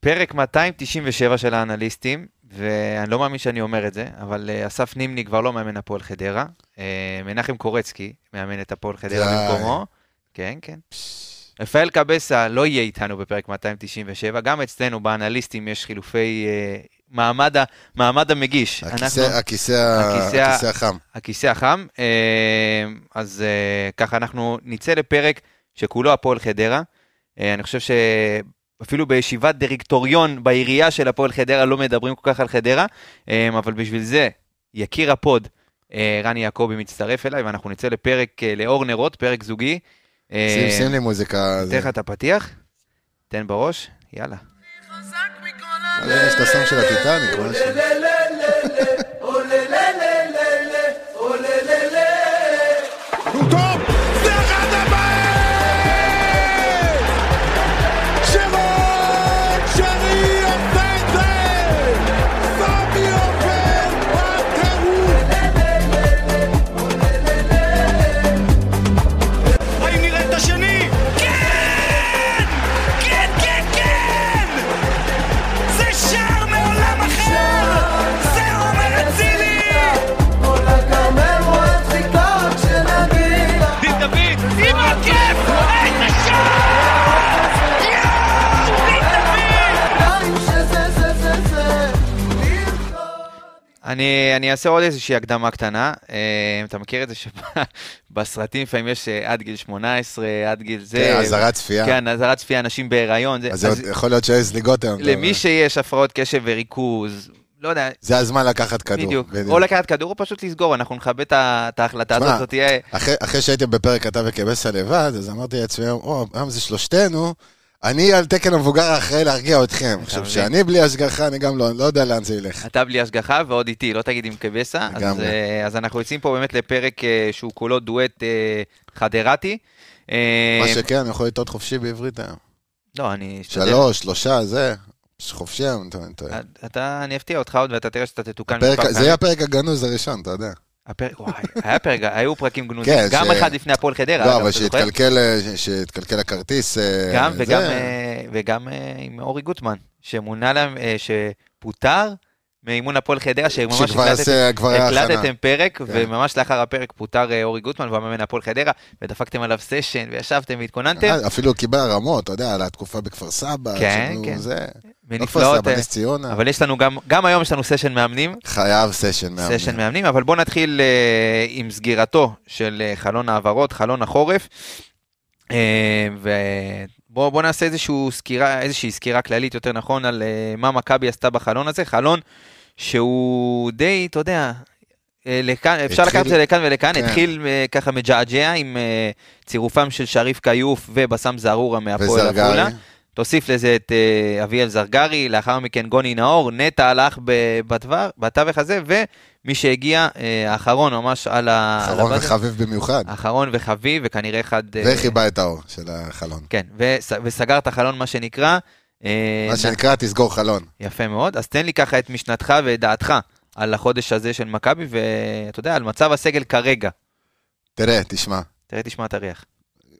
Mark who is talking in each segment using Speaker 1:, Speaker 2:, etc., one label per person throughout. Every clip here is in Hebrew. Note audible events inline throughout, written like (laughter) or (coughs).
Speaker 1: פרק 297 של האנליסטים, ואני לא מאמין שאני אומר את זה, אבל אה, אסף נימני כבר לא מאמן הפועל חדרה. אה, מנחם קורצקי מאמן את הפועל חדרה
Speaker 2: די.
Speaker 1: במקומו. כן, כן. רפאל קבסה לא יהיה איתנו בפרק 297, גם אצלנו באנליסטים יש חילופי אה, מעמד, ה- מעמד המגיש.
Speaker 2: הכיסא,
Speaker 1: אנחנו-
Speaker 2: הכיסא, ה-
Speaker 1: הכיסא ה-
Speaker 2: הכיסא החם.
Speaker 1: הכיסא החם. אה, אז אה, ככה אנחנו נצא לפרק שכולו הפועל חדרה. אה, אני חושב שאפילו בישיבת דירקטוריון בעירייה של הפועל חדרה לא מדברים כל כך על חדרה, אה, אבל בשביל זה יקיר הפוד, אה, רן יעקבי מצטרף אליי, ואנחנו נצא לפרק אה, לאור נרות, פרק זוגי. אה,
Speaker 2: שים, שים לי מוזיקה.
Speaker 1: אתן לך את הפתיח, תן בראש, יאללה.
Speaker 2: זה אה, יש את הסאונד של הטיטניק, משהו.
Speaker 3: הוא טוב! זה אחד הבעל! שמעון שרי עושה את זה! סמי עופר בטירוף! האם נראה את השני? כן! כן, כן, כן! זה שער מעולם אחר! זה עומר אצילי! דין דוד, עם הכיף! אה, איזה שער! יואו, דין דוד!
Speaker 1: אני, אני אעשה עוד איזושהי הקדמה קטנה. אה, אתה מכיר את זה שבסרטים לפעמים יש אה, עד גיל 18, עד גיל זה.
Speaker 2: כן, אזהרת צפייה.
Speaker 1: כן, אזהרת צפייה, אנשים בהיריון. זה,
Speaker 2: אז זה עוד- יכול להיות שיש זליגות היום. אתה
Speaker 1: למי
Speaker 2: אומר.
Speaker 1: שיש הפרעות קשב וריכוז, לא יודע,
Speaker 2: זה הזמן לקחת כדור.
Speaker 1: בדיוק. או לקחת כדור או פשוט לסגור, אנחנו נכבד את ה- את ההחלטה
Speaker 2: תשמע,
Speaker 1: הזאת, זאת תהיה...
Speaker 2: אחרי, אחרי שהייתם בפרק אתה וקבסה לבד, אז אמרתי לעצמי, או, היום זה שלושתנו, אני על תקן המבוגר האחראי להרגיע אתכם. עכשיו,
Speaker 1: מבין?
Speaker 2: כשאני בלי השגחה, אני גם לא, לא יודע לאן זה ילך.
Speaker 1: אתה בלי השגחה ועוד איתי, לא תגיד עם קבסה. אז,
Speaker 2: לגמרי.
Speaker 1: אה, אז אנחנו יוצאים פה באמת לפרק אה, שהוא כולו דואט אה, חדרתי. אה,
Speaker 2: מה שכן, אני יכול לטעות חופשי בעברית היום.
Speaker 1: לא, אני... אשתדל.
Speaker 2: שלוש, שלושה, זה, חופשי היום, אתה אתה-
Speaker 1: אה, אתה, אני אפתיע אותך עוד ואתה תראה שאתה תתוקן.
Speaker 2: כן. הפרק-
Speaker 1: מספר
Speaker 2: זה
Speaker 1: פעמים.
Speaker 2: יהיה הפרק הגנוז הראשון, אתה יודע.
Speaker 1: כן, הפרק, וואי, היה פרק, היו פרקים גנוזים,
Speaker 2: כן,
Speaker 1: גם
Speaker 2: ש-
Speaker 1: אחד לפני הפועל חדרה,
Speaker 2: לא,
Speaker 1: אגב,
Speaker 2: אבל
Speaker 1: אתה זוכר?
Speaker 2: שהתקלקל, אה, ש- שהתקלקל הכרטיס, אה,
Speaker 1: גם
Speaker 2: זה-
Speaker 1: וגם, אה, וגם אה, עם אורי גוטמן, שמונה להם, אה, שפוטר מאימון הפועל חדרה, שממש
Speaker 2: שכבר
Speaker 1: הקלטת-
Speaker 2: עשה- כן. כבר היה הכנה.
Speaker 1: הקלטתם פרק, וממש לאחר הפרק פוטר אה, אורי גוטמן, והוא המאמן הפועל חדרה, ודפקתם עליו סשן, וישבתם והתכוננתם,
Speaker 2: אה, אפילו קיבל הרמות, אתה יודע, על התקופה בכפר סבא,
Speaker 1: כן,
Speaker 2: שהוא-
Speaker 1: כן.
Speaker 2: זה, לא כפר
Speaker 1: ונפלאות.
Speaker 2: סבא,
Speaker 1: אה,
Speaker 2: נס ציונה,
Speaker 1: אבל יש לנו גם, גם היום יש לנו סשן מאמנים,
Speaker 2: חייב סשן מאמנים.
Speaker 1: סשן מאמנים, אבל בואו נתחיל אה, עם סגירתו של אה, חלון העברות, חלון החורף. ובואו נעשה איזשהו סקירה, איזושהי סקירה כללית, יותר נכון, על אה, מה מכבי עשתה בחלון הזה. חלון שהוא די, אתה יודע, אה, לכאן, אפשר
Speaker 2: התחיל-
Speaker 1: לקחת את זה לכאן ולכאן,
Speaker 2: כן.
Speaker 1: התחיל אה, ככה מג'עג'ע עם אה, צירופם של שריף כיוף ובסאם זערורה מהפועל
Speaker 2: וזרגרי.
Speaker 1: עפולה. תוסיף לזה את אה, אביאל זרגרי, לאחר מכן גוני נאור, נטע הלך ב- בדבר, בתווך הזה, ומי שהגיע אה, האחרון ממש על ה...
Speaker 2: אחרון
Speaker 1: על הבד-
Speaker 2: וחביב במיוחד.
Speaker 1: האחרון וחביב, וכנראה אחד... אה,
Speaker 2: וחיבה את האור של החלון.
Speaker 1: כן, וס, וסגר את החלון, מה שנקרא. אה,
Speaker 2: מה שנקרא, תסגור חלון.
Speaker 1: יפה מאוד. אז תן לי ככה את משנתך ואת דעתך על החודש הזה של מכבי, ואתה יודע, על מצב הסגל כרגע.
Speaker 2: תראה, תשמע,
Speaker 1: תראה, תשמע את הריח.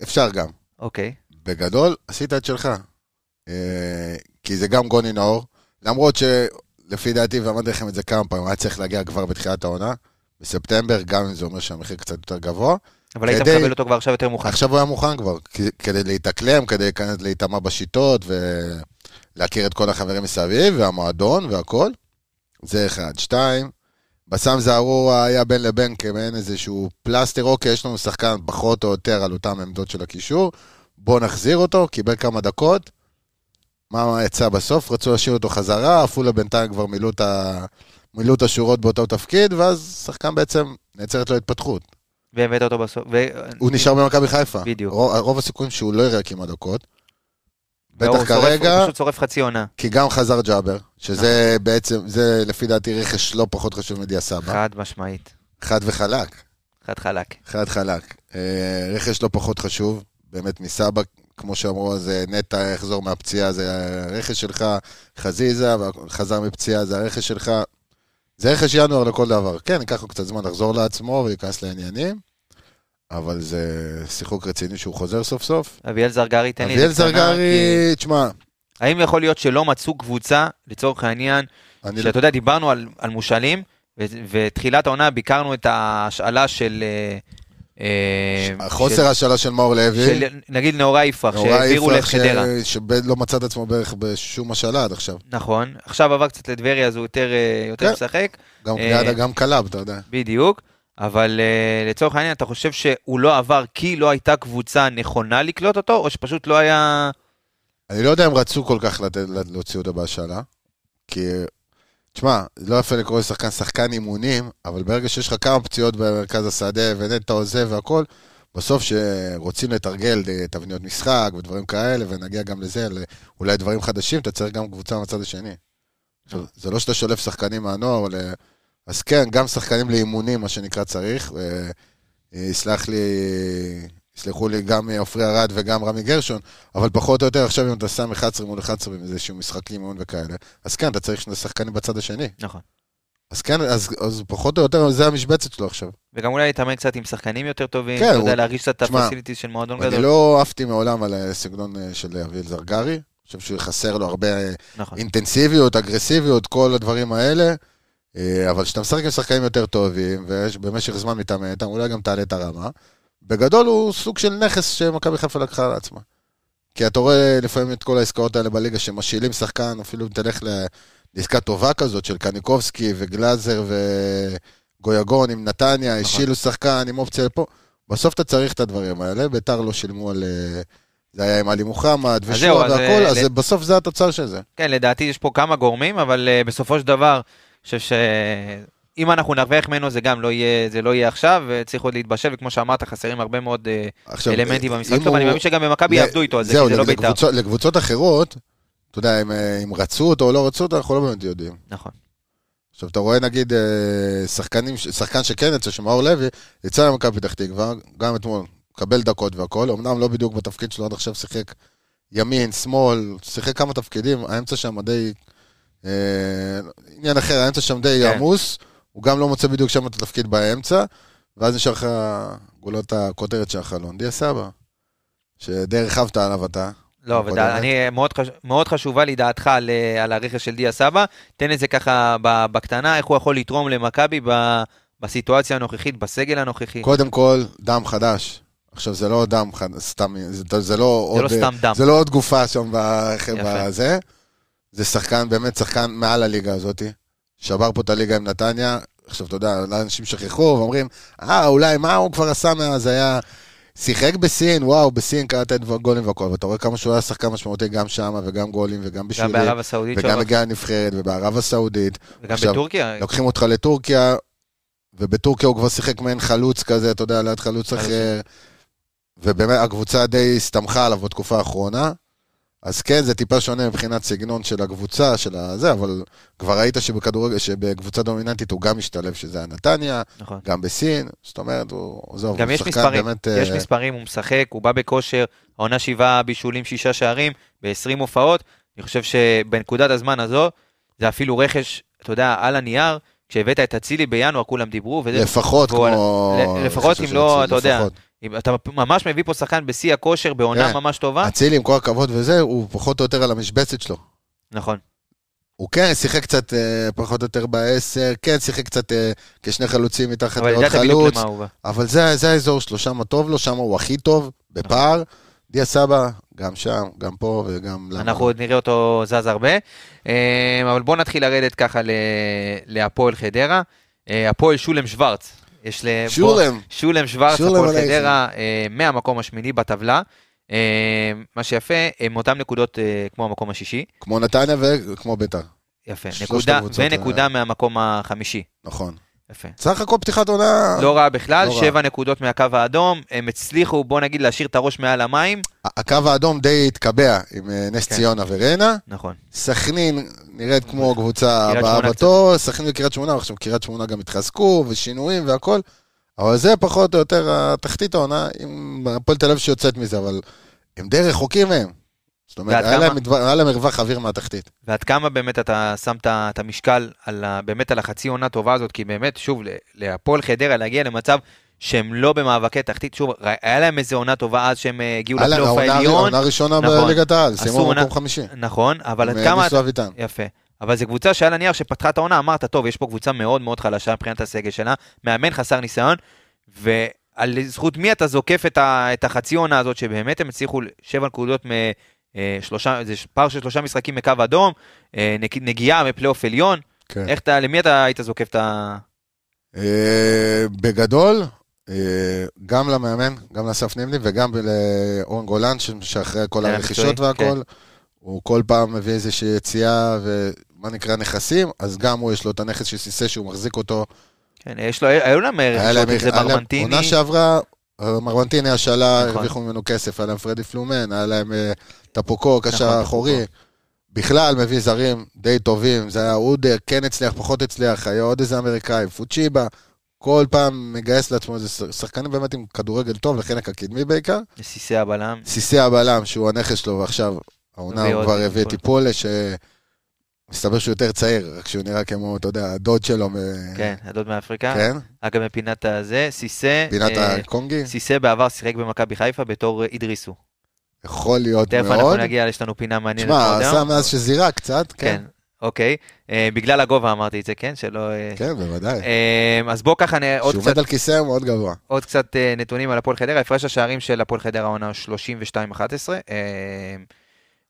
Speaker 2: אפשר גם.
Speaker 1: אוקיי.
Speaker 2: בגדול, עשית את שלך. אה, כי זה גם גוני נאור, למרות שלפי דעתי, ואמרתי לכם את זה כמה פעמים, היה צריך להגיע כבר בתחילת העונה, בספטמבר, גם אם זה אומר שהמחיר קצת יותר גבוה.
Speaker 1: אבל היית
Speaker 2: כדי-
Speaker 1: מקבל אותו כבר עכשיו יותר מוכן.
Speaker 2: עכשיו הוא היה מוכן כבר, כ- כדי להתאקלם, כדי להיכנס- להיטמע בשיטות ולהכיר את כל החברים מסביב, והמועדון והכל. זה אחד. שתיים, בסאם זערורה היה בין לבין כמעין איזשהו פלסטר, אוקיי, יש לנו שחקן פחות או יותר על אותן עמדות של הקישור, בואו נחזיר אותו, קיבל כמה דקות. מה יצא בסוף? רצו להשאיר אותו חזרה, עפולה בינתיים כבר מילאו את ה- מילאו את השורות באותו תפקיד, ואז שחקן בעצם נעצרת לו התפתחות.
Speaker 1: והבאת אותו בסוף. ו...
Speaker 2: הוא נשאר במכבי חיפה.
Speaker 1: בדיוק.
Speaker 2: רוב, רוב הסיכויים שהוא לא יראה כמעט דקות, בטח
Speaker 1: והוא שורף-
Speaker 2: כרגע-
Speaker 1: לא, הוא פשוט נכון. שורף חצי עונה.
Speaker 2: כי גם חזר ג'אבר, שזה בעצם, זה לפי דעתי רכש לא פחות חשוב מדיה סבא.
Speaker 1: חד משמעית.
Speaker 2: חד וחלק,
Speaker 1: חד חלק.
Speaker 2: חד חלק. אה, רכש לא פחות חשוב, באמת מסבא, כמו שאמרו, אז אה, נטע יחזור מהפציעה, זה הרכש שלך, חזיזה, חזר מפציעה, זה הרכש שלך. זה רכש ינואר לכל דבר. כן, ייקח לו קצת זמן לחזור לעצמו וייכנס לעניינים, אבל זה שיחוק רציני שהוא חוזר סוף סוף.
Speaker 1: אביאל זרגרי, תן לי...
Speaker 2: אביאל
Speaker 1: את זה קטנה,
Speaker 2: זרגרי, תשמע,
Speaker 1: האם יכול להיות שלא מצאו קבוצה, לצורך העניין,
Speaker 2: אני לא-
Speaker 1: שאתה יודע, דיברנו על, על מושאלים, ו- ותחילת העונה ביקרנו את ההשאלה של... אה, אה,
Speaker 2: חוסר לא- השאלה של מאור לוי.
Speaker 1: של, של נגיד נאורה יפרח,
Speaker 2: נורא
Speaker 1: שהעבירו
Speaker 2: יפרח אה, ש-
Speaker 1: לחדרה.
Speaker 2: שלא מצא את עצמו בערך בשום השאלה עד עכשיו.
Speaker 1: נכון, עכשיו עבר קצת לטבריה, אז הוא יותר, אה, יותר
Speaker 2: כן.
Speaker 1: משחק,
Speaker 2: גם
Speaker 1: אה,
Speaker 2: קליאדה, גם קלאב, אתה יודע.
Speaker 1: בדיוק. אבל אה, לצורך העניין, אתה חושב שהוא לא עבר כי לא הייתה קבוצה נכונה לקלוט אותו, או שפשוט לא היה...
Speaker 2: אני לא יודע אם רצו כל כך לתת- להוציא אותו בהשאלה, כי... תשמע, זה לא יפה לקרוא לשחקן שחקן אימונים, אבל ברגע שיש לך כמה פציעות במרכז השדה ונטע עוזב והכל, בסוף שרוצים לתרגל אה, תבניות משחק ודברים כאלה, ונגיע גם לזה, אולי דברים חדשים, אתה צריך גם קבוצה מהצד השני. עכשיו, זה לא שאתה שולף שחקנים מהנוער, אבל... אה, אז כן, גם שחקנים לאימונים, מה שנקרא, צריך. אה, אה, יסלח לי, יסלחו לי גם אה, עופרי ארד וגם רמי גרשון, אבל פחות או יותר עכשיו אם אתה שם 11 מול 11 עם איזשהו משחק אימון וכאלה, אז כן, אתה צריך שני שחקנים בצד השני.
Speaker 1: נכון.
Speaker 2: אז כן, אז, אז פחות או יותר זה המשבצת שלו עכשיו.
Speaker 1: וגם אולי להתאמן קצת עם שחקנים יותר טובים,
Speaker 2: כן,
Speaker 1: אתה
Speaker 2: הוא-
Speaker 1: יודע, להרגיש קצת את
Speaker 2: תשמע,
Speaker 1: הפסיליטיז של מועדון
Speaker 2: אני
Speaker 1: גדול.
Speaker 2: לא עפתי מעולם על הסגנון אה, של אביאל זרגרי, אני חושב שהוא חסר לו הרבה אה,
Speaker 1: נכון.
Speaker 2: אינטנסיביות, אגרסיביות, כל הדברים האלה. אה, אבל כשאתה משחק עם שחקנים יותר טובים, ובמשך זמן מתאמן איתם, אולי גם תעלה את הרמה. בגדול הוא סוג של נכס שמכבי חיפה לקחה על עצמה. כי אתה רואה לפעמים את כל העסקאות האלה בליגה שמשילים שחקן, אפילו אם תלך ל- לעסקה טובה כזאת של קניקובסקי וגלאזר וגויגון עם נתניה,
Speaker 1: נכון.
Speaker 2: השילו שחקן עם אופציה לפה. בסוף אתה צריך את הדברים האלה, ביתר לא שילמו על... אה, זה היה עם עלי מוחמד
Speaker 1: אז זהו,
Speaker 2: ושועה
Speaker 1: אז,
Speaker 2: והכל,
Speaker 1: אה,
Speaker 2: אז
Speaker 1: ל-
Speaker 2: זה- בסוף זה התוצר של זה.
Speaker 1: כן, לדעתי יש פה כמה גורמים, אבל אה, בסופו של דבר, אני חושב ש... אם אנחנו נרוויח ממנו זה גם לא יהיה, זה לא יהיה עכשיו, וצריך עוד להתבשל, וכמו שאמרת, חסרים הרבה מאוד אה,
Speaker 2: עכשיו,
Speaker 1: אלמנטים
Speaker 2: אם
Speaker 1: במשחק שלו, ואני
Speaker 2: הוא-
Speaker 1: מאמין שגם במכבי
Speaker 2: ל-
Speaker 1: יעבדו איתו על זה,
Speaker 2: זהו,
Speaker 1: כי זה לא
Speaker 2: לק-
Speaker 1: בית"ר.
Speaker 2: לקבוצות- לקבוצות אחרות, אתה יודע, אם, אה, אם רצו אותו או לא רצו אותו, אנחנו לא באמת יודעים.
Speaker 1: נכון.
Speaker 2: עכשיו, אתה רואה נגיד אה, שחקנים, ש- שחקן שכן יצא, שמאור לוי, יצא למכבי פתח תקווה, גם אתמול, קבל דקות והכל, אמנם לא בדיוק בתפקיד שלו עד עכשיו שיחק ימין, שמאל, שיחק כמה תפקידים, האמצע שם די... אה, עניין אחר, האמצע שם די
Speaker 1: כן.
Speaker 2: עמוס, הוא גם לא מוצא בדיוק שם את התפקיד באמצע, ואז נשאר לך גולות הכותרת של החלון, דיה סבא, שדי הרחבת עליו אתה.
Speaker 1: לא,
Speaker 2: אבל
Speaker 1: אבל
Speaker 2: באמת.
Speaker 1: אני, מאוד, חש... מאוד חשובה לי דעתך על, אה, על הרכש של דיה סבא. תן את זה ככה ב- בקטנה, איך הוא יכול לתרום למכבי ב... בסיטואציה הנוכחית, בסגל הנוכחי.
Speaker 2: קודם כל, דם חדש. עכשיו, זה לא דם חד- סתם, זה, זה לא
Speaker 1: זה
Speaker 2: עוד...
Speaker 1: לא סתם דם.
Speaker 2: זה לא עוד גופה שם ב-
Speaker 1: יפה.
Speaker 2: בזה. זה שחקן, באמת שחקן מעל הליגה הזאת. שבר פה את הליגה עם נתניה. עכשיו, אתה יודע, אנשים שכחו ואומרים, אה, אולי, מה הוא כבר עשה מאז? היה... שיחק בסין, וואו, בסין קראת את גולים והכל, ואתה רואה כמה שהוא היה שחקן משמעותי גם שם, וגם גולים, וגם
Speaker 1: גם
Speaker 2: בישולים,
Speaker 1: בערב הסעודית
Speaker 2: וגם
Speaker 1: שלו,
Speaker 2: הגיע לנבחרת, ובערב הסעודית,
Speaker 1: וגם
Speaker 2: עכשיו, לא,
Speaker 1: בטורקיה.
Speaker 2: לוקחים אותך לטורקיה, ובטורקיה הוא כבר שיחק מעין חלוץ כזה, אתה יודע, ליד חלוץ
Speaker 1: חלוץ.
Speaker 2: אחר. ובאמת, הקבוצה די הסתמכה עליו בתקופה האחרונה. אז כן, זה טיפה שונה מבחינת סגנון של הקבוצה, של הזה, אבל כבר ראית שבכדורגל, שבקבוצה דומיננטית הוא גם משתלב, שזה היה נתניה,
Speaker 1: נכון.
Speaker 2: גם בסין, זאת אומרת, הוא עזוב,
Speaker 1: גם
Speaker 2: הוא
Speaker 1: יש
Speaker 2: שחקן
Speaker 1: מספרים,
Speaker 2: באמת,
Speaker 1: יש
Speaker 2: אה,
Speaker 1: מספרים, הוא משחק, הוא בא בכושר, העונה שבעה בישולים, שישה שערים, ב-20 הופעות. אני חושב שבנקודת הזמן הזו, זה אפילו רכש, אתה יודע, על הנייר, כשהבאת את אצילי בינואר, כולם דיברו, וזה,
Speaker 2: לפחות
Speaker 1: והוא-
Speaker 2: כמו...
Speaker 1: ל- לפחות
Speaker 2: חושב
Speaker 1: אם לא,
Speaker 2: שאצילי,
Speaker 1: אתה יודע,
Speaker 2: לפחות.
Speaker 1: אם אתה ממש מביא פה שחקן בשיא הכושר, בעונה
Speaker 2: כן.
Speaker 1: ממש טובה.
Speaker 2: אצילי, עם כל הכבוד וזה, הוא פחות או יותר על המשבצת שלו.
Speaker 1: נכון,
Speaker 2: הוא כן שיחק קצת אה, פחות או יותר בעשר, כן שיחק קצת אה, כשני חלוצים מתחת
Speaker 1: אבל
Speaker 2: לעוד
Speaker 1: ידעת בדיוק
Speaker 2: חלוץ,
Speaker 1: למה הוא בא.
Speaker 2: אבל זה, זה האזור שלו, שם טוב לו, שם הוא הכי טוב, בפער. דיה סבא, גם שם, גם פה וגם... למה
Speaker 1: אנחנו
Speaker 2: לא.
Speaker 1: עוד נראה אותו זז הרבה. אה, אבל בואו נתחיל לרדת ככה ל- להפועל חדרה. אה, הפועל שולם שוורץ. יש ל... בוא-
Speaker 2: שולם,
Speaker 1: שולם שוורץ,
Speaker 2: שולם
Speaker 1: הפועל
Speaker 2: עלייך.
Speaker 1: חדרה, אה, מהמקום השמיני בטבלה. אה, מה שיפה, הם אותן נקודות אה, כמו המקום השישי.
Speaker 2: כמו נתניה וכמו ביתר,
Speaker 1: יפה.
Speaker 2: שלושת
Speaker 1: נקודה,
Speaker 2: הקבוצות
Speaker 1: ונקודה מהמקום החמישי.
Speaker 2: נכון.
Speaker 1: יפה.
Speaker 2: סך הכל פתיחת עונה...
Speaker 1: לא רע בכלל,
Speaker 2: לא רע.
Speaker 1: שבע נקודות מהקו האדום. הם הצליחו, בוא נגיד, להשאיר את הראש מעל המים.
Speaker 2: ה- הקו האדום די התקבע עם אה, נס
Speaker 1: כן.
Speaker 2: ציונה וריינה.
Speaker 1: נכון.
Speaker 2: סכנין נראית כמו הקבוצה
Speaker 1: קריית
Speaker 2: הבאה
Speaker 1: שמונה
Speaker 2: בתור, סכנין וקריית שמונה, עכשיו קריית שמונה גם התחזקו ושינויים והכל, אבל זה פחות או יותר התחתית העונה, עם הפועל תל אביב שיוצאת מזה, אבל הם די רחוקים מהם. זאת אומרת,
Speaker 1: ועד
Speaker 2: היה
Speaker 1: כמה?
Speaker 2: להם מדבר- היה להם מרווח אוויר מהתחתית.
Speaker 1: ועד כמה באמת אתה שם את ה- את המשקל על ה, באמת על החצי עונה טובה הזאת, כי באמת, שוב, ל- להפועל חדרה להגיע למצב שהם לא במאבקי תחתית. שוב, ר- היה להם איזו עונה טובה אז שהם אה, הגיעו
Speaker 2: היה להם
Speaker 1: לפלייאוף
Speaker 2: העונה-
Speaker 1: העליון.
Speaker 2: העונה הראשונה
Speaker 1: נכון.
Speaker 2: בליגת העל,
Speaker 1: עשו
Speaker 2: סיימו
Speaker 1: עונה-
Speaker 2: במקום חמישי.
Speaker 1: נכון, אבל עד
Speaker 2: עם, אה,
Speaker 1: כמה...
Speaker 2: ניסו אביטן.
Speaker 1: יפה. אבל זו קבוצה שעל הנייר שפתחה את העונה, אמרת, טוב, יש פה קבוצה מאוד מאוד חלשה מבחינת הסגל שלה, מאמן חסר ניסיון, ועל זכות מי אתה זוקף את, ה, את החצי עונה הזאת, שבאמת הם הצליחו שבע נקודות מ... אה, שלושה, זה פער של שלושה משחקים מקו אדום, אה, נק- נגיעה מפלייאוף עליון,
Speaker 2: כן.
Speaker 1: איך אתה, למי אתה היית זוקף את ה...
Speaker 2: אה, בגדול, אה, גם למאמן, גם לאסף נימני וגם לאורן גולן, ש- שאחרי כל
Speaker 1: כן,
Speaker 2: הרכישות
Speaker 1: המקצועי,
Speaker 2: והכל, הוא כל פעם מביא איזושהי יציאה ומה נקרא נכסים, אז גם הוא יש לו את הנכס של סיסא שהוא מחזיק אותו.
Speaker 1: כן, יש לו, היו להם
Speaker 2: היה להם-
Speaker 1: רכישות, אם זה
Speaker 2: היה להם-
Speaker 1: מרמנטיני,
Speaker 2: עונה שעברה, אה, מרמנטיני השאלה,
Speaker 1: נכון.
Speaker 2: הרוויחו ממנו כסף, היה להם פרדי פלומן, היה להם אה, טפוקו,
Speaker 1: נכון,
Speaker 2: קשר
Speaker 1: טפוקו.
Speaker 2: האחורי. בכלל מביא זרים די טובים, זה היה אודר, כן הצליח, פחות הצליח, היה עוד איזה אמריקאי, פוצ'יבה, כל פעם מגייס לעצמו איזה ש- שחקנים באמת עם כדורגל טוב, לחלק הקדמי בעיקר.
Speaker 1: סיסי הבלם,
Speaker 2: סיסי הבלם, שהוא הנכס שלו, ועכשיו העונה
Speaker 1: הביא
Speaker 2: הוא
Speaker 1: עוד
Speaker 2: כבר הביא את
Speaker 1: טיפול.
Speaker 2: טיפולה, שמסתבר שהוא יותר צעיר, רק שהוא נראה כמו, אתה יודע, הדוד שלו. מ-
Speaker 1: כן, הדוד מאפריקה,
Speaker 2: כן,
Speaker 1: אגב מפינת הזה, סיסי,
Speaker 2: פינת
Speaker 1: אה,
Speaker 2: הקונגי.
Speaker 1: סיסא בעבר שיחק במכבי חיפה בתור אה, אידריסו.
Speaker 2: יכול להיות
Speaker 1: תכף אנחנו
Speaker 2: מאוד.
Speaker 1: נגיע, יש לנו פינה מעניינת.
Speaker 2: תשמע,
Speaker 1: מאוד היום.
Speaker 2: עשה מאז שזירה קצת, כן.
Speaker 1: כן, אוקיי. אה, בגלל הגובה אמרתי את זה, כן? שלא... אה,
Speaker 2: כן, בוודאי.
Speaker 1: אה, אז בואו ככה נראה עוד
Speaker 2: שהוא
Speaker 1: קצת-
Speaker 2: עומד על כיסא הוא מאוד גבוה.
Speaker 1: עוד קצת אה, נתונים על הפועל חדרה. הפרש השערים של הפועל חדרה העונה הוא 32-11. אה,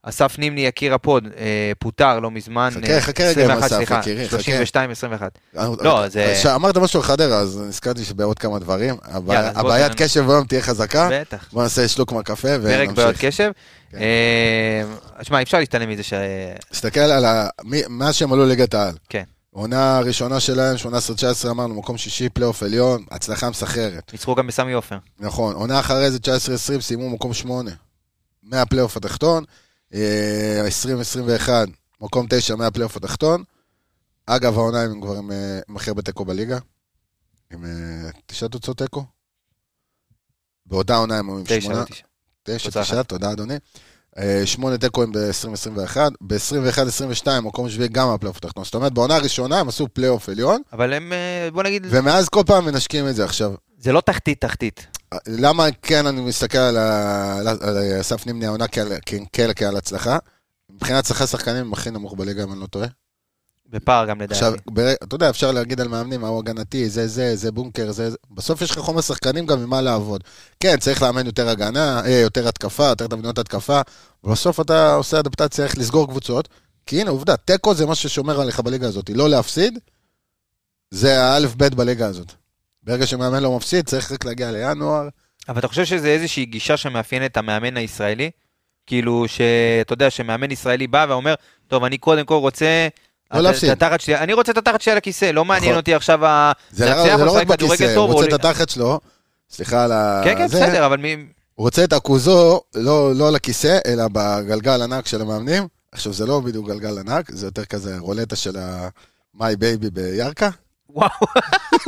Speaker 1: אסף נימני, יקיר הפוד, אה, פוטר לא מזמן.
Speaker 2: חכה,
Speaker 1: אה,
Speaker 2: חכה רגע עם
Speaker 1: 21,
Speaker 2: אסף,
Speaker 1: סליחה,
Speaker 2: יקירי, חכה.
Speaker 1: 32-21.
Speaker 2: אבל-
Speaker 1: לא, זה-
Speaker 2: ש- אמרת אה, משהו על חדרה, אז נזכרתי שבעוד כמה דברים. הבע-
Speaker 1: יאללה, אז בוא
Speaker 2: הבעיית
Speaker 1: תן-
Speaker 2: קשב היום תהיה חזקה.
Speaker 1: בטח.
Speaker 2: בוא נעשה שלוק מהקפה
Speaker 1: פרק בעיות
Speaker 2: ונמשיך.
Speaker 1: קשב.
Speaker 2: אה? כן.
Speaker 1: אה, שמע, אי אפשר להשתלם מזה ש... אה,
Speaker 2: תסתכל על ה... מי- מאז שהם עלו ליגת העל.
Speaker 1: כן.
Speaker 2: עונה הראשונה שלהם, 18-19, אמרנו, מקום שישי, פלייאוף עליון, הצלחה מסחררת.
Speaker 1: ניצחו גם בסמי עופר.
Speaker 2: נכון, עונה אחרי זה 19-20, סיימו מקום שמונה. מהפלייאוף התחתון, אה, 20-21, מקום תשע מהפלייאוף התחתון. אגב, העונה הם כבר עם, אה, עם הכי הרבה תיקו בליגה, עם אה, תשע תוצאות תיקו. באותה עונה הם היו עם
Speaker 1: תשע,
Speaker 2: שמונה,
Speaker 1: לא תשע.
Speaker 2: תשע,
Speaker 1: תוצאה
Speaker 2: תשע, תודה אדוני. אה, שמונה תיקואים ב-2021, ב-21-22 מקום שביעי גם מהפלייאוף התחתון. זאת אומרת, בעונה הראשונה הם עשו פלייאוף עליון,
Speaker 1: אבל הם, אה, בוא נגיד,
Speaker 2: ומאז כל פעם מנשקים את זה. עכשיו,
Speaker 1: זה לא תחתית תחתית.
Speaker 2: למה כן אני מסתכל על ה- על ה- על אסף נימני העונה כעל- כ- כעל כעל הצלחה? מבחינת הצלחה שחקנים הם הכי נמוך בליגה, אם אני לא טועה.
Speaker 1: בפער גם לדעתי.
Speaker 2: עכשיו, בר- אתה יודע, אפשר להגיד על מאמנים, מה הוא הגנתי, זה זה, זה בונקר, זה זה. בסוף יש לך חומר שחקנים גם ממה לעבוד. כן, צריך לאמן יותר הגנה, אה, יותר התקפה, יותר תבניות התקפה. בסוף אתה עושה אדפטציה, איך לסגור קבוצות. כי הנה, עובדה, תיקו זה מה ששומר עליך בליגה הזאת. לא להפסיד, זה האלף-בית בליגה הזאת. ברגע שמאמן לא מפסיד, צריך רק להגיע לינואר.
Speaker 1: אבל אתה חושב שזה איזושהי גישה שמאפיינת את המאמן הישראלי? כאילו, שאתה יודע, שמאמן ישראלי בא ואומר, טוב, אני קודם כל רוצה...
Speaker 2: לא
Speaker 1: את-
Speaker 2: להפסיד."
Speaker 1: את התחת שלי, אני רוצה את התחת שלי על הכיסא, לא מעניין
Speaker 2: נכון.
Speaker 1: אותי עכשיו ה...
Speaker 2: זה
Speaker 1: להצליח
Speaker 2: לא- זה לא
Speaker 1: או
Speaker 2: רק
Speaker 1: לשחק כדורגל
Speaker 2: בכיסא,
Speaker 1: טוב,
Speaker 2: הוא
Speaker 1: או
Speaker 2: רוצה את
Speaker 1: ל-
Speaker 2: התחת שלו. סליחה על ה...
Speaker 1: כן, כן,
Speaker 2: זה.
Speaker 1: בסדר, אבל מי...
Speaker 2: (laughs) הוא רוצה את הכוזו, לא, לא על הכיסא, אלא בגלגל ענק של המאמנים. עכשיו, זה לא בדיוק גלגל ענק, זה יותר כזה רולטה של ה-My Baby בירכא.
Speaker 1: וואו,
Speaker 2: (laughs)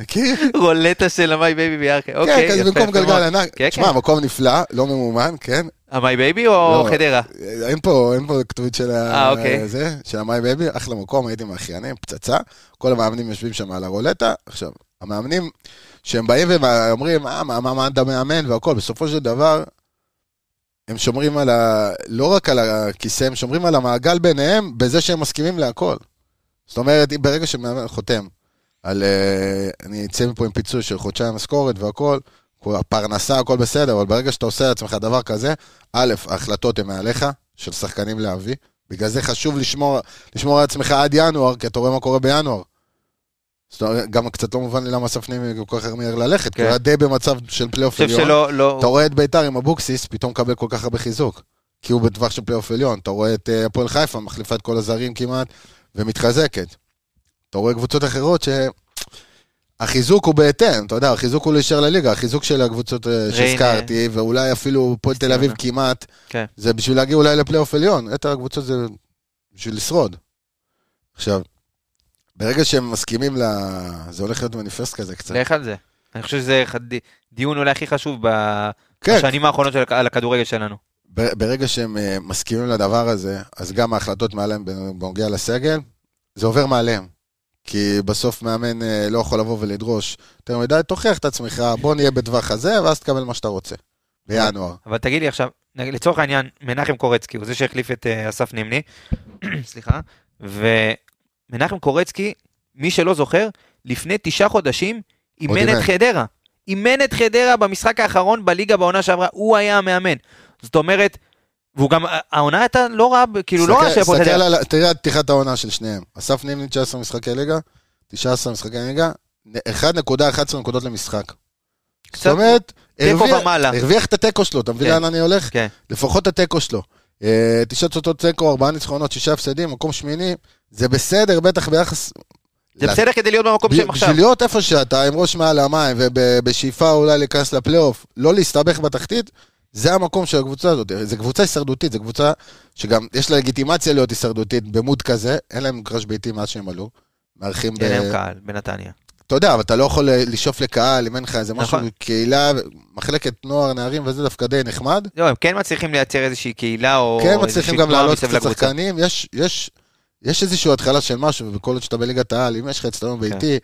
Speaker 2: מכיר?
Speaker 1: רולטה של המיי בייבי בירכא. אוקיי,
Speaker 2: כן,
Speaker 1: יפה,
Speaker 2: כזה
Speaker 1: יפה.
Speaker 2: במקום גלגל
Speaker 1: מאוד.
Speaker 2: ענק.
Speaker 1: כן,
Speaker 2: תשמע, מקום נפלא, לא ממומן, כן?
Speaker 1: המיי בייבי או
Speaker 2: לא.
Speaker 1: חדרה?
Speaker 2: אין פה, אין פה כתובית של
Speaker 1: אה,
Speaker 2: ה...
Speaker 1: אוקיי.
Speaker 2: זה, של ה-My Baby, אחלה מקום, הייתי עם האחיינים, פצצה. כל המאמנים יושבים שם על הרולטה. עכשיו, המאמנים, שהם באים ואומרים, אה, מה, מה, מה אתה מאמן והכל, בסופו של דבר, הם שומרים על ה... לא רק על הכיסא, הם שומרים על המעגל ביניהם, בזה שהם מסכימים להכל. זאת אומרת, אם ברגע שמאמן חותם על... אה, אני אצא מפה עם פיצוי של חודשיים משכורת והכל, כל הפרנסה, הכל בסדר, אבל ברגע שאתה עושה לעצמך דבר כזה, א', ההחלטות הן מעליך, של שחקנים להביא. בגלל זה חשוב לשמור, לשמור על עצמך עד ינואר, כי אתה רואה מה קורה בינואר. זאת אומרת, גם קצת לא מובן לי למה אסף נימי כל כך מיהר ללכת, כי
Speaker 1: כן.
Speaker 2: הוא היה די במצב של פלייאוף
Speaker 1: אני
Speaker 2: עליון.
Speaker 1: חושב שלא... לא-
Speaker 2: אתה רואה את ביתר עם אבוקסיס, פתאום מקבל כל כך הרבה חיזוק. כי הוא בטווח של פלייאוף עליון. אתה רואה את אה, הפועל חיפה, מחליפה את כל הזרים כמעט, ומתחזקת. אתה רואה קבוצות אחרות ש... החיזוק הוא בהתאם, אתה יודע, החיזוק הוא להישאר לליגה, החיזוק של הקבוצות אה, שהזכרתי, ואולי אפילו הפועל תל אביב
Speaker 1: ציונה.
Speaker 2: כמעט,
Speaker 1: כן.
Speaker 2: זה בשביל להגיע אולי לפלייאוף עליון, יתר הקבוצות זה בשביל לשרוד. עכשיו, ברגע שהם מסכימים ל... זה הולך להיות מניפסט כזה קצת.
Speaker 1: לך על זה. אני חושב שזה אחד- דיון אולי הכי חשוב ב-
Speaker 2: כן,
Speaker 1: בשנים האחרונות של- על הכדורגל שלנו.
Speaker 2: בר- ברגע שהם אה, מסכימים לדבר הזה, אז גם ההחלטות מעליהם בנוגע לסגל, זה עובר מעליהם. כי בסוף מאמן אה, לא יכול לבוא ולדרוש יותר מדי, תוכיח את עצמך, בוא נהיה בטווח הזה, ואז תקבל מה שאתה רוצה. בינואר.
Speaker 1: אבל תגיד לי עכשיו, נגיד, לצורך העניין, מנחם קורצקי הוא זה שהחליף את אה, אסף נימני, (coughs) סליחה, ומנחם קורצקי, מי שלא זוכר, לפני תשעה חודשים אימן
Speaker 2: אימן.
Speaker 1: את חדרה. אימן את חדרה במשחק האחרון בליגה בעונה שעברה, הוא היה המאמן. זאת אומרת, והוא גם, העונה הייתה לא רעה, כאילו לא רעה שהיה פה
Speaker 2: תסתכל
Speaker 1: חדרה.
Speaker 2: על- תראה את פתיחת העונה של שניהם. אסף נימני 19 משחקי ליגה, 19 משחקי ליגה, 1.11 נקודות למשחק. זאת
Speaker 1: קצת
Speaker 2: אומרת,
Speaker 1: תיקו
Speaker 2: הרוויח-
Speaker 1: ומעלה.
Speaker 2: הרוויח את התיקו שלו, אתה מבין
Speaker 1: כן.
Speaker 2: לאן אני הולך?
Speaker 1: כן.
Speaker 2: לפחות את התיקו שלו. אה, תשעה תוצאות תיקו, ארבעה ניצחונות, שישה הפסדים, מקום שמיני, זה בסדר, בטח ביחס...
Speaker 1: זה בסדר כדי להיות במקום
Speaker 2: בשביל
Speaker 1: שהם עכשיו.
Speaker 2: בשביל להיות איפה שאתה, עם ראש מעל המים, ובשאיפה אולי להיכנס לפלייאוף, לא להסתבך בתחתית, זה המקום של הקבוצה הזאת. זו קבוצה הישרדותית, זו קבוצה שגם יש לה לגיטימציה להיות הישרדותית במוד כזה, אין להם גרש ביתי מאז שהם עלו. מארחים ב...
Speaker 1: אין להם קהל בנתניה.
Speaker 2: אתה יודע, אבל אתה לא יכול לשאוף לקהל, אם אין לך איזה משהו,
Speaker 1: נכון.
Speaker 2: קהילה, מחלקת נוער, נערים וזה דווקא די נחמד.
Speaker 1: לא, הם כן מצליחים לייצר איזושהי קהילה או
Speaker 2: כן,
Speaker 1: איזושהי
Speaker 2: מצליחים גם
Speaker 1: תנועה
Speaker 2: להעלות
Speaker 1: מסביב
Speaker 2: קצת
Speaker 1: לקבוצה.
Speaker 2: שחקנים, יש, יש, יש איזושהי התחלה של משהו, וכל עוד שאתה בליגת העל, אם יש לך אצטדיון ביתי,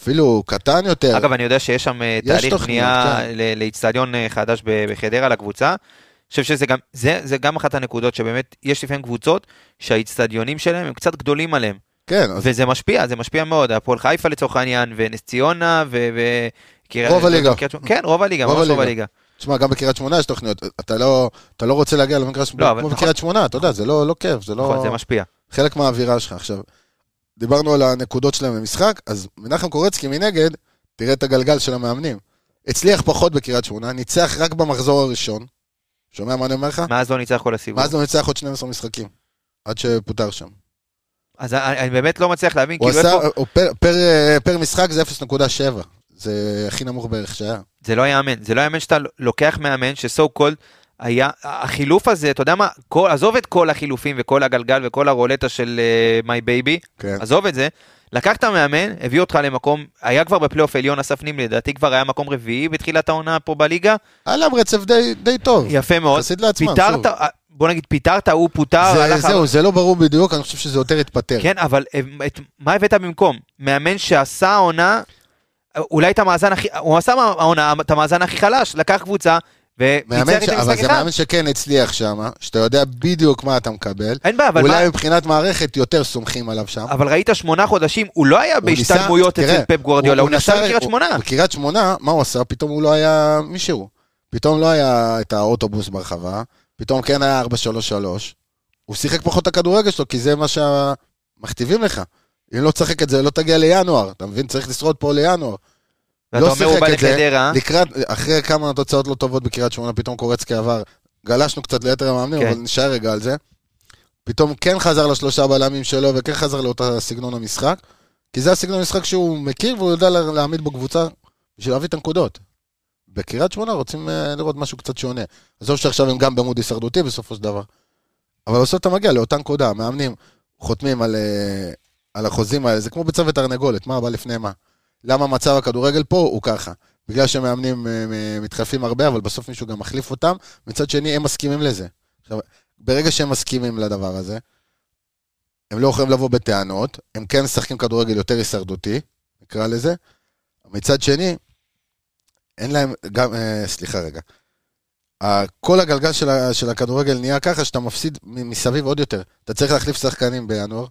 Speaker 2: אפילו קטן יותר,
Speaker 1: כן. אגב, אני יודע שיש שם אה,
Speaker 2: יש
Speaker 1: תהליך
Speaker 2: תוכניות,
Speaker 1: בנייה
Speaker 2: כן.
Speaker 1: ל- לאיצטדיון אה, חדש ב- בחדרה לקבוצה. אני חושב שזה גם, זה, זה גם אחת הנקודות שבאמת, יש לפעמים קבוצות שהאיצטדיונים שלהם הם קצת גדולים עליהם.
Speaker 2: כן, אז
Speaker 1: וזה משפיע, זה משפיע מאוד. הפועל חיפה לצורך העניין, ונס ציונה, ו... ו- קריית-
Speaker 2: רוב הליגה.
Speaker 1: קריית שמונה- כן, רוב הליגה,
Speaker 2: רוב
Speaker 1: ממש רוב
Speaker 2: הליגה.
Speaker 1: הליגה.
Speaker 2: תשמע, גם בקריית שמונה יש תוכניות, אתה לא, אתה לא רוצה להגיע למגרש
Speaker 1: לא, אבל
Speaker 2: כמו
Speaker 1: נכון.
Speaker 2: בקריית שמונה, אתה יודע, זה לא, לא כיף, זה
Speaker 1: נכון,
Speaker 2: לא...
Speaker 1: זה משפיע.
Speaker 2: חלק מהאווירה שלך. עכשיו, דיברנו על הנקודות שלהם במשחק, אז מנחם קורצקי מנגד, תראה את הגלגל של המאמנים. הצליח פחות בקריית שמונה, ניצח רק במחזור הראשון. שומע מה אני אומר לך?
Speaker 1: מאז לא ניצח כל הסיבוב.
Speaker 2: ואז הוא ניצח עוד 12 משחקים, עד שפוטר שם.
Speaker 1: אז אני אני באמת לא מצליח להבין,
Speaker 2: הוא
Speaker 1: כאילו
Speaker 2: עשה,
Speaker 1: איפה...
Speaker 2: הוא פר- פר- פר משחק זה 0.7, זה הכי נמוך בערך שהיה.
Speaker 1: זה לא יאמן, זה לא יאמן שאתה לוקח מאמן שסו קולד היה, החילוף הזה, אתה יודע מה, כל, עזוב את כל החילופים וכל הגלגל וכל הרולטה של מיי uh, בייבי,
Speaker 2: כן.
Speaker 1: עזוב את זה, לקחת מאמן, הביא אותך למקום, היה כבר בפלייאוף עליון אסף נימלי, לדעתי כבר היה מקום רביעי בתחילת העונה פה בליגה,
Speaker 2: היה להם רצף די- די טוב.
Speaker 1: יפה מאוד,
Speaker 2: יחסית לעצמם,
Speaker 1: פיטרת,
Speaker 2: שוב.
Speaker 1: אה, בוא נגיד פיטרת, הוא פוטר,
Speaker 2: זה,
Speaker 1: הלך...
Speaker 2: זהו, זה לא ברור בדיוק, אני חושב שזה יותר התפטר.
Speaker 1: כן, אבל אה, את, מה הבאת במקום? מאמן שעשה עונה, אה, אולי את המאזן הכי, הוא עשה מה- העונה, את המאזן הכי חלש, לקח קבוצה, וניצח
Speaker 2: מאמן
Speaker 1: את
Speaker 2: ש... אבל
Speaker 1: המשחק
Speaker 2: זה
Speaker 1: אחד.
Speaker 2: מאמן שכן הצליח שם, שאתה יודע בדיוק מה אתה מקבל.
Speaker 1: אין בעיה, אבל,
Speaker 2: אולי
Speaker 1: מה,
Speaker 2: מבחינת מערכת יותר סומכים עליו שם.
Speaker 1: אבל ראית שמונה חודשים, הוא לא היה
Speaker 2: הוא ניסה-
Speaker 1: בהשתלמויות אצל
Speaker 2: תראה,
Speaker 1: פפ גוורדיולה, הוא נסע
Speaker 2: נסע-
Speaker 1: בקריית
Speaker 2: הוא- לא
Speaker 1: שמונה.
Speaker 2: בקריית שמונה, מה הוא עשה? פתאום הוא לא היה מישהו. פתאום לא היה את האוטובוס ברחבה, פתאום כן היה 433. הוא שיחק פחות את הכדורגל שלו, כי זה מה שמכתיבים לך. אם לא תשחק את זה, לא תגיע לינואר. אתה מבין? צריך לשרוד פה לינואר.
Speaker 1: ואתה
Speaker 2: לא
Speaker 1: אומר, הוא
Speaker 2: שיחק
Speaker 1: בא
Speaker 2: את זה.
Speaker 1: לחדרה,
Speaker 2: לקראת, אחרי כמה תוצאות לא טובות בקריית שמונה, פתאום קורצקי עבר. גלשנו קצת ליתר המאמנים,
Speaker 1: כן.
Speaker 2: אבל נשאר רגע על זה. פתאום כן חזר לשלושה בלמים שלו, וכן חזר לאותה סגנון המשחק. כי זה הסגנון המשחק שהוא מכיר, והוא יודע לה- להעמיד בו קבוצה בשביל להביא את הנקודות. בקריית שמונה רוצים אה, לראות משהו קצת שונה. עזוב שעכשיו הם גם במוד הישרדותי בסופו של דבר. אבל בסוף אתה מגיע לאותה נקודה, המאמנים חותמים על, אה, על החוזים האלה, זה כמו ביצה ותרנגולת, מה בא לפני מה. למה מצב הכדורגל פה הוא ככה? בגלל שמאמנים אה, אה, מתחלפים הרבה, אבל בסוף מישהו גם מחליף אותם, מצד שני הם מסכימים לזה. עכשיו, ברגע שהם מסכימים לדבר הזה, הם לא יכולים לבוא בטענות, הם כן משחקים כדורגל יותר הישרדותי, נקרא לזה. מצד שני, אין להם, גם, אה, סליחה רגע, ה- כל הגלגל של, ה, של הכדורגל נהיה ככה שאתה מפסיד מ- מסביב עוד יותר. אתה צריך להחליף שחקנים בינואר,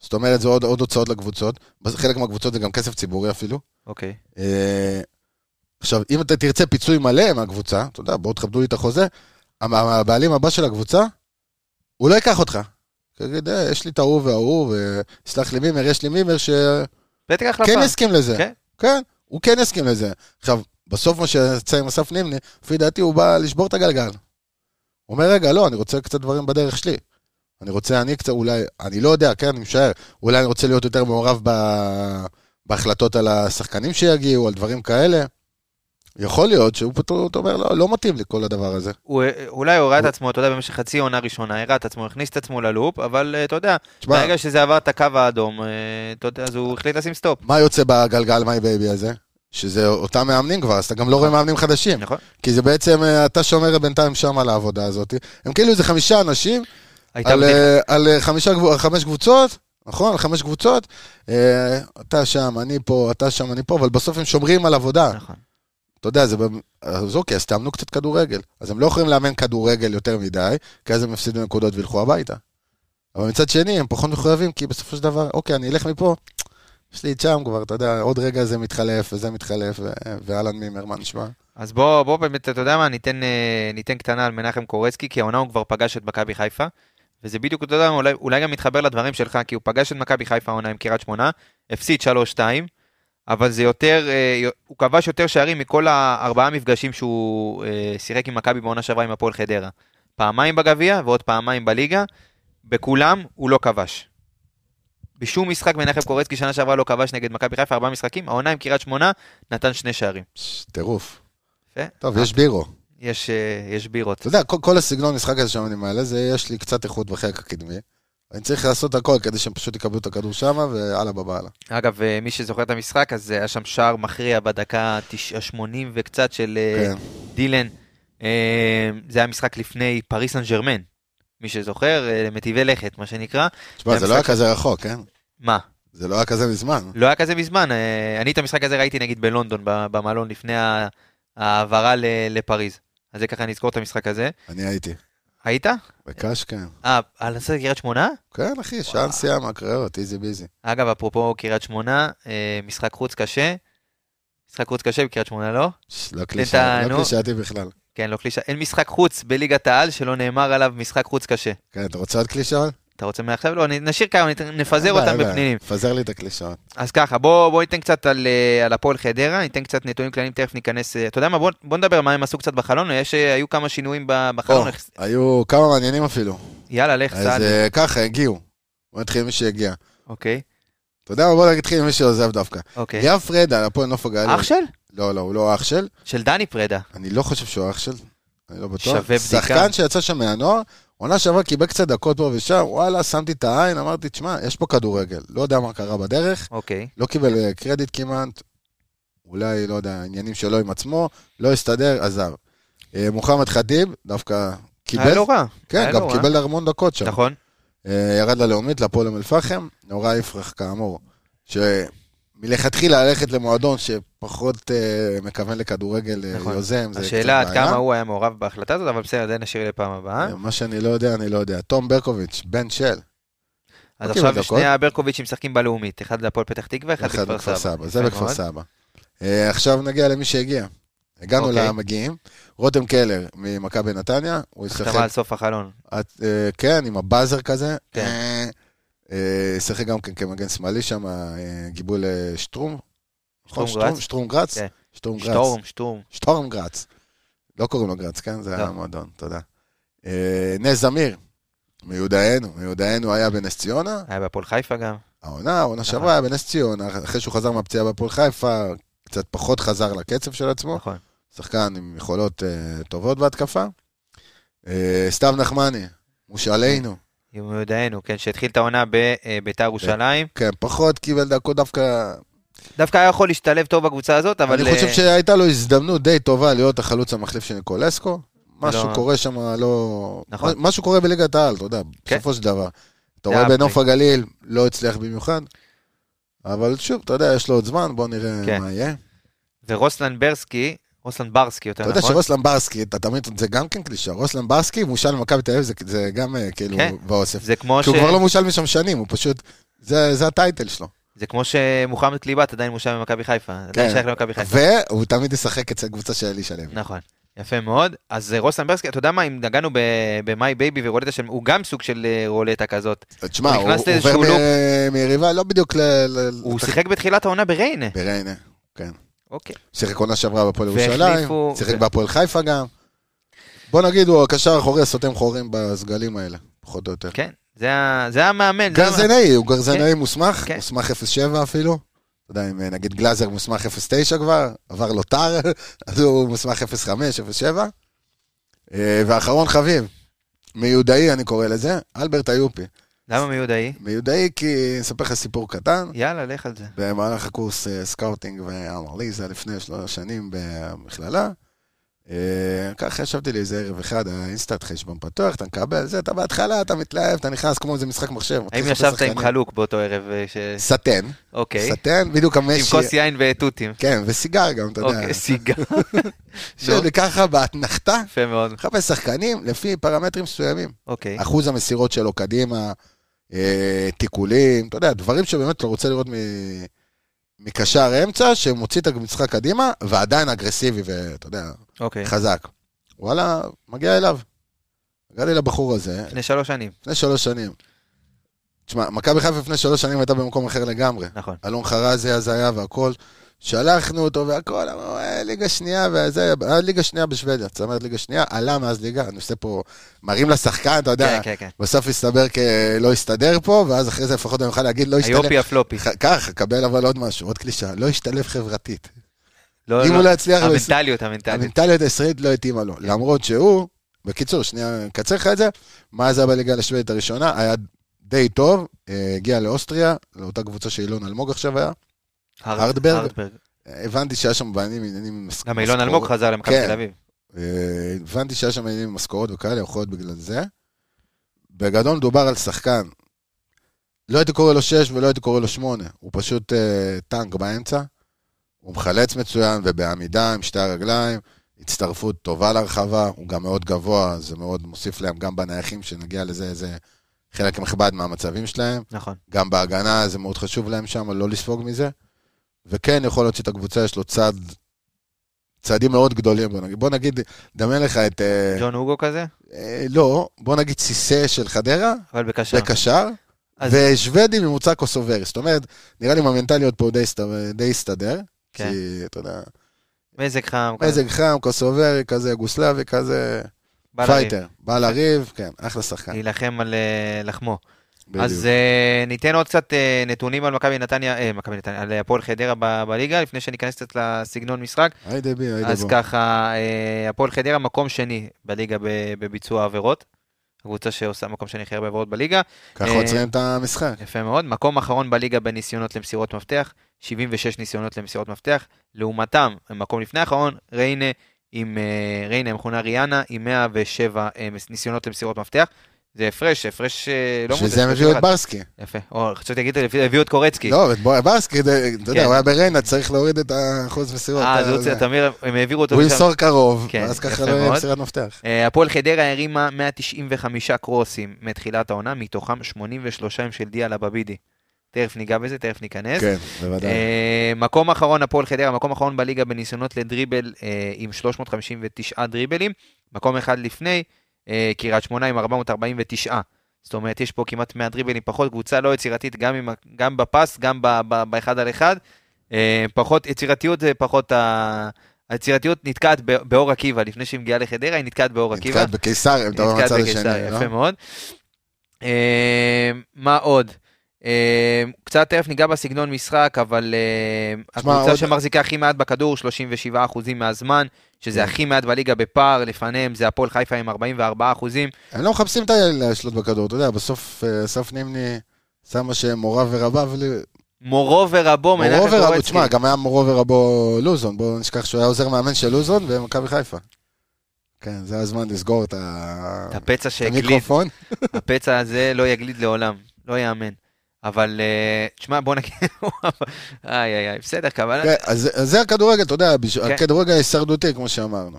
Speaker 2: זאת אומרת זה עוד, עוד הוצאות לקבוצות, בס- חלק מהקבוצות זה גם כסף ציבורי אפילו.
Speaker 1: אוקיי.
Speaker 2: אה, עכשיו, אם אתה תרצה פיצוי מלא מהקבוצה, אתה יודע, בואו תכבדו לי את החוזה, המ- הבעלים הבא של הקבוצה, הוא לא ייקח אותך. תגיד, "אה, יש לי את ההוא וההוא, ויסלח לי מימר, יש לי מימר שכן
Speaker 1: בטח החלפה.
Speaker 2: יסכים לזה.
Speaker 1: כן.
Speaker 2: כן, הוא כן יסכים לזה. עכשיו, בסוף מה שיצא עם אסף נימני, לפי דעתי הוא בא לשבור את הגלגל. הוא אומר, רגע, לא, אני רוצה קצת דברים בדרך שלי. אני רוצה, אני קצת, אולי, אני לא יודע, כן, אני משער, אולי אני רוצה להיות יותר מעורב ב... בהחלטות על השחקנים שיגיעו, על דברים כאלה. יכול להיות שהוא פתאום אומר, לא, לא מתאים לי כל הדבר הזה.
Speaker 1: הוא אה, אולי הוא הראה את
Speaker 2: הוא-
Speaker 1: עצמו, אתה יודע, במשך חצי עונה ראשונה, הראה את עצמו, הכניס את עצמו ללופ, אבל אה, אתה יודע,
Speaker 2: תשמע,
Speaker 1: ברגע שזה עבר את הקו האדום, אה, אתה יודע, אז הוא החליט לשים סטופ.
Speaker 2: מה יוצא בגלגל מיי בייבי הזה? שזה אותם מאמנים כבר, אז אתה גם לא רואה מאמנים חדשים.
Speaker 1: נכון?
Speaker 2: כי זה בעצם, אה, אתה שומר בינתיים שם על העבודה הזאת. הם כאילו איזה חמישה אנשים,
Speaker 1: הייתה
Speaker 2: על,
Speaker 1: בדיחה.
Speaker 2: אה, על אה, חמישה, גבו- חמש קבוצות, נכון? חמש קבוצות, אה, אתה שם, אני פה, אתה שם, אני פה, אבל בסוף הם שומרים על עבודה.
Speaker 1: נכון.
Speaker 2: אתה יודע, זה... במ- אז אוקיי, אז תאמנו קצת כדורגל. אז הם לא יכולים לאמן כדורגל יותר מדי, כי אז הם יפסידו נקודות וילכו הביתה. אבל מצד שני, הם פחות מחויבים, כי בסופו של דבר, אוקיי, אני אלך מפה, יש לי את שם כבר, אתה יודע, עוד רגע זה מתחלף, וזה מתחלף, ו... ואלן מימר, מה נשמע?
Speaker 1: אז בוא, בוא באמת, אתה יודע מה, ניתן, אה, ניתן קטנה על מנחם קורצקי, כי העונה הוא כבר פגש את מכבי חיפה, וזה בדיוק, אתה יודע, מה, אולי, אולי גם מתחבר לדברים שלך, כי הוא פגש את מכבי חיפה העונה עם קריית שמונה, הפסיד 3-2, אבל זה יותר, אה, יו- הוא כבש יותר שערים מכל הארבעה מפגשים שהוא אה, שיחק עם מכבי בעונה שעברה עם הפועל חדרה. פעמיים בגביע ועוד פעמיים בליגה, בכולם הוא לא כבש. בשום משחק מנחם קורצקי שנה שעברה לא כבש נגד מכבי חיפה, ארבעה משחקים, העונה עם קריית שמונה נתן שני שערים.
Speaker 2: פש, טירוף.
Speaker 1: יפה.
Speaker 2: טוב, יש בירו.
Speaker 1: יש, אה, יש בירות.
Speaker 2: אתה יודע, כל, כל הסגנון משחק הזה שאני מעלה, זה יש לי קצת איכות בחלק הקדמי. אני צריך לעשות הכל כדי שהם פשוט יקבלו את הכדור שמה, ואללה בבעלה.
Speaker 1: אגב, אה, מי שזוכר את המשחק, אז אה, היה שם שער מכריע בדקה התש- ה-80 וקצת של אה,
Speaker 2: כן.
Speaker 1: דילן. אה, זה היה משחק לפני פריס סן ג'רמן, מי שזוכר, אה, מטיבי לכת, מה שנקרא.
Speaker 2: תשמע, זה לא היה כזה רחוק, כן?
Speaker 1: מה?
Speaker 2: זה לא היה כזה מזמן.
Speaker 1: לא היה כזה מזמן. אה, אני את המשחק הזה ראיתי נגיד בלונדון, ב- במלון, לפני ה- ההעברה ל- לפריז. אז זה ככה נזכור את המשחק הזה.
Speaker 2: אני הייתי.
Speaker 1: היית?
Speaker 2: בקש, כן.
Speaker 1: אה, על הסרט קריית שמונה?
Speaker 2: כן, אחי, שעה נסיעה מהקריות, איזי ביזי.
Speaker 1: אגב, אפרופו קריית שמונה, אה, משחק חוץ קשה. משחק חוץ קשה בקריית שמונה, לא?
Speaker 2: ש- לא קלישאה-
Speaker 1: נו.
Speaker 2: לא קלישאתי בכלל.
Speaker 1: כן, לא קלישה. אין משחק חוץ בליגת העל שלא נאמר עליו משחק חוץ קשה.
Speaker 2: כן, אתה רוצה עוד קלישאות?
Speaker 1: אתה רוצה מעכשיו? לא, נ- נשאיר כמה, נת- נפזר
Speaker 2: אין בעיה, אין
Speaker 1: אותם
Speaker 2: בעיה.
Speaker 1: בפנינים.
Speaker 2: פזר לי את הקלישאות.
Speaker 1: אז ככה, בוא, בוא ניתן קצת על, אה, על הפועל חדרה, ניתן קצת נתונים כלליים, תכף ניכנס... אה, אתה יודע מה, בוא, בוא נדבר מה הם עשו קצת בחלון, יש, אה, היו כמה שינויים ב- בחלון.
Speaker 2: או,
Speaker 1: איך-
Speaker 2: היו כמה מעניינים אפילו.
Speaker 1: יאללה, לך סעד.
Speaker 2: אז אה, ככה, הגיעו. בוא נתחיל עם מי שהגיע.
Speaker 1: אוקיי,
Speaker 2: אתה יודע מה? בוא נתחיל עם מי שעוזב דווקא.
Speaker 1: אוקיי.
Speaker 2: ליאב פרדה, הפועל נוף הגליל.
Speaker 1: אח של?
Speaker 2: לא, לא, הוא לא אח של.
Speaker 1: של דני פרדה.
Speaker 2: אני לא חושב שהוא אח של, אני לא בטוח.
Speaker 1: שווה בדיקה.
Speaker 2: שחקן שיצא שם מהנוער, עונה שעברה קיבל קצת דקות פה ושם, וואלה, שמתי את העין, אמרתי, תשמע, יש פה כדורגל. לא יודע מה קרה בדרך,
Speaker 1: אוקיי.
Speaker 2: לא קיבל אה, קרדיט כמעט, אולי, לא יודע, עניינים שלו עם עצמו, לא הסתדר, עזב. אה, מוחמד חטיב, דווקא
Speaker 1: היה
Speaker 2: קיבל,
Speaker 1: לא רע.
Speaker 2: כן,
Speaker 1: היה
Speaker 2: גם
Speaker 1: לא רע.
Speaker 2: קיבל המון דקות שם.
Speaker 1: נכון.
Speaker 2: אה, ירד ללאומית, להפועל אום אל-פחם, נורא יפרח כאמור, שמלכתחילה ללכת למועדון שפחות אה, מכוון לכדורגל אה,
Speaker 1: נכון.
Speaker 2: יוזם, זה קצת בעיה.
Speaker 1: השאלה עד כמה הוא אה? היה מעורב בהחלטה הזאת, אבל בסדר, זה נשאיר לפעם הבאה.
Speaker 2: מה שאני לא יודע, אני לא יודע. תום ברקוביץ', בן של,
Speaker 1: אז
Speaker 2: אוקיי,
Speaker 1: עכשיו
Speaker 2: בדקות.
Speaker 1: שני הברקוביצ'ים משחקים בלאומית, אחד להפועל פתח תקווה, אחד
Speaker 2: אחד
Speaker 1: בכפר
Speaker 2: בכפר
Speaker 1: סבא. נכון.
Speaker 2: סבא, זה
Speaker 1: יפה
Speaker 2: בכפר
Speaker 1: מאוד.
Speaker 2: סבא. אה, עכשיו נגיע למי שהגיע. הגענו
Speaker 1: אוקיי.
Speaker 2: למגיעים. רותם קלר ממכבי נתניה, הוא
Speaker 1: החתמה
Speaker 2: ישחק,
Speaker 1: על סוף החלון.
Speaker 2: את- אה, כן, עם הבאזר כזה.
Speaker 1: כן.
Speaker 2: אה, אה, ישחק גם כן כמגן שמאלי שם, אה, גיבול אה, שטרום. נכון,
Speaker 1: שטרום גראץ?
Speaker 2: שטרום גראץ?
Speaker 1: כן.
Speaker 2: שטרום גראץ.
Speaker 1: שטורם, שטורם.
Speaker 2: שטורם גראץ. לא קוראים לו גראץ, כן? זה
Speaker 1: לא.
Speaker 2: היה מועדון, תודה. אה, נס זמיר, מיודענו, מיודענו היה בנס ציונה,
Speaker 1: היה בהפועל חיפה גם.
Speaker 2: העונה,
Speaker 1: אה.
Speaker 2: העונה שעברה היה בנס ציונה, אחרי שהוא חזר מהפציעה בהפועל חיפה, קצת פחות חזר לקצב של עצמו,
Speaker 1: נכון.
Speaker 2: שחקן עם יכולות אה, טובות בהתקפה. אה, סתיו נחמני, מושאלנו,
Speaker 1: יודענו, כן, שהתחיל את העונה בביתר ירושלים.
Speaker 2: כן, פחות קיבל דקות דווקא,
Speaker 1: דווקא היה יכול להשתלב טוב בקבוצה הזאת, אבל...
Speaker 2: אני חושב
Speaker 1: אה,
Speaker 2: שהייתה לו הזדמנות די טובה להיות החלוץ המחליף של ניקולסקו. משהו
Speaker 1: לא.
Speaker 2: קורה שם, לא...
Speaker 1: נכון.
Speaker 2: משהו קורה בליגת העל, אתה יודע,
Speaker 1: כן.
Speaker 2: בסופו של דבר. אתה
Speaker 1: זה
Speaker 2: רואה
Speaker 1: הפרי.
Speaker 2: בנוף הגליל, לא הצליח במיוחד, אבל שוב, אתה יודע, יש לו עוד זמן, בוא נראה
Speaker 1: כן.
Speaker 2: מה יהיה.
Speaker 1: ורוסלן ברסקי, רוסלן ברסקי יותר
Speaker 2: אתה
Speaker 1: נכון.
Speaker 2: יודע שרוסלן ברסקי, אתה תמיד, זה גם כן קלישה, רוסלן ברסקי מושל ממכבי תל אביב, זה- זה גם אה, כאילו
Speaker 1: כן.
Speaker 2: באוסף.
Speaker 1: זה כמו, ש...
Speaker 2: כי הוא כבר לא מושל משם שנים, הוא פשוט, זה זה הטייטל שלו.
Speaker 1: זה כמו שמוחמד קליבת עדיין מושב במכבי חיפה. עדיין
Speaker 2: כן.
Speaker 1: שייך למכבי חיפה.
Speaker 2: והוא תמיד ישחק אצל קבוצה של אלישע לוי.
Speaker 1: נכון. יפה מאוד. אז אה, רוסלן ברסקי, אתה יודע מה, אם נגענו ב- במאי בייבי ורולטה, של- הוא גם סוג של אה, רולטה כזאת.
Speaker 2: תשמע,
Speaker 1: הוא
Speaker 2: הוא
Speaker 1: נכנס
Speaker 2: הוא
Speaker 1: לאיזשהו
Speaker 2: עובר מ- מיריבה, לא בדיוק ל... ל-
Speaker 1: הוא
Speaker 2: לתח-
Speaker 1: שיחק בתחילת העונה בריינה.
Speaker 2: בריינה, כן.
Speaker 1: אוקיי.
Speaker 2: שיחק עונה שעברה בהפועל
Speaker 1: והחליפו-
Speaker 2: ירושלים, שיחק
Speaker 1: ו-
Speaker 2: בהפועל חיפה גם. בוא נגיד, הוא הקשר האחורי הסותם חורים בסגלים האלה, פחות או יותר.
Speaker 1: כן. זה ה- זה המאמן. זה המ-
Speaker 2: גרזנאי, הוא גרזנאי מוסמך,
Speaker 1: כן.
Speaker 2: מוסמך 07 אפילו. אתה יודע, אם אה, נגיד גלאזר מוסמך 09 כבר, עבר לו טר, (laughs) אז הוא מוסמך 05, 07. אה, ואחרון חביב, מיודעי אני קורא לזה, אלברט איופי.
Speaker 1: למה מיודעי?
Speaker 2: מיודעי כי, אספר לך סיפור קטן,
Speaker 1: יאללה, לך על זה.
Speaker 2: במהלך הקורס אה, סקאוטינג ואנליזה לפני שלוש שנים במכללה, אה, ככה ישבתי לי איזה ערב אחד, האינסטאט חשבון פתוח, אתה מקבל זה, אתה בהתחלה, אתה מתלהב, אתה נכנס כמו איזה משחק מחשב.
Speaker 1: האם
Speaker 2: מתחיל לחפש
Speaker 1: ישבת עם
Speaker 2: שחקנים.
Speaker 1: חלוק באותו ערב? אה, ש...
Speaker 2: סטן,
Speaker 1: אוקיי.
Speaker 2: סטן, בדיוק
Speaker 1: עם
Speaker 2: המשי.
Speaker 1: כוס יין ותותים.
Speaker 2: כן, וסיגר גם, אתה יודע.
Speaker 1: אוקיי, סיגר.
Speaker 2: (laughs)
Speaker 1: שוב, (laughs)
Speaker 2: שוב, ככה באתנחתה,
Speaker 1: יפה מאוד.
Speaker 2: מחפש שחקנים לפי פרמטרים מסוימים.
Speaker 1: אוקיי.
Speaker 2: אחוז המסירות שלו קדימה, אה, תיקולים, אתה יודע, דברים שבאמת אתה רוצה לראות מ- מקשר אמצע, שמוציא את המשחק קדימה, ועדיין אגרסיבי ואתה יודע,
Speaker 1: אוקיי.
Speaker 2: חזק. וואלה, מגיע אליו. מגיע לי לבחור הזה,
Speaker 1: לפני שלוש שנים,
Speaker 2: לפני שלוש שנים. תשמע, מכבי חיפה לפני שלוש שנים הייתה במקום אחר לגמרי.
Speaker 1: נכון.
Speaker 2: אלון חרזי אז היה והכל. שלחנו אותו והכל, אמרו, "אה, ליגה שנייה וזה, היה ליגה שנייה בשוודיה, זאת אומרת ליגה שנייה, עלה מאז ליגה, אני עושה פה, מראים לשחקן, אתה יודע,
Speaker 1: כן, כן, כן.
Speaker 2: בסוף הסתבר כלא הסתדר פה, ואז אחרי זה לפחות אני אוכל להגיד לא הסתדר.
Speaker 1: היופי הפלופי.
Speaker 2: ח- ככה, קבל אבל עוד משהו, עוד קלישה, לא השתלב חברתית.
Speaker 1: לא,
Speaker 2: אם
Speaker 1: לא.
Speaker 2: הוא לא יצליח, בישראל-
Speaker 1: המנטליות, המנטליות.
Speaker 2: המנטליות הישראלית לא התאימה לו. למרות שהוא, בקיצור, שנייה, אני אקצר לך את זה, מאז היה בליגה השוודית הראשונה, היה די טוב, אה, הגיע לאוסטריה, לאותה קבוצה שאילון אלמוג עכשיו היה.
Speaker 1: הרד-
Speaker 2: הרדברג.
Speaker 1: הרדברג.
Speaker 2: הבנתי שהיה שם בעניינים, עניינים עם מס-
Speaker 1: גם אילון
Speaker 2: משכורת.
Speaker 1: אלמוג חזר למכבי
Speaker 2: כן.
Speaker 1: תל אביב.
Speaker 2: אה, הבנתי שהיה שם עניינים עם משכורות וכאלה, יכול להיות בגלל זה. בגדול מדובר על שחקן. לא הייתי קורא לו שש ולא הייתי קורא לו שמונה. הוא פשוט אה, טנק באמצע. הוא מחלץ מצוין ובעמידה עם שתי הרגליים. הצטרפות טובה לרחבה, הוא גם מאוד גבוה, זה מאוד מוסיף להם גם בנייחים, שנגיע לזה, זה חלק נכבד מהמצבים שלהם.
Speaker 1: נכון.
Speaker 2: גם בהגנה, זה מאוד חשוב להם שם, לא לספוג מזה. וכן, יכול להוציא את הקבוצה, יש לו צד, צעדים מאוד גדולים, בוא נגיד. בוא נגיד, דמיין לך את... אה,
Speaker 1: ג'ון הוגו כזה,
Speaker 2: אה, לא, בוא נגיד סיסה של חדרה,
Speaker 1: אבל בקשר.
Speaker 2: בקשר,
Speaker 1: אז-
Speaker 2: ושוודי ממוצע קוסוברי. זאת אומרת, נראה לי מהמנטליות פה הוא די הסת- די הסתדר.
Speaker 1: כן.
Speaker 2: כי, אתה יודע,
Speaker 1: מזג חם. כזה.
Speaker 2: מזג חם, קוסוברי, כזה יוגוסלבי, כזה
Speaker 1: כן. בא לריב.
Speaker 2: פייטר. בא לריב, כן, אחלה שחקן.
Speaker 1: להילחם על אה, לחמו.
Speaker 2: בדיוק.
Speaker 1: אז אה, ניתן עוד קצת אה, נתונים על מכבי נתניה, אה, מכבי נתניה, על הפועל חדרה ב- בליגה, לפני שניכנס קצת לסגנון משחק.
Speaker 2: היידה בי, היידה
Speaker 1: אה, אז
Speaker 2: בו.
Speaker 1: ככה, אה, הפועל חדרה מקום שני בליגה ב- בביצוע עבירות. הקבוצה שעושה מקום שני הכי הרבה עבירות בליגה.
Speaker 2: ככה
Speaker 1: אה,
Speaker 2: עוצרים את המשחק.
Speaker 1: יפה מאוד. מקום אחרון בליגה בניסיונות למסירות מפתח, 76 ניסיונות למסירות מפתח. לעומתם, מקום לפני האחרון, ריינה עם אה, ריינה המכונה ריאנה עם 107 אה, מס- ניסיונות למסירות מפתח. זה הפרש, הפרש אה, לא
Speaker 2: שזה הם
Speaker 1: מודע,
Speaker 2: הביאו את
Speaker 1: 31.
Speaker 2: ברסקי.
Speaker 1: יפה. או, חשבתי להגיד, הביאו את קורצקי.
Speaker 2: לא, את בוא- ברסקי, זה- אתה יודע,
Speaker 1: כן.
Speaker 2: הוא היה בריינה, צריך להוריד את האחוז מסירות.
Speaker 1: אה,
Speaker 2: לא, אתה
Speaker 1: אז הוא
Speaker 2: יודע.
Speaker 1: צריך, תמיר, הם העבירו אותו
Speaker 2: הוא
Speaker 1: לשם.
Speaker 2: ימסור קרוב,
Speaker 1: כן,
Speaker 2: ואז
Speaker 1: יפה
Speaker 2: ככה לא יהיה
Speaker 1: מאוד.
Speaker 2: מסירת מפתח.
Speaker 1: אה, הפועל חדרה הרימה 195 קרוסים מתחילת העונה, מתוכם 83 הם של דיאלה בבידי. תכף ניגע בזה, תכף ניכנס.
Speaker 2: כן, בוודאי.
Speaker 1: אה, מקום אחרון, הפועל חדרה, מקום אחרון בליגה בניסיונות לדריבל אה, עם 359 דריבלים. מקום אחד לפני, אה, קריית שמונה עם 449. זאת אומרת, יש פה כמעט 100 דריבלים פחות, קבוצה לא יצירתית גם, עם, ה- גם בפס, גם ב- ב- באחד על אחד. אה, פחות יצירתיות זה פחות ה... היצירתיות נתקעת ב- באור עקיבא, לפני שהיא מגיעה לחדרה, היא נתקעת באור עקיבא.
Speaker 2: נתקעת בקיסר, אם אתה רואה מהצד השני,
Speaker 1: יפה
Speaker 2: לא?
Speaker 1: מאוד. אה, מה עוד? אה, קצת תכף ניגע בסגנון משחק, אבל אה,
Speaker 2: תשמע,
Speaker 1: הקבוצה
Speaker 2: עוד-
Speaker 1: שמחזיקה הכי מעט בכדור, 37% מהזמן, שזה
Speaker 2: כן.
Speaker 1: הכי מעט בליגה בפער, לפניהם זה הפועל חיפה עם 44%.
Speaker 2: הם לא מחפשים את ה- לשלוט בכדור, אתה יודע, בסוף אה, אסף נימני שם מה שמוריו ורביו, ל-
Speaker 1: מורו ורבו,
Speaker 2: מורו
Speaker 1: מנחם
Speaker 2: ורבו,
Speaker 1: קורצקי.
Speaker 2: תשמע, גם היה מורו ורבו לוזון, בואו נשכח שהוא היה עוזר מאמן של לוזון במכבי חיפה. כן, זה הזמן לסגור את ה-
Speaker 1: את הפצע
Speaker 2: את
Speaker 1: שהגליד, (laughs)
Speaker 2: המיקרופון.
Speaker 1: הפצע הזה לא יגליד לעולם, לא יאמן. אבל אה, תשמע, בוא נגיד, (laughs) איי איי איי, בסדר, אבל
Speaker 2: כן, אז אז זה הכדורגל, אתה יודע, בש-
Speaker 1: כן.
Speaker 2: הכדורגל ההישרדותי, כמו שאמרנו.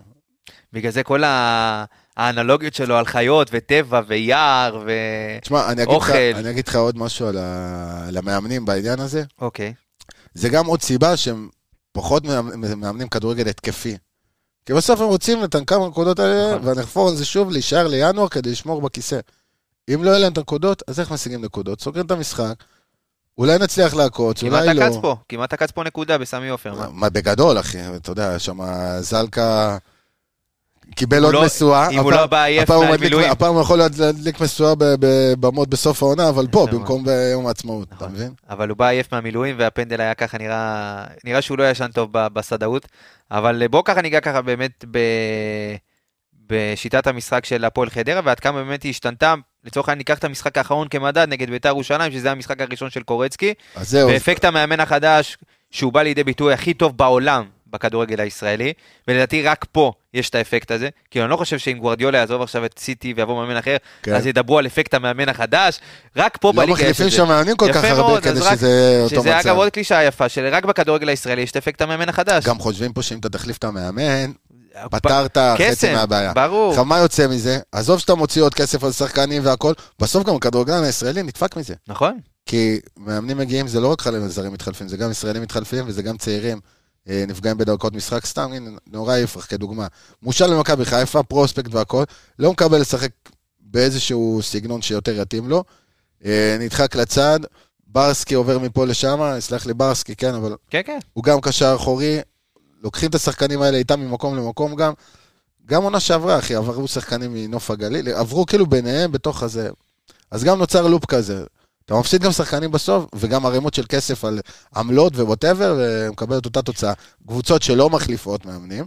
Speaker 1: בגלל זה כל ה- האנלוגיות שלו על חיות וטבע ויער ו...
Speaker 2: תשמע, אני אגיד, לך,
Speaker 1: אוכל.
Speaker 2: אני אגיד לך עוד משהו על, ה... על המאמנים בעניין הזה.
Speaker 1: אוקיי,
Speaker 2: זה גם עוד סיבה שהם פחות מאמ- מאמנים כדורגל התקפי. כי בסוף הם רוצים את כמה הנקודות האלה,
Speaker 1: נכון.
Speaker 2: ונחפור על זה שוב, להישאר לינואר כדי לשמור בכיסא. אם לא יהיה להם את הנקודות, אז איך משיגים נקודות? סוגרים את המשחק, אולי נצליח לעקוץ,
Speaker 1: כמעט
Speaker 2: אולי לא.
Speaker 1: עקץ פה, כמעט עקץ פה נקודה בסמי עופר. מה?
Speaker 2: מה, בגדול, אחי, אתה יודע, שם זלקה קיבל
Speaker 1: הוא
Speaker 2: עוד
Speaker 1: לא-
Speaker 2: משואה.
Speaker 1: אם הוא
Speaker 2: הפעם-
Speaker 1: לא בא עייף
Speaker 2: הפעם הוא מדליק-
Speaker 1: מהמילואים.
Speaker 2: הפעם הוא יכול להדליק משואה בבמות בסוף העונה, אבל פה,
Speaker 1: נכון.
Speaker 2: במקום ביום העצמאות, אתה
Speaker 1: נכון.
Speaker 2: מבין?
Speaker 1: אבל הוא בא עייף מהמילואים והפנדל היה ככה נראה, נראה שהוא לא ישן טוב ב- בסדאות. אבל בואו ככה ניגע ככה באמת ב... בשיטת המשחק של הפועל חדרה ועד כמה באמת היא השתנתה. לצורך העניין ניקח את המשחק האחרון כמדד נגד בית"ר ירושלים, שזה המשחק הראשון של קורצקי.
Speaker 2: אז זהו,
Speaker 1: ואפקט המאמן החדש, שהוא בא לידי ביטוי הכי טוב בעולם, בכדורגל הישראלי, ולדעתי רק פה יש את האפקט הזה, כי אני לא חושב שאם גוורדיולה יעזוב עכשיו את סיטי ויבוא מאמן אחר,
Speaker 2: כן.
Speaker 1: אז ידברו על אפקט המאמן החדש, רק פה
Speaker 2: לא
Speaker 1: בליגה יש את זה.
Speaker 2: מחליפים שם מאמנים כל
Speaker 1: יפה
Speaker 2: כך הרבה
Speaker 1: מאוד,
Speaker 2: כדי
Speaker 1: אז רק-
Speaker 2: שזה אותו
Speaker 1: שזה אגב
Speaker 2: מצב.
Speaker 1: עוד קלישאה יפה, שרק בכדורגל הישראלי יש את אפקט המאמן החדש. אה,
Speaker 2: גם חושבים פה שאם אתה תחליף את המאמן,
Speaker 1: ב-
Speaker 2: פתרת חצי
Speaker 1: קסם,
Speaker 2: מהבעיה.
Speaker 1: ברור.
Speaker 2: עכשיו, מה יוצא מזה? עזוב שאתה מוציא עוד כסף על שחקנים והכל, בסוף גם הכדורגלן הישראלי נדפק מזה.
Speaker 1: נכון,
Speaker 2: כי מאמנים מגיעים, זה לא רק חלק זרים מתחלפים, זה גם ישראלים מתחלפים וזה גם צעירים אה, נפגעים בדרכות משחק. סתם, הנה, נורא יפרח כדוגמה. מושל למכבי חיפה, פרוספקט והכל, לא מקבל לשחק באיזשהו סגנון שיותר יתאים לו. אה, נדחק לצד, ברסקי עובר מפה לשם, סלח לי ברסקי, כן, אבל
Speaker 1: כן, כן.
Speaker 2: הוא גם קשר אחורי, לוקחים את השחקנים האלה איתם ממקום למקום גם. גם עונה שעברה, אחי, עברו שחקנים מנוף הגליל, עברו כאילו ביניהם בתוך הזה. אז גם נוצר לופ כזה. אתה מפסיד גם שחקנים בסוף, וגם ערימות של כסף על עמלות ווואטאבר, ומקבל את אותה תוצאה. קבוצות שלא מחליפות מאמנים,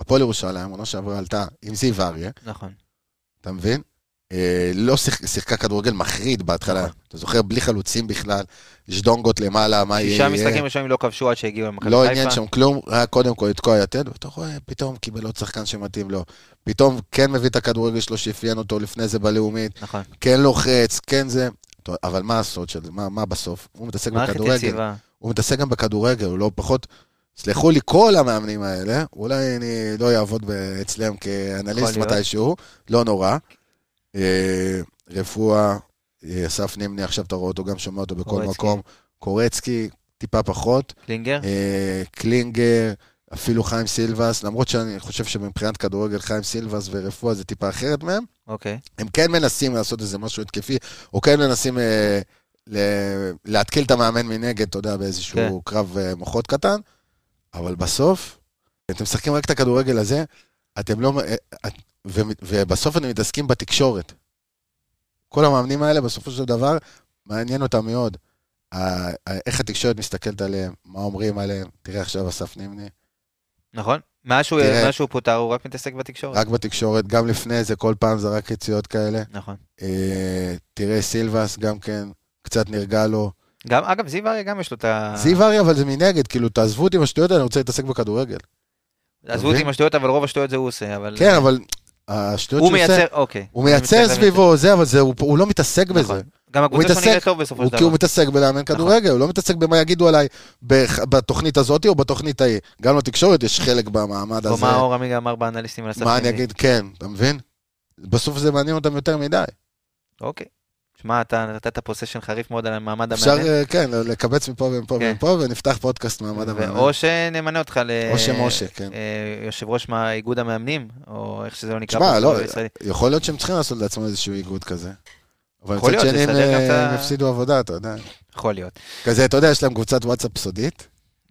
Speaker 2: הפועל ירושלים, עונה שעברה עלתה עם זיו אריה,
Speaker 1: נכון.
Speaker 2: אתה מבין? אה, לא שיח- שיחקה כדורגל מחריד בהתחלה,
Speaker 1: נכון.
Speaker 2: אתה זוכר? בלי חלוצים בכלל, ז'דונגות למעלה, מה יהיה?
Speaker 1: שישה
Speaker 2: יהיה.
Speaker 1: משחקים ראשונים לא כבשו עד שהגיעו למכבי חיפה.
Speaker 2: לא עניין שם כלום, היה קודם כל לתקוע יתד, ואתה רואה, פתאום קיבל עוד שחקן שמתאים לו. פתאום כן מביא את הכדורגל שלו שאפיין אותו לפני זה בלאומית,
Speaker 1: נכון.
Speaker 2: כן לוחץ, כן זה. טוב, אבל מה הסוד של זה? מה, מה בסוף? הוא מתעסק
Speaker 1: מערכת
Speaker 2: בכדורגל.
Speaker 1: יציבה.
Speaker 2: הוא מתעסק גם בכדורגל, הוא לא פחות... סלחו לי כל המאמנים האלה, אולי אני לא אעבוד ב- אצלם כאנליסט
Speaker 1: יכול להיות.
Speaker 2: מתישהו, לא נורא. אה, רפואה, אה, אסף נימני, עכשיו אתה רואה אותו, גם שומע אותו בכל
Speaker 1: קורצקי.
Speaker 2: מקום. קורצקי, טיפה פחות.
Speaker 1: קלינגר?
Speaker 2: אה, קלינגר, אפילו חיים סילבס, למרות שאני חושב שמבחינת כדורגל חיים סילבס ורפואה זה טיפה אחרת מהם,
Speaker 1: אוקיי.
Speaker 2: הם כן מנסים לעשות איזה משהו התקפי, או כן מנסים אה, ל- להתקיל את המאמן מנגד, אתה יודע, באיזשהו
Speaker 1: כן.
Speaker 2: קרב אה, מוחות קטן, אבל בסוף, אתם משחקים רק את הכדורגל הזה, אתם לא... אה, את- ו- ובסוף אתם מתעסקים בתקשורת. כל המאמנים האלה, בסופו של דבר, מעניין אותם מאוד. ה- ה- איך התקשורת מסתכלת עליהם, מה אומרים עליהם. תראה עכשיו אסף נימני,
Speaker 1: נכון. מאז שהוא-
Speaker 2: תראה.
Speaker 1: מאז שהוא פוטר הוא רק מתעסק בתקשורת.
Speaker 2: רק בתקשורת, גם לפני זה, כל פעם זרק יציאות כאלה.
Speaker 1: נכון.
Speaker 2: אה, תראה, סילבס גם כן, קצת נרגע לו.
Speaker 1: גם, אגב, זיו אריה גם יש לו את ה...
Speaker 2: זיו אריה, אבל זה מנגד, כאילו, תעזבו אותי עם השטויות האלה, אני רוצה להתעסק בכדורגל.
Speaker 1: עזבו אותי
Speaker 2: מבין?
Speaker 1: עם השטויות, אבל רוב השטויות זה הוא עושה, אבל...
Speaker 2: אוקיי. כן, אבל השטויות
Speaker 1: לא. הוא
Speaker 2: שהוא עושה,
Speaker 1: מייצר, אוקיי.
Speaker 2: הוא
Speaker 1: אני
Speaker 2: מייצר
Speaker 1: מצטער,
Speaker 2: סביבו, זה, אבל זה- הוא- הוא לא מתעסק
Speaker 1: נכון.
Speaker 2: בזה.
Speaker 1: גם
Speaker 2: הוא
Speaker 1: הקבוצה שלו נראית
Speaker 2: מתעסק-
Speaker 1: טוב בסופו
Speaker 2: הוא-
Speaker 1: של
Speaker 2: כי
Speaker 1: דבר.
Speaker 2: הוא
Speaker 1: נכון.
Speaker 2: מתעסק בלאמן כדורגל, הוא לא מתעסק במה יגידו עליי בח- בתוכנית הזאת או בתוכנית ההיא. גם לתקשורת יש חלק במעמד
Speaker 1: או
Speaker 2: הזה.
Speaker 1: מה אור עמיגה אמר באנליסטים על הסף.
Speaker 2: מה אני
Speaker 1: שלי.
Speaker 2: אגיד, כן, אתה מבין? בסוף זה מעניין אותם יותר מדי.
Speaker 1: אוקיי. שמע, אתה נתת פוסשן חריף מאוד על מעמד
Speaker 2: אפשר,
Speaker 1: המאמן.
Speaker 2: אה, כן, לקבץ מפה ומפה
Speaker 1: כן.
Speaker 2: ומפה, ונפתח פודקאסט מעמד המאמן.
Speaker 1: או שנמנה אותך ל...
Speaker 2: או שמשה, כן.
Speaker 1: אה, יושב ראש מה- איגוד המאמנים, או איך שזה לא נקרא.
Speaker 2: תשמע,
Speaker 1: בכדורגל
Speaker 2: לא,
Speaker 1: הישראלי.
Speaker 2: יכול להיות שהם צריכים לעשות לעצמם איזשהו איגוד כזה. אבל
Speaker 1: יכול
Speaker 2: מצד
Speaker 1: להיות,
Speaker 2: שני הם
Speaker 1: לסדר גם את
Speaker 2: אה,
Speaker 1: ה-
Speaker 2: הם הפסידו עבודה, אתה יודע.
Speaker 1: יכול להיות.
Speaker 2: כזה, אתה יודע, יש להם קבוצת
Speaker 1: (laughs)
Speaker 2: וואטסאפ סודית.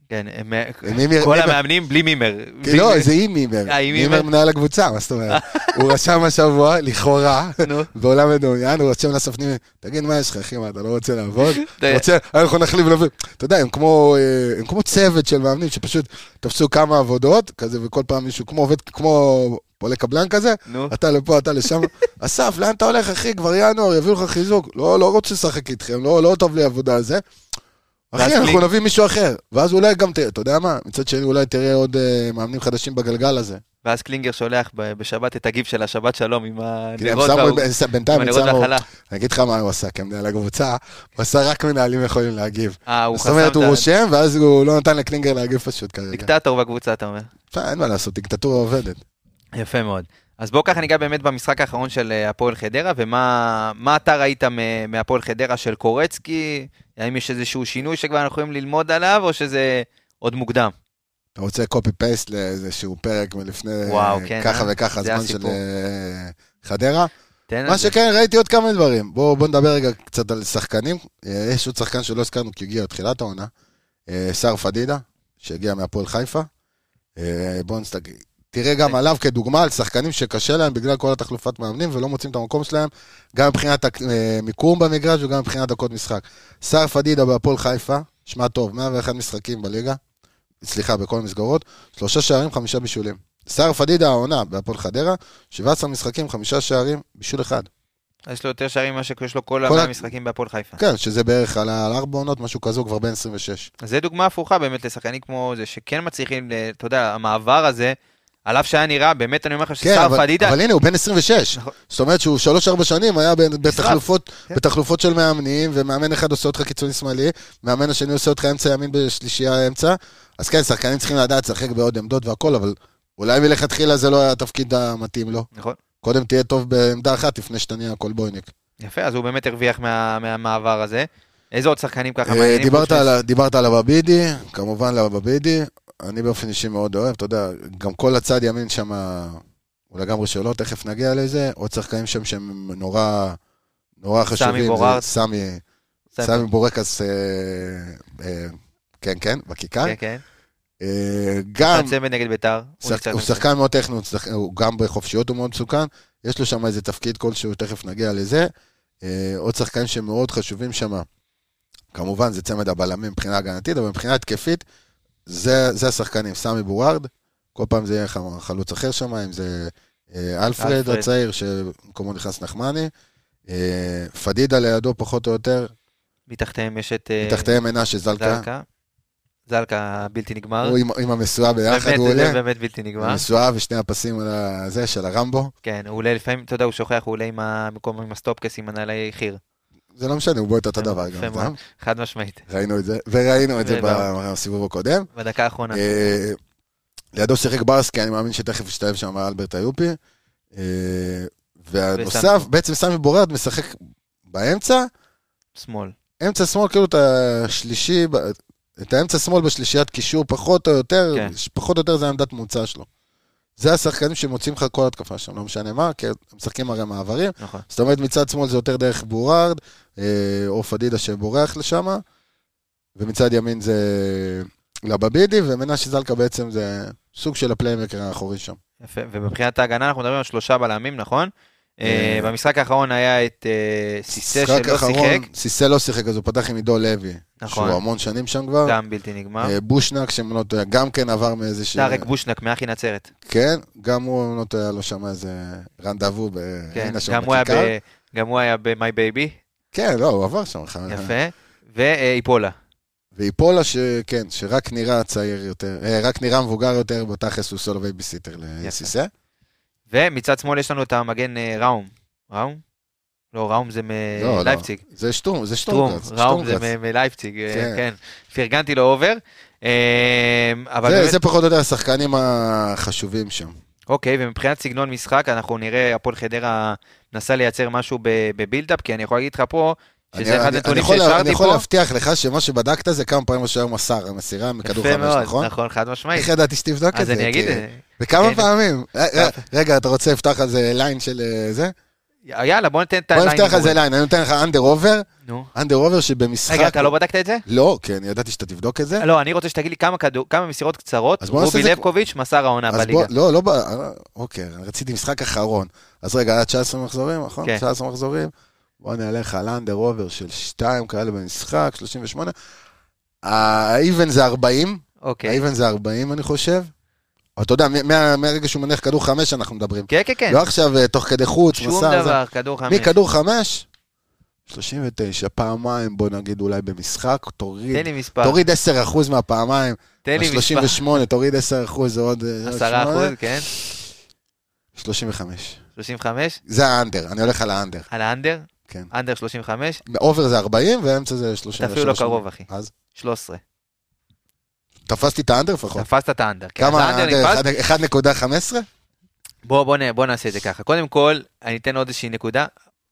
Speaker 1: כן, הם-
Speaker 2: מימר-
Speaker 1: כל
Speaker 2: מימר-
Speaker 1: המאמנים בלי מימר.
Speaker 2: אה,
Speaker 1: (laughs)
Speaker 2: כי לא, זה עם מימר.
Speaker 1: אה, עם
Speaker 2: מימר
Speaker 1: מימר?
Speaker 2: מנהל הקבוצה, מה
Speaker 1: (laughs)
Speaker 2: זאת אומרת? הוא רשם השבוע, לכאורה, (laughs)
Speaker 1: נו.
Speaker 2: בעולם מדומיין, הוא רשם לספנים, תגיד, מה יש לך, אחי, מה, אתה לא רוצה
Speaker 1: (laughs)
Speaker 2: לעבוד? אתה
Speaker 1: די.
Speaker 2: רוצה, אנחנו נחליף לביא. אתה יודע, הם כמו אה, הם כמו צוות של מאמנים שפשוט תפסו כמה עבודות, כזה, וכל פעם מישהו כמו עובד, כמו פועלי קבלן כזה,
Speaker 1: נו.
Speaker 2: אתה לפה, אתה לשם. (laughs) אסף, לאן אתה הולך, אחי? כבר ינואר, יביאו לך חיזוק. לא, לא רוצה לשחק איתכם, לא, לא טוב לי עבודה על זה.
Speaker 1: ואז
Speaker 2: אחי, אנחנו
Speaker 1: קליק.
Speaker 2: נביא מישהו אחר. ואז אולי גם, תראה, אתה יודע מה? מצד שני, אולי תראה עוד אה, מאמנים חדשים בגלגל הזה.
Speaker 1: ואז קלינגר שולח ב- בשבת את הגיב של השבת שלום עם
Speaker 2: כי הם
Speaker 1: הנרות
Speaker 2: שמו-
Speaker 1: והעוג-
Speaker 2: הם ש- בינתיים
Speaker 1: עם
Speaker 2: הם
Speaker 1: הנרות
Speaker 2: שמו...
Speaker 1: והחלה.
Speaker 2: אני אגיד לך מה הוא עשה כמנהל הקבוצה, הוא עשה רק מנהלים יכולים להגיב.
Speaker 1: אה, הוא
Speaker 2: זאת
Speaker 1: חסם
Speaker 2: אומרת,
Speaker 1: את
Speaker 2: הוא
Speaker 1: ה...
Speaker 2: רושם, ואז הוא לא נתן לקלינגר להגיב פשוט כרגע.
Speaker 1: דיקטטור בקבוצה, אתה אומר.
Speaker 2: אה, אין מה לעשות, דיקטטורה עובדת.
Speaker 1: יפה מאוד. אז בואו ככה ניגע באמת במשחק האחרון של אה, הפועל חדרה, ומה מה אתה ראית מ- מהפועל חדרה של קורצקי? האם יש איזשהו שינוי שכבר אנחנו יכולים ללמוד עליו, או שזה עוד מוקדם?
Speaker 2: אתה רוצה copy-paste לאיזשהו פרק מלפני
Speaker 1: וואו,
Speaker 2: אה,
Speaker 1: כן,
Speaker 2: ככה
Speaker 1: אה?
Speaker 2: וככה
Speaker 1: זה
Speaker 2: הזמן של
Speaker 1: הסיפור.
Speaker 2: אה, חדרה?
Speaker 1: תן
Speaker 2: מה
Speaker 1: על זה.
Speaker 2: שכן, ראיתי עוד כמה דברים. בואו בוא נדבר רגע קצת על שחקנים. אה, יש עוד שחקן שלא הזכרנו כי הוא הגיע לתחילת העונה, אה, סער פדידה, שהגיע מהפועל חיפה. אה, בואו נסתכל. תראה גם עליו כדוגמה על שחקנים שקשה להם בגלל כל התחלופת מאמנים ולא מוצאים את המקום שלהם, גם מבחינת הק- אה, מיקום במגרש וגם מבחינת דקות משחק. סער פדידה בהפועל חיפה, שמע טוב, 101 משחקים בליגה, סליחה, בכל המסגרות, שלושה שערים, חמישה בישולים. סער פדידה העונה בהפועל חדרה, 17 משחקים, חמישה שערים, בישול אחד.
Speaker 1: יש לו יותר שערים ממה שיש לו כל
Speaker 2: כל ה-
Speaker 1: המשחקים בהפועל חיפה.
Speaker 2: כן, שזה בערך על ה- על ארבע עונות, משהו כזה, הוא כבר בן 26.
Speaker 1: אז זה דוגמה הפוכה באמת לשחקנים כמו זה, שכן מצליחים, אה, אתה יודע, המעבר הזה, על אף שהיה נראה, באמת אני אומר לך
Speaker 2: כן,
Speaker 1: שסער
Speaker 2: אבל-
Speaker 1: פדידה,
Speaker 2: אבל הנה, הוא בן 26.
Speaker 1: נכון.
Speaker 2: זאת אומרת שהוא שלוש-ארבע שנים היה ב- בתחלופות-
Speaker 1: כן.
Speaker 2: בתחלופות של מאמנים, ומאמן אחד עושה אותך קיצוני שמאלי, מאמן השני עושה אותך אמצע ימין בשלישייה אמצע. אז כן, שחקנים צריכים לדעת לשחק בעוד עמדות והכל, אבל אולי מלכתחילה זה לא היה התפקיד המתאים לו.
Speaker 1: נכון,
Speaker 2: קודם תהיה טוב בעמדה אחת לפני שתניע קולבויניק.
Speaker 1: יפה, אז הוא באמת הרוויח מה- מהמעבר הזה. איזה עוד שחקנים ככה
Speaker 2: אה,
Speaker 1: מעניינים?
Speaker 2: דיברת
Speaker 1: חוץ מ-
Speaker 2: על ה- דיברת על הבבידי, כמובן על הבבידי. אני באופן אישי מאוד אוהב, אתה יודע, גם כל הצד ימין שם הוא לגמרי שלו, תכף נגיע לזה. עוד שחקנים שם שהם נורא נורא חשובים. זה
Speaker 1: בוררט.
Speaker 2: סמי,
Speaker 1: סמי.
Speaker 2: סמי בורקס, אה, אה, כן, כן, בכיכר.
Speaker 1: כן, כן.
Speaker 2: אה, גם,
Speaker 1: צמד נגד ביתר. הוא
Speaker 2: שחק-
Speaker 1: ניצח
Speaker 2: הוא
Speaker 1: את המשחק.
Speaker 2: שחקן מאוד טכני, הוא שחק- הוא גם בחופשיות הוא מאוד מסוכן, יש לו שם איזה תפקיד כלשהו, תכף נגיע לזה. אה, עוד שחקנים שמאוד חשובים שם, כמובן זה צמד הבלמים מבחינה הגנתית, אבל מבחינה התקפית, זה, זה השחקנים, סמי בורארד, כל פעם זה יהיה לך חלוץ אחר שם, אם זה אה, אלפרד
Speaker 1: אלפרד.
Speaker 2: הצעיר, שבמקומו נכנס נחמני, אה, פדידה לידו פחות או יותר,
Speaker 1: מתחתיהם יש את... אה,
Speaker 2: מתחתיהם מנשה זלקה,
Speaker 1: זלקה. זלקה בלתי נגמר.
Speaker 2: הוא עם, עם המשואה ביחד,
Speaker 1: באמת,
Speaker 2: הוא
Speaker 1: זה
Speaker 2: עולה,
Speaker 1: באמת בלתי נגמר.
Speaker 2: המשואה ושני הפסים על הזה של הרמבו.
Speaker 1: כן, הוא עולה לפעמים, אתה יודע, הוא שוכח, הוא עולה עם ה... במקום עם הסטופקס עם הנעלי חי"ר.
Speaker 2: זה לא משנה, הוא בועט אותו
Speaker 1: יפה
Speaker 2: דבר גם,
Speaker 1: מאוד.
Speaker 2: סתם.
Speaker 1: חד משמעית.
Speaker 2: ראינו את זה, וראינו את זה
Speaker 1: וראינו.
Speaker 2: בסיבוב הקודם.
Speaker 1: בדקה האחרונה.
Speaker 2: אה, לידו שיחק ברסקי, אני מאמין שתכף ישתלב שם אלברט איופי. אה, והנוסף,
Speaker 1: וסמי.
Speaker 2: בעצם סמי בורד משחק באמצע,
Speaker 1: שמאל.
Speaker 2: אמצע שמאל, כאילו את השלישי, ב- את האמצע שמאל בשלישיית קישור, פחות או יותר,
Speaker 1: כן.
Speaker 2: ש- פחות או יותר זה העמדת מוצא שלו. זה השחקנים שמוצאים לך כל התקפה שם, לא משנה מה, כי הם משחקים הרי מעברים.
Speaker 1: נכון.
Speaker 2: זאת אומרת, מצד שמאל זה יותר דרך בורארד, אה, או פדידה שבורח לשם, ומצד ימין זה לבבידי, ומנשה זלקה בעצם זה סוג של הפליימקר האחורי שם.
Speaker 1: יפה, ומבחינת ההגנה אנחנו מדברים על שלושה בלמים, נכון? אה,
Speaker 2: אה,
Speaker 1: במשחק האחרון היה את אה, סיסא
Speaker 2: משחק
Speaker 1: שלא
Speaker 2: אחרון,
Speaker 1: שיחק,
Speaker 2: סיסא לא שיחק, אז הוא פתח עם עידו לוי,
Speaker 1: נכון.
Speaker 2: שהוא המון שנים שם כבר.
Speaker 1: גם בלתי נגמר.
Speaker 2: אה, בושנק, שאם לא טועה, גם כן עבר מאיזה ש...
Speaker 1: טארק בושנק מאחי נצרת.
Speaker 2: כן, גם הוא, אם לא טועה, היה לו שם איזה רנדבו ב...
Speaker 1: כן,
Speaker 2: הנה שם
Speaker 1: גם הוא היה
Speaker 2: בכיכר.
Speaker 1: ב- גם הוא היה ב-My Baby,
Speaker 2: כן, לא, הוא עבר שם. חם-
Speaker 1: יפה. ואיפולה.
Speaker 2: ואיפולה, שכן, כן, שרק נראה צעיר יותר, אה, רק נראה מבוגר יותר, בתכלס הוא סולו בייביסיטר לסיסא.
Speaker 1: ומצד שמאל יש לנו את המגן אה, ראום. ראום? לא, ראום זה
Speaker 2: לא, לא.
Speaker 1: מלייפציג.
Speaker 2: זה שטרום, זה
Speaker 1: שטרום,
Speaker 2: שטרומגרץ.
Speaker 1: ראום זה
Speaker 2: שטרומגרץ.
Speaker 1: מ- מלייפציג, אה,
Speaker 2: כן.
Speaker 1: כן. פרגנתי לו אובר. אה, אבל
Speaker 2: זה-
Speaker 1: באמת-
Speaker 2: זה פחות או יותר השחקנים החשובים שם.
Speaker 1: אוקיי, ומבחינת סגנון משחק, אנחנו נראה, הפועל חדרה מנסה לייצר משהו ב- בבילדאפ, כי אני יכול להגיד לך פה,
Speaker 2: אני-
Speaker 1: שזה אחד
Speaker 2: אני- אני
Speaker 1: הנתונים
Speaker 2: יכול- אני
Speaker 1: שהשארתי
Speaker 2: יכול
Speaker 1: פה.
Speaker 2: להבטיח לך שמה שבדקת זה כמה פעמים השוער מסר, המסירה מכדור
Speaker 1: יפה
Speaker 2: חמש,
Speaker 1: מאוד,
Speaker 2: נכון?
Speaker 1: נכון, חד משמעית.
Speaker 2: איך ידעתי שתבדוק את
Speaker 1: אז
Speaker 2: זה?
Speaker 1: אני אגיד,
Speaker 2: כי-
Speaker 1: אה,
Speaker 2: וכמה
Speaker 1: אין.
Speaker 2: פעמים? אה, אה, רגע, אתה רוצה לפתוח על זה ליין של אה, זה?
Speaker 1: יאללה, בוא ניתן את
Speaker 2: בוא
Speaker 1: הליין.
Speaker 2: נפתח על זה ליין, אני נותן לך אנדר אובר,
Speaker 1: נו.
Speaker 2: אנדר אובר שבמשחק...
Speaker 1: רגע, אתה לא בדקת את זה?
Speaker 2: לא, כי אני ידעתי שאתה תבדוק את זה.
Speaker 1: לא, אני רוצה שתגיד לי כמה כדור- כמה מסירות קצרות,
Speaker 2: אז בוא נעשה
Speaker 1: רובי
Speaker 2: את זה-
Speaker 1: לבקוביץ' מסר העונה
Speaker 2: אז
Speaker 1: בליגה.
Speaker 2: בוא, לא, לא, ב- אה, אוקיי, רציתי משחק אחרון. אז רגע, היה 19 מחזורים, נכון?
Speaker 1: כן.
Speaker 2: 19 מחזורים. בוא נלך על אנדר אובר של 2 כאלה במשחק, 38. האיבן זה 40,
Speaker 1: אוקיי.
Speaker 2: האיבן זה 40 אני חושב. אבל אתה יודע, מ- מה- מהרגע שהוא מניח כדור 5 אנחנו מדברים.
Speaker 1: כן, כן, כן.
Speaker 2: לא עכשיו אה, תוך כדי חוץ,
Speaker 1: שום
Speaker 2: מסע, זה.
Speaker 1: דבר, כדור חמש.
Speaker 2: מכדור 5, 39, פעמיים בוא נגיד אולי במשחק,
Speaker 1: תן
Speaker 2: תוריד.
Speaker 1: לי מספר.
Speaker 2: תוריד 10% מהפעמיים,
Speaker 1: תן לי מספר.
Speaker 2: 38, תוריד 10%, זה עוד... אה, עוד
Speaker 1: 10
Speaker 2: שמונה.
Speaker 1: אחוז, כן.
Speaker 2: 35.
Speaker 1: 35.
Speaker 2: זה האנדר, אני הולך על האנדר,
Speaker 1: על האנדר,
Speaker 2: כן.
Speaker 1: אנדר 35.
Speaker 2: אובר זה 40 ואמצע זה 33.
Speaker 1: אתה אפילו לא קרוב, אחי.
Speaker 2: אז
Speaker 1: 13.
Speaker 2: תפסתי את האנדר לפחות.
Speaker 1: תפסת את האנדר. כן,
Speaker 2: נכון. כמה
Speaker 1: אז האנדר
Speaker 2: האנדר?
Speaker 1: נתפס.
Speaker 2: 1.15?
Speaker 1: בוא, בוא, נ- בוא נעשה את זה ככה. קודם כל, אני אתן עוד איזושהי נקודה.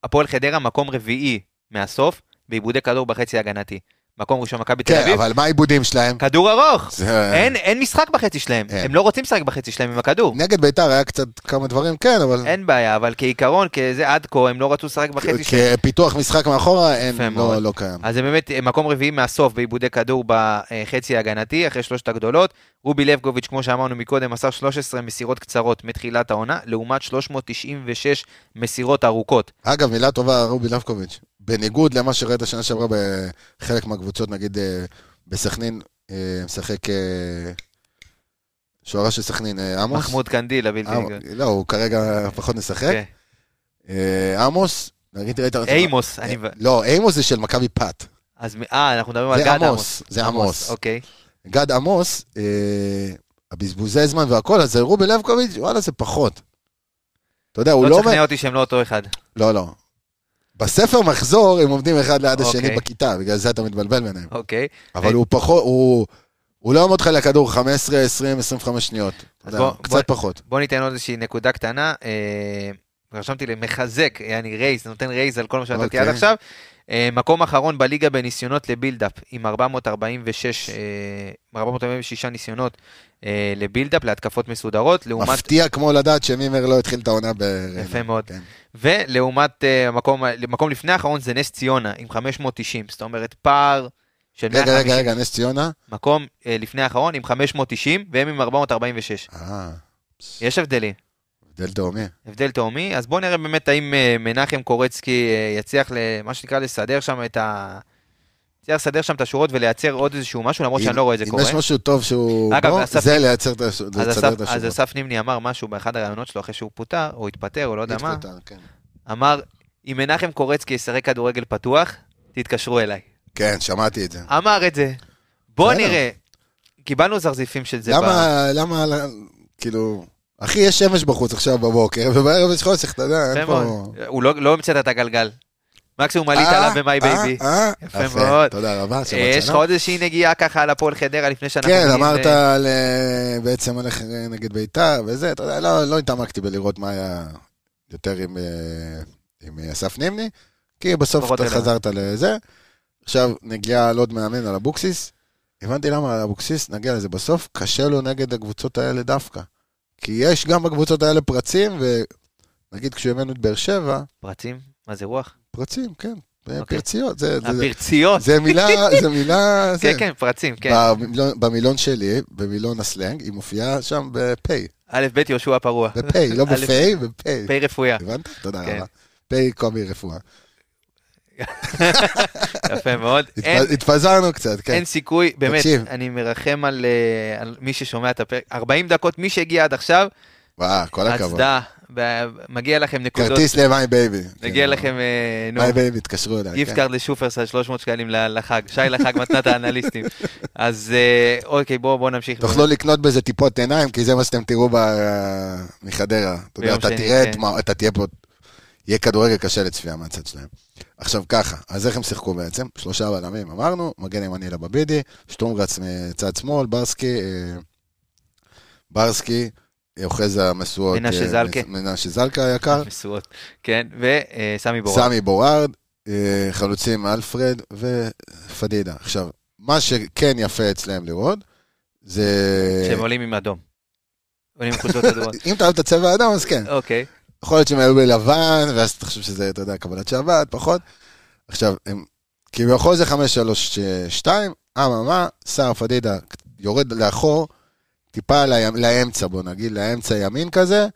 Speaker 1: הפועל חדרה מקום רביעי מהסוף, בעיבודי כדור בחצי הגנתי. מקום ראשון מכבי תל
Speaker 2: כן,
Speaker 1: אביב,
Speaker 2: אבל מה העיבודים שלהם?
Speaker 1: כדור ארוך.
Speaker 2: זה-
Speaker 1: אין אין משחק בחצי שלהם.
Speaker 2: אין.
Speaker 1: הם לא רוצים לשחק בחצי שלהם עם הכדור.
Speaker 2: נגד ביתר היה קצת כמה דברים, כן, אבל
Speaker 1: אין בעיה, אבל כעיקרון, כזה עד כה, הם לא רצו לשחק בחצי שלהם.
Speaker 2: כפיתוח משחק מאחורה, אין,
Speaker 1: יפה
Speaker 2: לא-
Speaker 1: מאוד.
Speaker 2: לא קיים.
Speaker 1: אז זה באמת אה, מקום רביעי מהסוף בעיבודי כדור בחצי ההגנתי, אחרי שלושת הגדולות. רובי לבקוביץ', כמו שאמרנו מקודם, מסר 13 מסירות קצרות מתחילת העונה, לעומת 396 מסירות ארוכות.
Speaker 2: אגב, מילה טובה, רובי לבקוביץ'. בניגוד למה שראית שנה שעברה בחלק מהקבוצות, נגיד אה, בסכנין, אה, משחק אה, שוערה של סכנין, אה, עמוס. אה,
Speaker 1: מחמוד קנדיל הבלתי כן.
Speaker 2: עמ-
Speaker 1: נגמר.
Speaker 2: לא, הוא כרגע פחות משחק.
Speaker 1: כן.
Speaker 2: אה, עמוס, נגיד ראית...
Speaker 1: אוקיי. אימוס, אני...
Speaker 2: אה, לא, אימוס זה של מכבי פת.
Speaker 1: אז מ- אה, אנחנו מדברים על
Speaker 2: זה
Speaker 1: גד
Speaker 2: עמוס,
Speaker 1: עמוס.
Speaker 2: זה עמוס.
Speaker 1: אוקיי.
Speaker 2: גד עמוס, אה, הבזבוזי זמן והכל, אז רובי לבקוביץ', וואלה, זה פחות. אתה יודע, הוא
Speaker 1: לא
Speaker 2: לא...
Speaker 1: תשכנע אותי שהם לא אותו אחד.
Speaker 2: לא, לא. בספר מחזור הם עומדים אחד ליד השני
Speaker 1: אוקיי.
Speaker 2: בכיתה, בגלל זה אתה מתבלבל ביניהם.
Speaker 1: אוקיי.
Speaker 2: אבל הוא פחות, הוא... הוא לא עומד לך לכדור 15, 20, 25 שניות. אתה יודע,
Speaker 1: בוא-
Speaker 2: קצת פחות.
Speaker 1: בוא ניתן עוד איזושהי נקודה קטנה. אה, רשמתי למחזק, יעני רייז, נותן רייז על כל מה שנתתי
Speaker 2: אוקיי.
Speaker 1: עד עכשיו. אה, מקום אחרון בליגה בניסיונות לבילדאפ, עם 446, אה, 446 ניסיונות אה, לבילדאפ, להתקפות מסודרות, לעומת
Speaker 2: מפתיע כמו לדעת שמימר לא התחיל את העונה בריינה.
Speaker 1: יפה מאוד.
Speaker 2: כן.
Speaker 1: ולעומת אה, המקום, מקום לפני האחרון זה נס ציונה עם 590, זאת אומרת פער של
Speaker 2: רגע,
Speaker 1: 150,
Speaker 2: רגע, רגע, נס ציונה?
Speaker 1: מקום אה, לפני האחרון עם 590 והם עם 446.
Speaker 2: אה,
Speaker 1: יש הבדלים,
Speaker 2: הבדל תאומי.
Speaker 1: הבדל תהומי, אז בואו נראה באמת האם אה, מנחם קורצקי אה, יצליח למה שנקרא לסדר שם את ה... יצליח לסדר שם את השורות ולייצר עוד איזשהו משהו, למרות שאני
Speaker 2: אם-
Speaker 1: לא רואה את זה
Speaker 2: אם
Speaker 1: קורה.
Speaker 2: יש משהו טוב שהוא...
Speaker 1: אגב,
Speaker 2: בוא,
Speaker 1: אסף-
Speaker 2: זה לייצר את הש-
Speaker 1: אז
Speaker 2: לסדר את
Speaker 1: אסף- אז
Speaker 2: השורות.
Speaker 1: אסף נימני אמר משהו באחד הראיונות שלו אחרי שהוא פוטר, או התפטר, או לא יודע מה,
Speaker 2: התפטר, כן.
Speaker 1: אמר, אם מנחם קורצקי ישחק כדורגל פתוח, תתקשרו אליי.
Speaker 2: כן, שמעתי את זה.
Speaker 1: אמר את זה. בוא
Speaker 2: בסדר.
Speaker 1: נראה. קיבלנו זרזיפים של זה. ב-
Speaker 2: למה, למה, כאילו... אחי, יש שמש בחוץ עכשיו בבוקר, ובערב יש חושך, אתה יודע, אין
Speaker 1: יפה
Speaker 2: פה...
Speaker 1: מאוד. הוא לא לא המצאת את הגלגל. מקסימום עלית
Speaker 2: אה,
Speaker 1: עליו במאי
Speaker 2: אה,
Speaker 1: בייבי.
Speaker 2: אה,
Speaker 1: יפה מאוד.
Speaker 2: תודה רבה,
Speaker 1: אה,
Speaker 2: שבת
Speaker 1: יש לך
Speaker 2: שלום.
Speaker 1: עוד איזושהי נגיעה ככה על הפועל חדרה לפני שאנחנו...
Speaker 2: כן,
Speaker 1: מגיעים
Speaker 2: אמרת
Speaker 1: ל-
Speaker 2: על אה, בעצם הולך אה, נגד ביתר וזה, אתה יודע, לא- לא התעמקתי בלראות מה היה יותר עם, אה, עם אה, אסף נימני, כי בסוף
Speaker 1: פחות
Speaker 2: אתה
Speaker 1: רלוונטי.
Speaker 2: חזרת לזה. עכשיו נגיעה על עוד מאמן, על אבוקסיס. הבנתי למה אבוקסיס, נגיע לזה בסוף, קשה לו נגד הקבוצות האלה דווקא. כי יש גם בקבוצות האלה פרצים, ונגיד כשהבאנו את באר שבע,
Speaker 1: פרצים? מה זה רוח?
Speaker 2: פרצים, כן,
Speaker 1: אוקיי.
Speaker 2: פרציות, זה- זה-
Speaker 1: הפרציות.
Speaker 2: זה מילה, זה מילה, זה-
Speaker 1: (laughs) כן, כן, פרצים, כן.
Speaker 2: במילון, במילון שלי, במילון הסלנג, היא מופיעה שם בפיי.
Speaker 1: א', ב', יהושע פרוע.
Speaker 2: בפיי,
Speaker 1: (laughs)
Speaker 2: לא
Speaker 1: א',
Speaker 2: בפיי, בפיי.
Speaker 1: פ' רפויה.
Speaker 2: הבנת? תודה
Speaker 1: כן.
Speaker 2: רבה. פיי קובי רפואה.
Speaker 1: יפה מאוד.
Speaker 2: התפ-
Speaker 1: אין-
Speaker 2: התפזרנו קצת, כן.
Speaker 1: אין סיכוי, באמת,
Speaker 2: תקשיב.
Speaker 1: אני מרחם על אה, על מי ששומע את הפרק. 40 דקות, מי שהגיע עד עכשיו,
Speaker 2: וואו, כל הכבוד.
Speaker 1: הצדעה. ב- מגיע לכם נקודות.
Speaker 2: כרטיס למיי בייבי.
Speaker 1: מגיע
Speaker 2: כן.
Speaker 1: לכם, אה, נו,
Speaker 2: מיי בייבי, התקשרו אליי.
Speaker 1: גיפט
Speaker 2: כן.
Speaker 1: קארד לשופרסל, 300 שקלים ל- לחג. שי לחג מתנת
Speaker 2: (laughs)
Speaker 1: האנליסטים. אז אה, אוקיי, בואו בואו נמשיך.
Speaker 2: תוכלו לקנות בזה טיפות עיניים, כי זה מה שאתם תראו ב- מחדרה. אתה יודע,
Speaker 1: ביום
Speaker 2: אתה
Speaker 1: שני,
Speaker 2: תראה את
Speaker 1: כן.
Speaker 2: מה, אתה תהיה פה, יהיה כדורגל קשה לצפייה מהצד שלהם. עכשיו ככה, אז איך הם שיחקו בעצם? שלושה בלמים, אמרנו, מגן ימני לבבידי, שטרומגרץ מצד שמאל, ברסקי, אה, ברסקי, אה, אוחז המשואות. אה,
Speaker 1: מנשה זלקה.
Speaker 2: מנשה זלקה היקר,
Speaker 1: משואות. כן, וסמי בורא.
Speaker 2: סמי בורארד, אה, חלוצים אלפרד ופדידה. עכשיו, מה שכן יפה אצלהם לראות, זה...
Speaker 1: שהם עולים עם אדום. עולים עם חולצות
Speaker 2: (laughs)
Speaker 1: אדומות.
Speaker 2: אם אתה אוהב את הצבע האדום, אז כן.
Speaker 1: אוקיי.
Speaker 2: יכול להיות שהם היו בלבן, ואז אתה חושב שזה, אתה יודע, קבלת שבת, פחות. עכשיו, הם, כביכול זה 5-3-2, אממה, סער פדידה יורד לאחור, טיפה ל, לאמצע, בוא נגיד, לאמצע ימין כזה,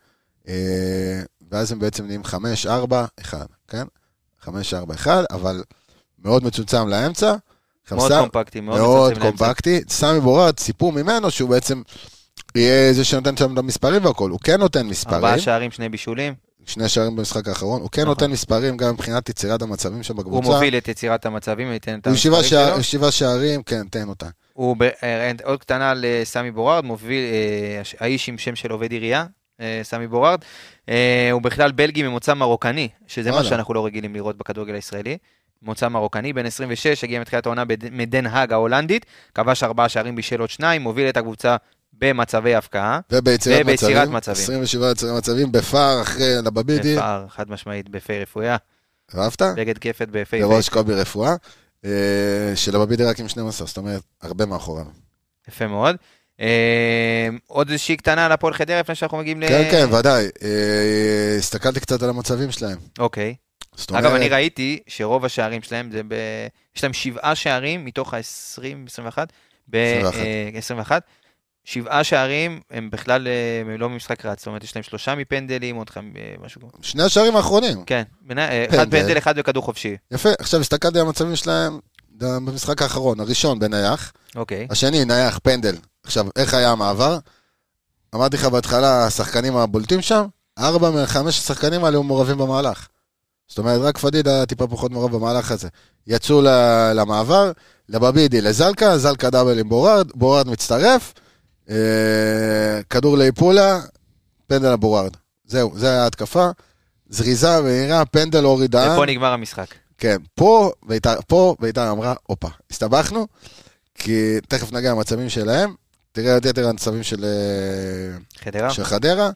Speaker 2: אה, ואז הם בעצם נהיים 5-4-1, כן? 5-4-1, אבל מאוד מצומצם לאמצע. עכשיו,
Speaker 1: מאוד
Speaker 2: סער-
Speaker 1: קומפקטי, מאוד
Speaker 2: מאוד
Speaker 1: מצמצם לאמצע.
Speaker 2: קומפקטי. סמי בורד, סיפור ממנו שהוא בעצם יהיה זה שנותן שם את המספרים והכל. הוא כן נותן מספרים,
Speaker 1: ארבעה שערים, שני בישולים.
Speaker 2: שני שערים במשחק האחרון, הוא כן
Speaker 1: נכון.
Speaker 2: נותן מספרים גם מבחינת יצירת המצבים שם בקבוצה.
Speaker 1: הוא מוביל את יצירת המצבים, ייתן את
Speaker 2: הוא שבעה
Speaker 1: המספרים
Speaker 2: שער-
Speaker 1: שלו.
Speaker 2: שבעה שערים, כן, תן אותה.
Speaker 1: הוא, ב- אה, עוד קטנה לסמי בורארד, מוביל, אה, הש- האיש עם שם של עובד עירייה, אה, סמי בורארד. אה, הוא בכלל בלגי ממוצא מרוקני, שזה מה
Speaker 2: וואלה.
Speaker 1: שאנחנו לא רגילים לראות בכדורגל הישראלי. ממוצא מרוקני, בן 26, הגיע מתחילת העונה בד- מדן האג ההולנדית, כבש ארבעה שערים בישל עוד שניים, מוביל את הקבוצה במצבי הפקעה.
Speaker 2: וביצירת
Speaker 1: וביצירת
Speaker 2: מצבים,
Speaker 1: מצבים.
Speaker 2: 27 יצירת מצבים, בפער אחרי לבבידי,
Speaker 1: בפער, חד משמעית, בפי רפויה,
Speaker 2: אהבת?
Speaker 1: בגד כפת בפי
Speaker 2: בראש קובי רפואה, אה, שלבבידי רק עם 12, זאת אומרת, הרבה מאחוריו.
Speaker 1: יפה מאוד. אה, עוד איזושהי קטנה על הפועל חדרה לפני שאנחנו מגיעים ל...
Speaker 2: כן, כן, ודאי. אה, הסתכלתי קצת על המצבים שלהם.
Speaker 1: אוקיי.
Speaker 2: זאת
Speaker 1: אגב, אני
Speaker 2: אומרת,
Speaker 1: ראיתי שרוב השערים שלהם זה ב... יש להם שבעה שערים מתוך ה-20, 21, ב...
Speaker 2: 21.
Speaker 1: אה, 21. שבעה שערים הם בכלל אה, הם לא ממשחק רץ, זאת אומרת, יש להם שלושה מפנדלים, עוד חמ... אה, משהו כמו...
Speaker 2: שני השערים האחרונים.
Speaker 1: כן, בנ... אה, אחד
Speaker 2: פנדל.
Speaker 1: פנדל, אחד בכדור חופשי.
Speaker 2: יפה, עכשיו הסתכלתי על המצבים שלהם במשחק האחרון, הראשון בנייח,
Speaker 1: אוקיי.
Speaker 2: השני נייח פנדל. עכשיו, איך היה המעבר? אמרתי לך בהתחלה, השחקנים הבולטים שם, ארבע מחמש השחקנים האלה היו מעורבים במהלך. זאת אומרת, רק פדידה טיפה פחות מעורב במהלך הזה. יצאו ל- למעבר, לבבידי, לזלקה, זלקה דאבל עם בורארד, בורארד מצטרף, אה, כדור לאיפולה, פנדל לבורארד. זהו, זו הייתה ההתקפה. זריזה, מהירה, פנדל הורידה.
Speaker 1: ופה נגמר המשחק.
Speaker 2: כן, פה ביתר, פה ביתר אמרה, הופה, הסתבכנו, כי תכף נגיע למצבים שלהם, תראה את יתר המצבים של, אה,
Speaker 1: חדרה?
Speaker 2: של חדרה.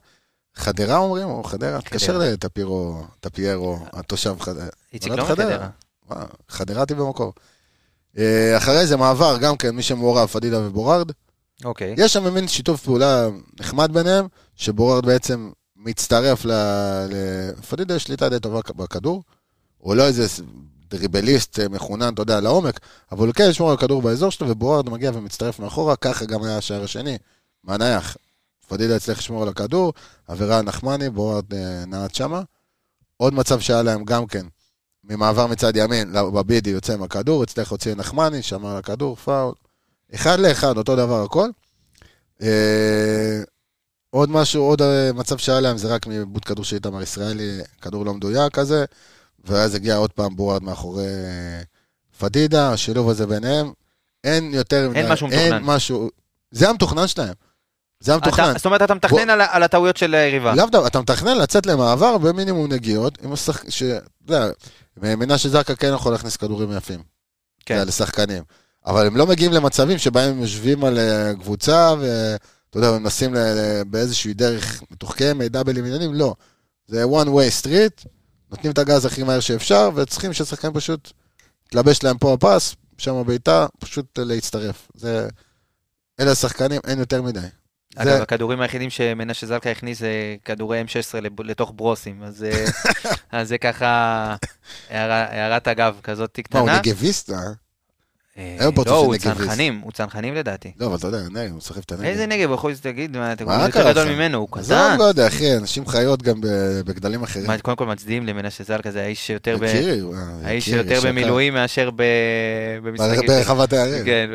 Speaker 2: חדרה אומרים, או חדרה? תתקשר
Speaker 1: חדרה.
Speaker 2: לטפירו, טפיירו, התושב חדרה.
Speaker 1: איציק
Speaker 2: נולד
Speaker 1: לא
Speaker 2: חדרה.
Speaker 1: מחדרה.
Speaker 2: וואו, חדרתי במקור. אה, אחרי זה מעבר, גם כן, מי שמעורב, פדידה ובורארד.
Speaker 1: אוקיי.
Speaker 2: יש שם מין שיתוף פעולה נחמד ביניהם, שבורארד בעצם מצטרף ל... ל- פדידה יש שליטה די טובה בכדור. הוא לא איזה ס- דריבליסט אה, מחונן, אתה יודע, לעומק, אבל הוא כן ישמור על הכדור באזור שלו, ובורארד מגיע ומצטרף מאחורה, ככה גם היה השער השני. מה נייח? פדידה הצליח לשמור על הכדור, עבירה על נחמני, בורארד אה, נעט שמה. עוד מצב שהיה להם גם כן, ממעבר מצד ימין, לא, בבידי יוצא עם הכדור, הצליח להוציא נחמני, שמר על הכדור, פאול. אחד לאחד, אותו דבר הכל. אה, עוד משהו, עוד אה, מצב שהיה להם, זה רק מעיבוד כדור של איתמר ישראלי, כדור לא מדויק כזה, ואז הגיע עוד פעם בורארד מאחורי אה, פדידה, השילוב הזה ביניהם. אין יותר...
Speaker 1: אין
Speaker 2: מדי-
Speaker 1: משהו
Speaker 2: אין
Speaker 1: מתוכנן.
Speaker 2: משהו... זה המתוכנן שלהם. זה המתוכנן.
Speaker 1: אתה- זאת אומרת, אתה מתכנן על ה- על הטעויות של היריבה.
Speaker 2: לאו דווקא, אתה מתכנן לצאת למעבר במינימום נגיעות, עם השחק... ש... אתה יודע, מנשה זרקא כן יכול להכניס כדורים יפים.
Speaker 1: כן.
Speaker 2: אתה יודע, לשחקנים. אבל הם לא מגיעים למצבים שבהם הם יושבים על אה, קבוצה, ואתה יודע, ומנסים ל- ל- באיזושהי דרך מתוחכמת, דאבלים עניינים, לא. זה one way street, נותנים את הגז הכי מהר שאפשר, וצריכים שהשחקנים פשוט, תלבש להם פה הפס, שם הבעיטה, פשוט להצטרף. זה... אלה השחקנים, אין יותר מדי.
Speaker 1: אגב, הכדורים היחידים שמנשה זלקה הכניס זה כדורי M16 לב- לתוך ברוסים, אז,
Speaker 2: (laughs)
Speaker 1: אה, אז זה ככה הערה- הערת אגב כזאת
Speaker 2: מה, הוא
Speaker 1: קטנה.
Speaker 2: נגביסט? אה?
Speaker 1: אה,
Speaker 2: אין לו פרצוף
Speaker 1: לא,
Speaker 2: של
Speaker 1: הוא
Speaker 2: נגביסט.
Speaker 1: צנחנים, הוא צנחנים לדעתי.
Speaker 2: לא, אבל אתה יודע, נגב, הוא משחק את הנגב.
Speaker 1: איזה נגב, הוא יכול להגיד, מה, אתה
Speaker 2: מה
Speaker 1: הוא יותר
Speaker 2: קרה
Speaker 1: גדול
Speaker 2: לך?
Speaker 1: ממנו, הוא קטן.
Speaker 2: עזוב, לא יודע, אחי, אנשים חיות גם ב- בגדלים אחרים.
Speaker 1: מה, קודם כל מצדיעים למנשה זלקה, זה האיש שיותר ב-
Speaker 2: יקירי, וואו,
Speaker 1: האיש
Speaker 2: יקירי,
Speaker 1: שיותר
Speaker 2: יש לך-
Speaker 1: במילואים מאשר ב-
Speaker 2: בר-
Speaker 1: במשחקים.
Speaker 2: ברחבת הערים.
Speaker 1: כן,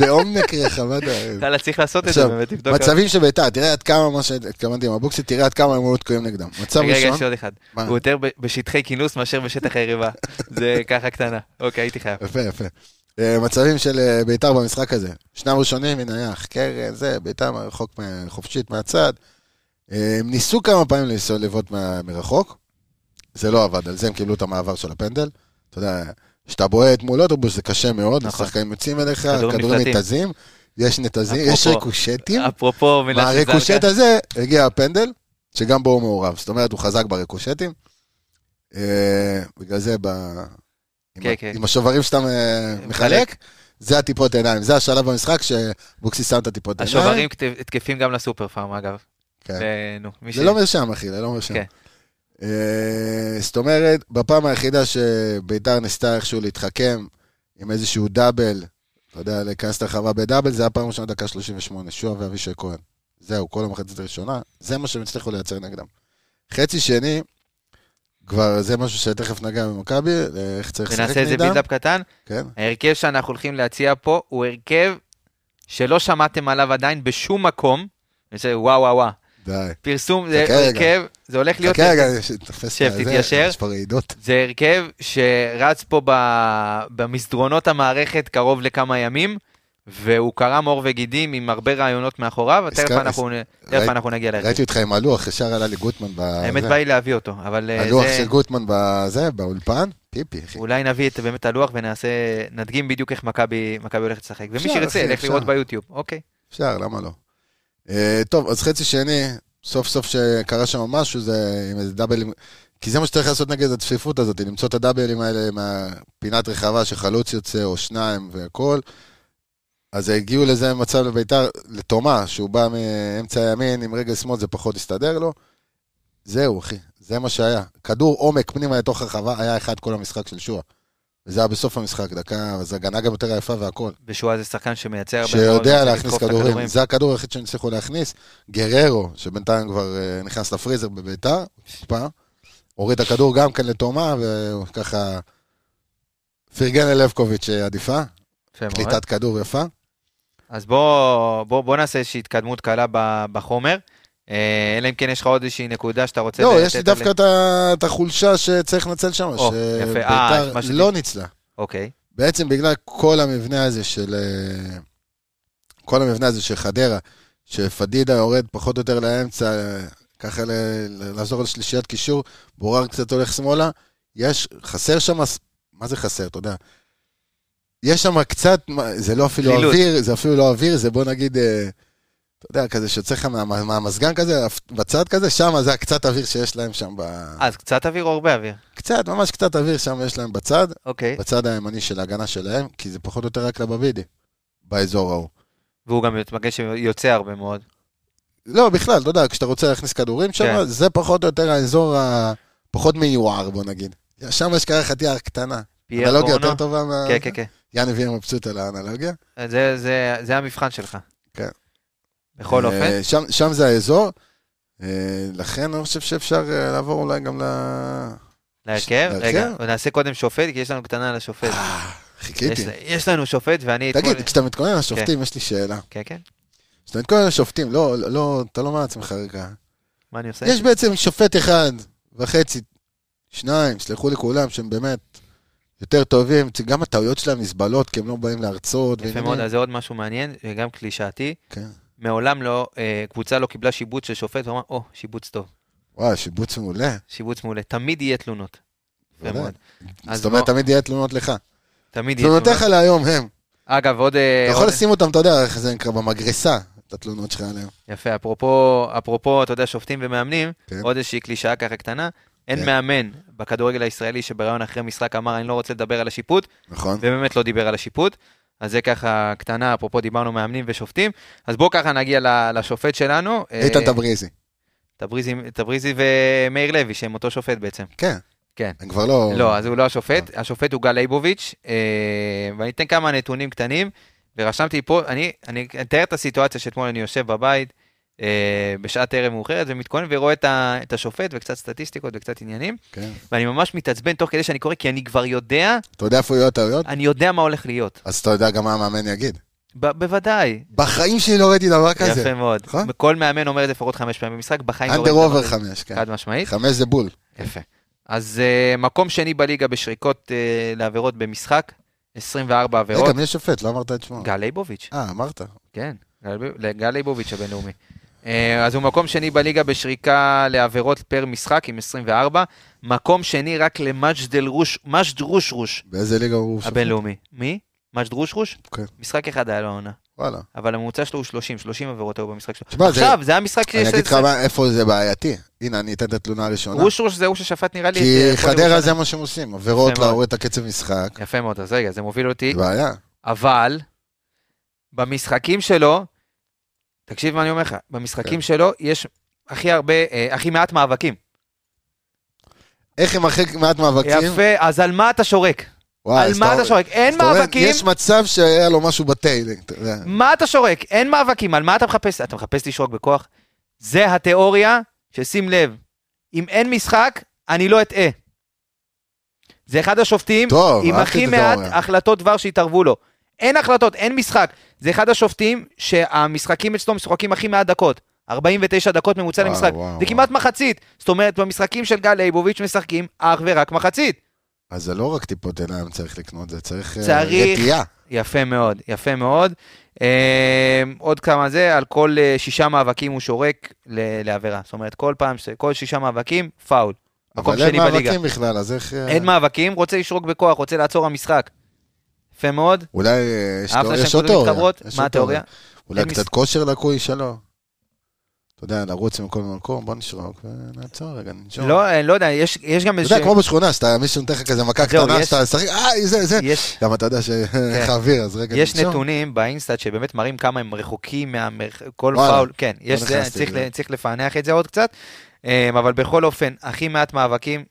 Speaker 2: בעומק רחבת הערים.
Speaker 1: אתה לא צריך לעשות את זה
Speaker 2: עכשיו,
Speaker 1: באמת, תבדוק.
Speaker 2: מצבים של ביתר, תראה עד כמה, מה שהתכוונתי עם אבוקסיס, תראה עד כמה הם היו תקועים נגדם. מצב
Speaker 1: רגע, רגע, יש
Speaker 2: ראשון,
Speaker 1: עוד אחד.
Speaker 2: מה?
Speaker 1: הוא יותר ב- בשטחי כינוס מאשר בשטח היריבה. זה ככה קטנה. אוקיי, הייתי חייב.
Speaker 2: יפה, יפה. אה, מצבים של אה, ביתר במשחק הזה. שניים ראשונים, מנייח, קרן, זה, ביתר מרחוק, מה- חופשית מהצד. אה, הם ניסו כמה פעמים לנסוע לבעוט מה- מרחוק, זה לא עבד, על זה הם קיבלו את המעבר של הפנדל. אתה יודע, כשאתה בועט מול אוטובוס זה קשה מאוד,
Speaker 1: נכון.
Speaker 2: השחקנים יוצאים אליך,
Speaker 1: כדורים
Speaker 2: כדורים
Speaker 1: נפלטים.
Speaker 2: ניתזים, יש נתזים, יש
Speaker 1: אפרופו-
Speaker 2: ריקושטים.
Speaker 1: אפרופו מנשה
Speaker 2: מהריקושט
Speaker 1: זלקה.
Speaker 2: הזה הגיע הפנדל, שגם בו הוא מעורב. זאת אומרת, הוא חזק בריקושטים. אה, בגלל זה, ב... עם,
Speaker 1: כן,
Speaker 2: ה-
Speaker 1: כן.
Speaker 2: עם השוברים שאתה אה, מחלק, זה הטיפות עיניים. זה השלב במשחק שבוקסיס שם את הטיפות עיניים.
Speaker 1: השוברים כת- תקפים גם לסופר פארם, אגב.
Speaker 2: לא- כן.
Speaker 1: זה- נו, מי ש...
Speaker 2: זה לא מרשם, אחי, זה לא מרשם.
Speaker 1: כן.
Speaker 2: אה, זאת אומרת, בפעם היחידה שביתר ניסתה איכשהו להתחכם עם איזשהו דאבל, אתה יודע, להיכנס לחווה בדאבל, זה היה פעם ראשונה דקה 38, שועה ואבישי כהן. זהו, כל המחצית הראשונה, זה מה שהם הצליחו לייצר נגדם. חצי שני, כבר זה משהו שתכף נגע במכבי, איך צריך לשחק
Speaker 1: ונעשה איזה
Speaker 2: נגדם.
Speaker 1: בילדאפ קטן.
Speaker 2: כן,
Speaker 1: ההרכב שאנחנו הולכים להציע פה הוא הרכב שלא שמעתם עליו עדיין בשום מקום. וזה וואו וואו וואו.
Speaker 2: די.
Speaker 1: פרסום זה
Speaker 2: חכה רגע.
Speaker 1: הרכב, זה הולך להיות...
Speaker 2: חכה רגע, יש- תתפס
Speaker 1: שב,
Speaker 2: את זה,
Speaker 1: תתיישר.
Speaker 2: יש פה רעידות.
Speaker 1: זה הרכב שרץ פה ב- במסדרונות המערכת קרוב לכמה ימים, והוא קרם עור וגידים עם הרבה רעיונות מאחוריו, תכף
Speaker 2: הזכר-
Speaker 1: אנחנו, תכף
Speaker 2: ראיתי-
Speaker 1: אנחנו נגיע להרכב.
Speaker 2: ראיתי אותך עם הלוח, ישר עלה לי גוטמן. ב-
Speaker 1: האמת
Speaker 2: זה.
Speaker 1: בא לי להביא אותו, אבל אה,
Speaker 2: הלוח
Speaker 1: זה-
Speaker 2: של גוטמן בזה, באולפן, פיפי, אחי.
Speaker 1: אולי נביא את באמת הלוח ונעשה, נדגים בדיוק איך מכבי מכבי הולכת לשחק. ומי
Speaker 2: אפשר,
Speaker 1: שירצה
Speaker 2: אחי,
Speaker 1: ילך
Speaker 2: אפשר.
Speaker 1: לראות ביוטיוב, אוקיי.
Speaker 2: אפשר, למה לא? אה, טוב, אז חצי שני, סוף סוף שקרה שם משהו, זה עם איזה דאבלים, כי זה מה שצריך לעשות נגד הצפיפות הזאת, למצוא את הדאבלים האלה מהפינת רחבה שחלוץ יוצא, או שניים והכול. אז הגיעו לזה מצב לביתר, לתומה, שהוא בא מאמצע הימין, עם רגל שמאל זה פחות הסתדר לו. זהו, אחי, זה מה שהיה. כדור עומק פנימה לתוך הרחבה, היה אחד כל המשחק של שועה. וזה היה בסוף המשחק, דקה, אז הגנה גם יותר יפה והכל.
Speaker 1: בשואה זה שחקן שמייצר הרבה מאוד,
Speaker 2: שיודע
Speaker 1: מנסה
Speaker 2: להכניס
Speaker 1: לדחוף את
Speaker 2: כדורים. זה הכדור היחיד שהם הצליחו להכניס. גררו, שבינתיים כבר אה, נכנס לפריזר בביתר, טיפה, הוריד את הכדור גם כן לתומה, וככה פרגן ללבקוביץ' אה, עדיפה,
Speaker 1: יפה מאוד.
Speaker 2: קליטת כדור יפה.
Speaker 1: אז בואו בוא, בוא נעשה איזושהי התקדמות קלה ב- בחומר. אה, אלא אם כן יש לך עוד איזושהי נקודה שאתה רוצה...
Speaker 2: לא,
Speaker 1: לתת
Speaker 2: יש לי
Speaker 1: עליה.
Speaker 2: דווקא את ה- את החולשה שצריך לנצל שם,
Speaker 1: או, יפה. אה, את מה
Speaker 2: שביתר
Speaker 1: שאת-
Speaker 2: לא ניצלה.
Speaker 1: אוקיי,
Speaker 2: בעצם בגלל כל המבנה הזה של... אה, כל המבנה הזה של חדרה, שפדידה יורד פחות או יותר לאמצע, אה, ככה ל- ל- לעזור לשלישיית קישור, בורר קצת הולך שמאלה, יש, חסר שם, ס- מה זה חסר, אתה יודע? יש שם קצת, מה- זה לא אפילו
Speaker 1: דלילות.
Speaker 2: אוויר, זה אפילו לא אוויר, זה בוא נגיד, אה, אתה יודע, כזה שיוצא לך מה- מה- מהמזגן כזה, בצד כזה, שם זה הקצת אוויר שיש להם שם, ב-
Speaker 1: אז קצת אוויר או הרבה אוויר?
Speaker 2: קצת, ממש קצת אוויר שם יש להם בצד,
Speaker 1: אוקיי,
Speaker 2: בצד הימני של ההגנה שלהם, כי זה פחות או יותר רק לבבידי, באזור ההוא.
Speaker 1: והוא גם מתמגן שיוצא הרבה מאוד.
Speaker 2: לא, בכלל, אתה יודע, כשאתה רוצה להכניס כדורים שם,
Speaker 1: כן.
Speaker 2: זה פחות או יותר האזור הפחות מיוער, בוא נגיד. שם יש ככה חטייה קטנה.
Speaker 1: פייר
Speaker 2: אנלוגיה
Speaker 1: בורנו?
Speaker 2: יותר טובה מה...
Speaker 1: כן, כן, כן.
Speaker 2: יאן הביא מבסוט על האנלוגיה.
Speaker 1: זה- זה- זה המבחן שלך.
Speaker 2: כן.
Speaker 1: בכל
Speaker 2: אה,
Speaker 1: אופן,
Speaker 2: שם- שם זה האזור. אה, לכן אני חושב שאפשר אה, לעבור אולי גם ל...
Speaker 1: להרכב,
Speaker 2: להרכב?
Speaker 1: רגע, נעשה קודם שופט, כי יש לנו קטנה על השופט.
Speaker 2: אה,
Speaker 1: יש-
Speaker 2: חיכיתי.
Speaker 1: יש כן. לנו שופט, ואני אתמול...
Speaker 2: תגיד, כשאתה מתכונן לשופטים, יש לי שאלה.
Speaker 1: כן, כן,
Speaker 2: כשאתה מתכונן לשופטים, לא, לא, אתה לא אומר לעצמך רגע.
Speaker 1: מה אני עושה?
Speaker 2: יש בעצם שופט אחד וחצי, שניים, סלחו לי כולם, שהם באמת יותר טובים, גם הטעויות שלהם נסבלות, כי הם לא באים להרצות.
Speaker 1: יפה
Speaker 2: ועניינים.
Speaker 1: מאוד, אז זה עוד משהו מעניין, וגם קלישאתי.
Speaker 2: כן.
Speaker 1: מעולם לא, אה, קבוצה לא קיבלה שיבוץ של שופט, ואמרה, או, שיבוץ טוב,
Speaker 2: וואי, שיבוץ מעולה.
Speaker 1: שיבוץ מעולה. תמיד יהיה תלונות. יפה
Speaker 2: בוודאי.
Speaker 1: מאוד. אז
Speaker 2: זאת אומרת,
Speaker 1: בוא-
Speaker 2: תמיד יהיה תלונות לך.
Speaker 1: תמיד יהיה
Speaker 2: תלונותיך
Speaker 1: תלונות. אה,
Speaker 2: להיום הם.
Speaker 1: אגב, עוד... אה,
Speaker 2: אתה יכול
Speaker 1: עוד-
Speaker 2: לשים אותם, אתה יודע, איך זה נקרא, במגרסה, את התלונות שלך עליהם.
Speaker 1: יפה, אפרופו, אפרופו, אתה יודע, שופטים ומאמנים,
Speaker 2: כן.
Speaker 1: עוד איזושהי קלישאה ככה קטנה, אין
Speaker 2: כן.
Speaker 1: מאמן בכדורגל הישראלי שבראיון אחרי משחק אמר, אני לא רוצה לדבר על השיפוט,
Speaker 2: נכון?
Speaker 1: ובאמת לא דיבר על השיפוט. אז זה ככה קטנה, אפרופו דיברנו מאמנים ושופטים. אז בואו ככה נגיע ל- לשופט שלנו. אה,
Speaker 2: איתן תבריזי.
Speaker 1: תבריזי- תבריזי ומאיר לוי, שהם אותו שופט בעצם.
Speaker 2: כן.
Speaker 1: כן.
Speaker 2: הם כבר לא...
Speaker 1: לא, אז הוא לא השופט,
Speaker 2: אה.
Speaker 1: השופט הוא גל ליבוביץ', אה, ואני אתן כמה נתונים קטנים, ורשמתי פה, אני אני אתאר את הסיטואציה שאתמול אני יושב בבית, אה, בשעת ערב מאוחרת, ומתכונן ורואה את ה- את השופט, וקצת סטטיסטיקות וקצת עניינים,
Speaker 2: כן.
Speaker 1: ואני ממש מתעצבן תוך כדי שאני קורא, כי אני כבר יודע,
Speaker 2: אתה יודע איפה יהיו הטעויות?
Speaker 1: אני יודע מה הולך להיות.
Speaker 2: אז אתה יודע גם מה המאמן יגיד.
Speaker 1: ב- בוודאי.
Speaker 2: בחיים שלי לא ראיתי דבר כזה.
Speaker 1: יפה מאוד.
Speaker 2: נכון?
Speaker 1: כל מאמן אומר את זה לפחות חמש פעמים במשחק, בחיים לא
Speaker 2: אנדר
Speaker 1: ראיתי
Speaker 2: אובר
Speaker 1: דבר כזה.
Speaker 2: חמש, כן.
Speaker 1: חד משמעית.
Speaker 2: חמש זה בול.
Speaker 1: יפה. אז אה, מקום שני בליגה בשריקות אה, לעבירות במשחק, 24 עבירות.
Speaker 2: רגע, מי השופט? לא אמרת את שמו.
Speaker 1: גל ליבוביץ',
Speaker 2: אה, אמרת.
Speaker 1: כן, גל- לגל ליבוביץ' הבינלאומי. אה, אז הוא מקום שני בליגה בשריקה לעבירות פר משחק עם 24, מקום שני רק למג'דל רוש, מג'ד רוש רוש
Speaker 2: באיזה ליגה הוא שופט?
Speaker 1: הבינלאומי. מי? מג'ד רוש רוש?
Speaker 2: כן.
Speaker 1: משחק אחד היה לו עונה,
Speaker 2: וואלה.
Speaker 1: אבל הממוצע שלו הוא 30, 30 עבירות היו במשחק שלו.
Speaker 2: תשמע, אה, זה-
Speaker 1: עכשיו, זה המשחק שיש...
Speaker 2: אני אגיד לך
Speaker 1: לזה-
Speaker 2: מה- איפה זה בעייתי. הנה, אני אתן את התלונה הראשונה.
Speaker 1: רוש רוש זה הוא ששפט נראה לי...
Speaker 2: כי
Speaker 1: את, אה, הפועל
Speaker 2: חדרה
Speaker 1: ירושלים. אה?
Speaker 2: זה מה שהם עושים, עבירות
Speaker 1: יפה מאוד.
Speaker 2: להוריד את הקצב משחק.
Speaker 1: יפה מאוד, אז רגע, זה מוביל אותי
Speaker 2: זה בעיה.
Speaker 1: אבל במשחקים שלו, תקשיב מה אני אומר לך, במשחקים
Speaker 2: כן.
Speaker 1: שלו יש הכי הרבה, אה, הכי מעט מאבקים.
Speaker 2: איך הם אחרי מעט מאבקים?
Speaker 1: יפה, אז על מה אתה שורק?
Speaker 2: וואי,
Speaker 1: על
Speaker 2: אז
Speaker 1: מה אתה
Speaker 2: אומר-
Speaker 1: שורק? אין
Speaker 2: זאת אומרת,
Speaker 1: מאבקים,
Speaker 2: יש מצב שהיה לו משהו בטייל. אתה יודע.
Speaker 1: מה אתה שורק? אין מאבקים, על מה אתה מחפש? אתה מחפש לשרוק בכוח? זה התיאוריה ששים לב, אם אין משחק, אני לא אטעה. זה אחד השופטים
Speaker 2: טוב,
Speaker 1: עם
Speaker 2: אהבתי
Speaker 1: הכי
Speaker 2: את
Speaker 1: מעט
Speaker 2: התיאוריה.
Speaker 1: החלטות דבר שהתערבו לו. אין החלטות, אין משחק. זה אחד השופטים שהמשחקים אצלו משוחקים הכי מעט דקות. 49 דקות ממוצע
Speaker 2: וואו,
Speaker 1: למשחק.
Speaker 2: וואו,
Speaker 1: זה
Speaker 2: וואו.
Speaker 1: כמעט מחצית. זאת אומרת, במשחקים של גל ליבוביץ' משחקים אך ורק מחצית.
Speaker 2: אז זה לא רק טיפות עיניים צריך לקנות, זה צריך אה,
Speaker 1: צריך-
Speaker 2: רתיעה.
Speaker 1: יפה מאוד, יפה מאוד. אה, עוד כמה זה, על כל אה, שישה מאבקים הוא שורק ל- לעבירה. זאת אומרת, כל פעם, ש- כל שישה מאבקים, פאול. מקום
Speaker 2: אבל אין
Speaker 1: שני בליגה.
Speaker 2: מאבקים בכלל, אז איך... אה,
Speaker 1: אין מאבקים, רוצה לשרוק בכוח, רוצה לעצור המשחק. יפה מאוד.
Speaker 2: אולי אה, יש
Speaker 1: אהבת
Speaker 2: תיאוריה-
Speaker 1: שהן
Speaker 2: יש
Speaker 1: קודם
Speaker 2: עוד תיאוריה.
Speaker 1: מתחברות?
Speaker 2: יש
Speaker 1: מה
Speaker 2: עוד תיאוריה?
Speaker 1: התיאוריה?
Speaker 2: אולי
Speaker 1: אין
Speaker 2: קצת כושר לקוי שלו. אתה יודע, נרוץ מכל מקום, בוא נשרוק ונעצור רגע, ננשום.
Speaker 1: לא, אה, לא יודע, יש יש גם
Speaker 2: אתה
Speaker 1: איזה...
Speaker 2: יודע, כמו בשכונה, שאתה, מישהו נותן לך כזה מכה
Speaker 1: זהו,
Speaker 2: קטנה,
Speaker 1: יש-
Speaker 2: שאתה משחק, אה, זה, זה.
Speaker 1: יש... כן.
Speaker 2: גם אתה יודע ש- איך האוויר, אז רגע,
Speaker 1: יש
Speaker 2: ננשום.
Speaker 1: נתונים באינסטאט שבאמת מראים כמה הם רחוקים מהמרחק, כל
Speaker 2: וואלה. לא
Speaker 1: פאול, כן, יש זה,
Speaker 2: נכנסתי
Speaker 1: צריך,
Speaker 2: לזה.
Speaker 1: ל- צריך לפענח את זה עוד קצת, אמ, אבל בכל אופן, הכי מעט מאבקים,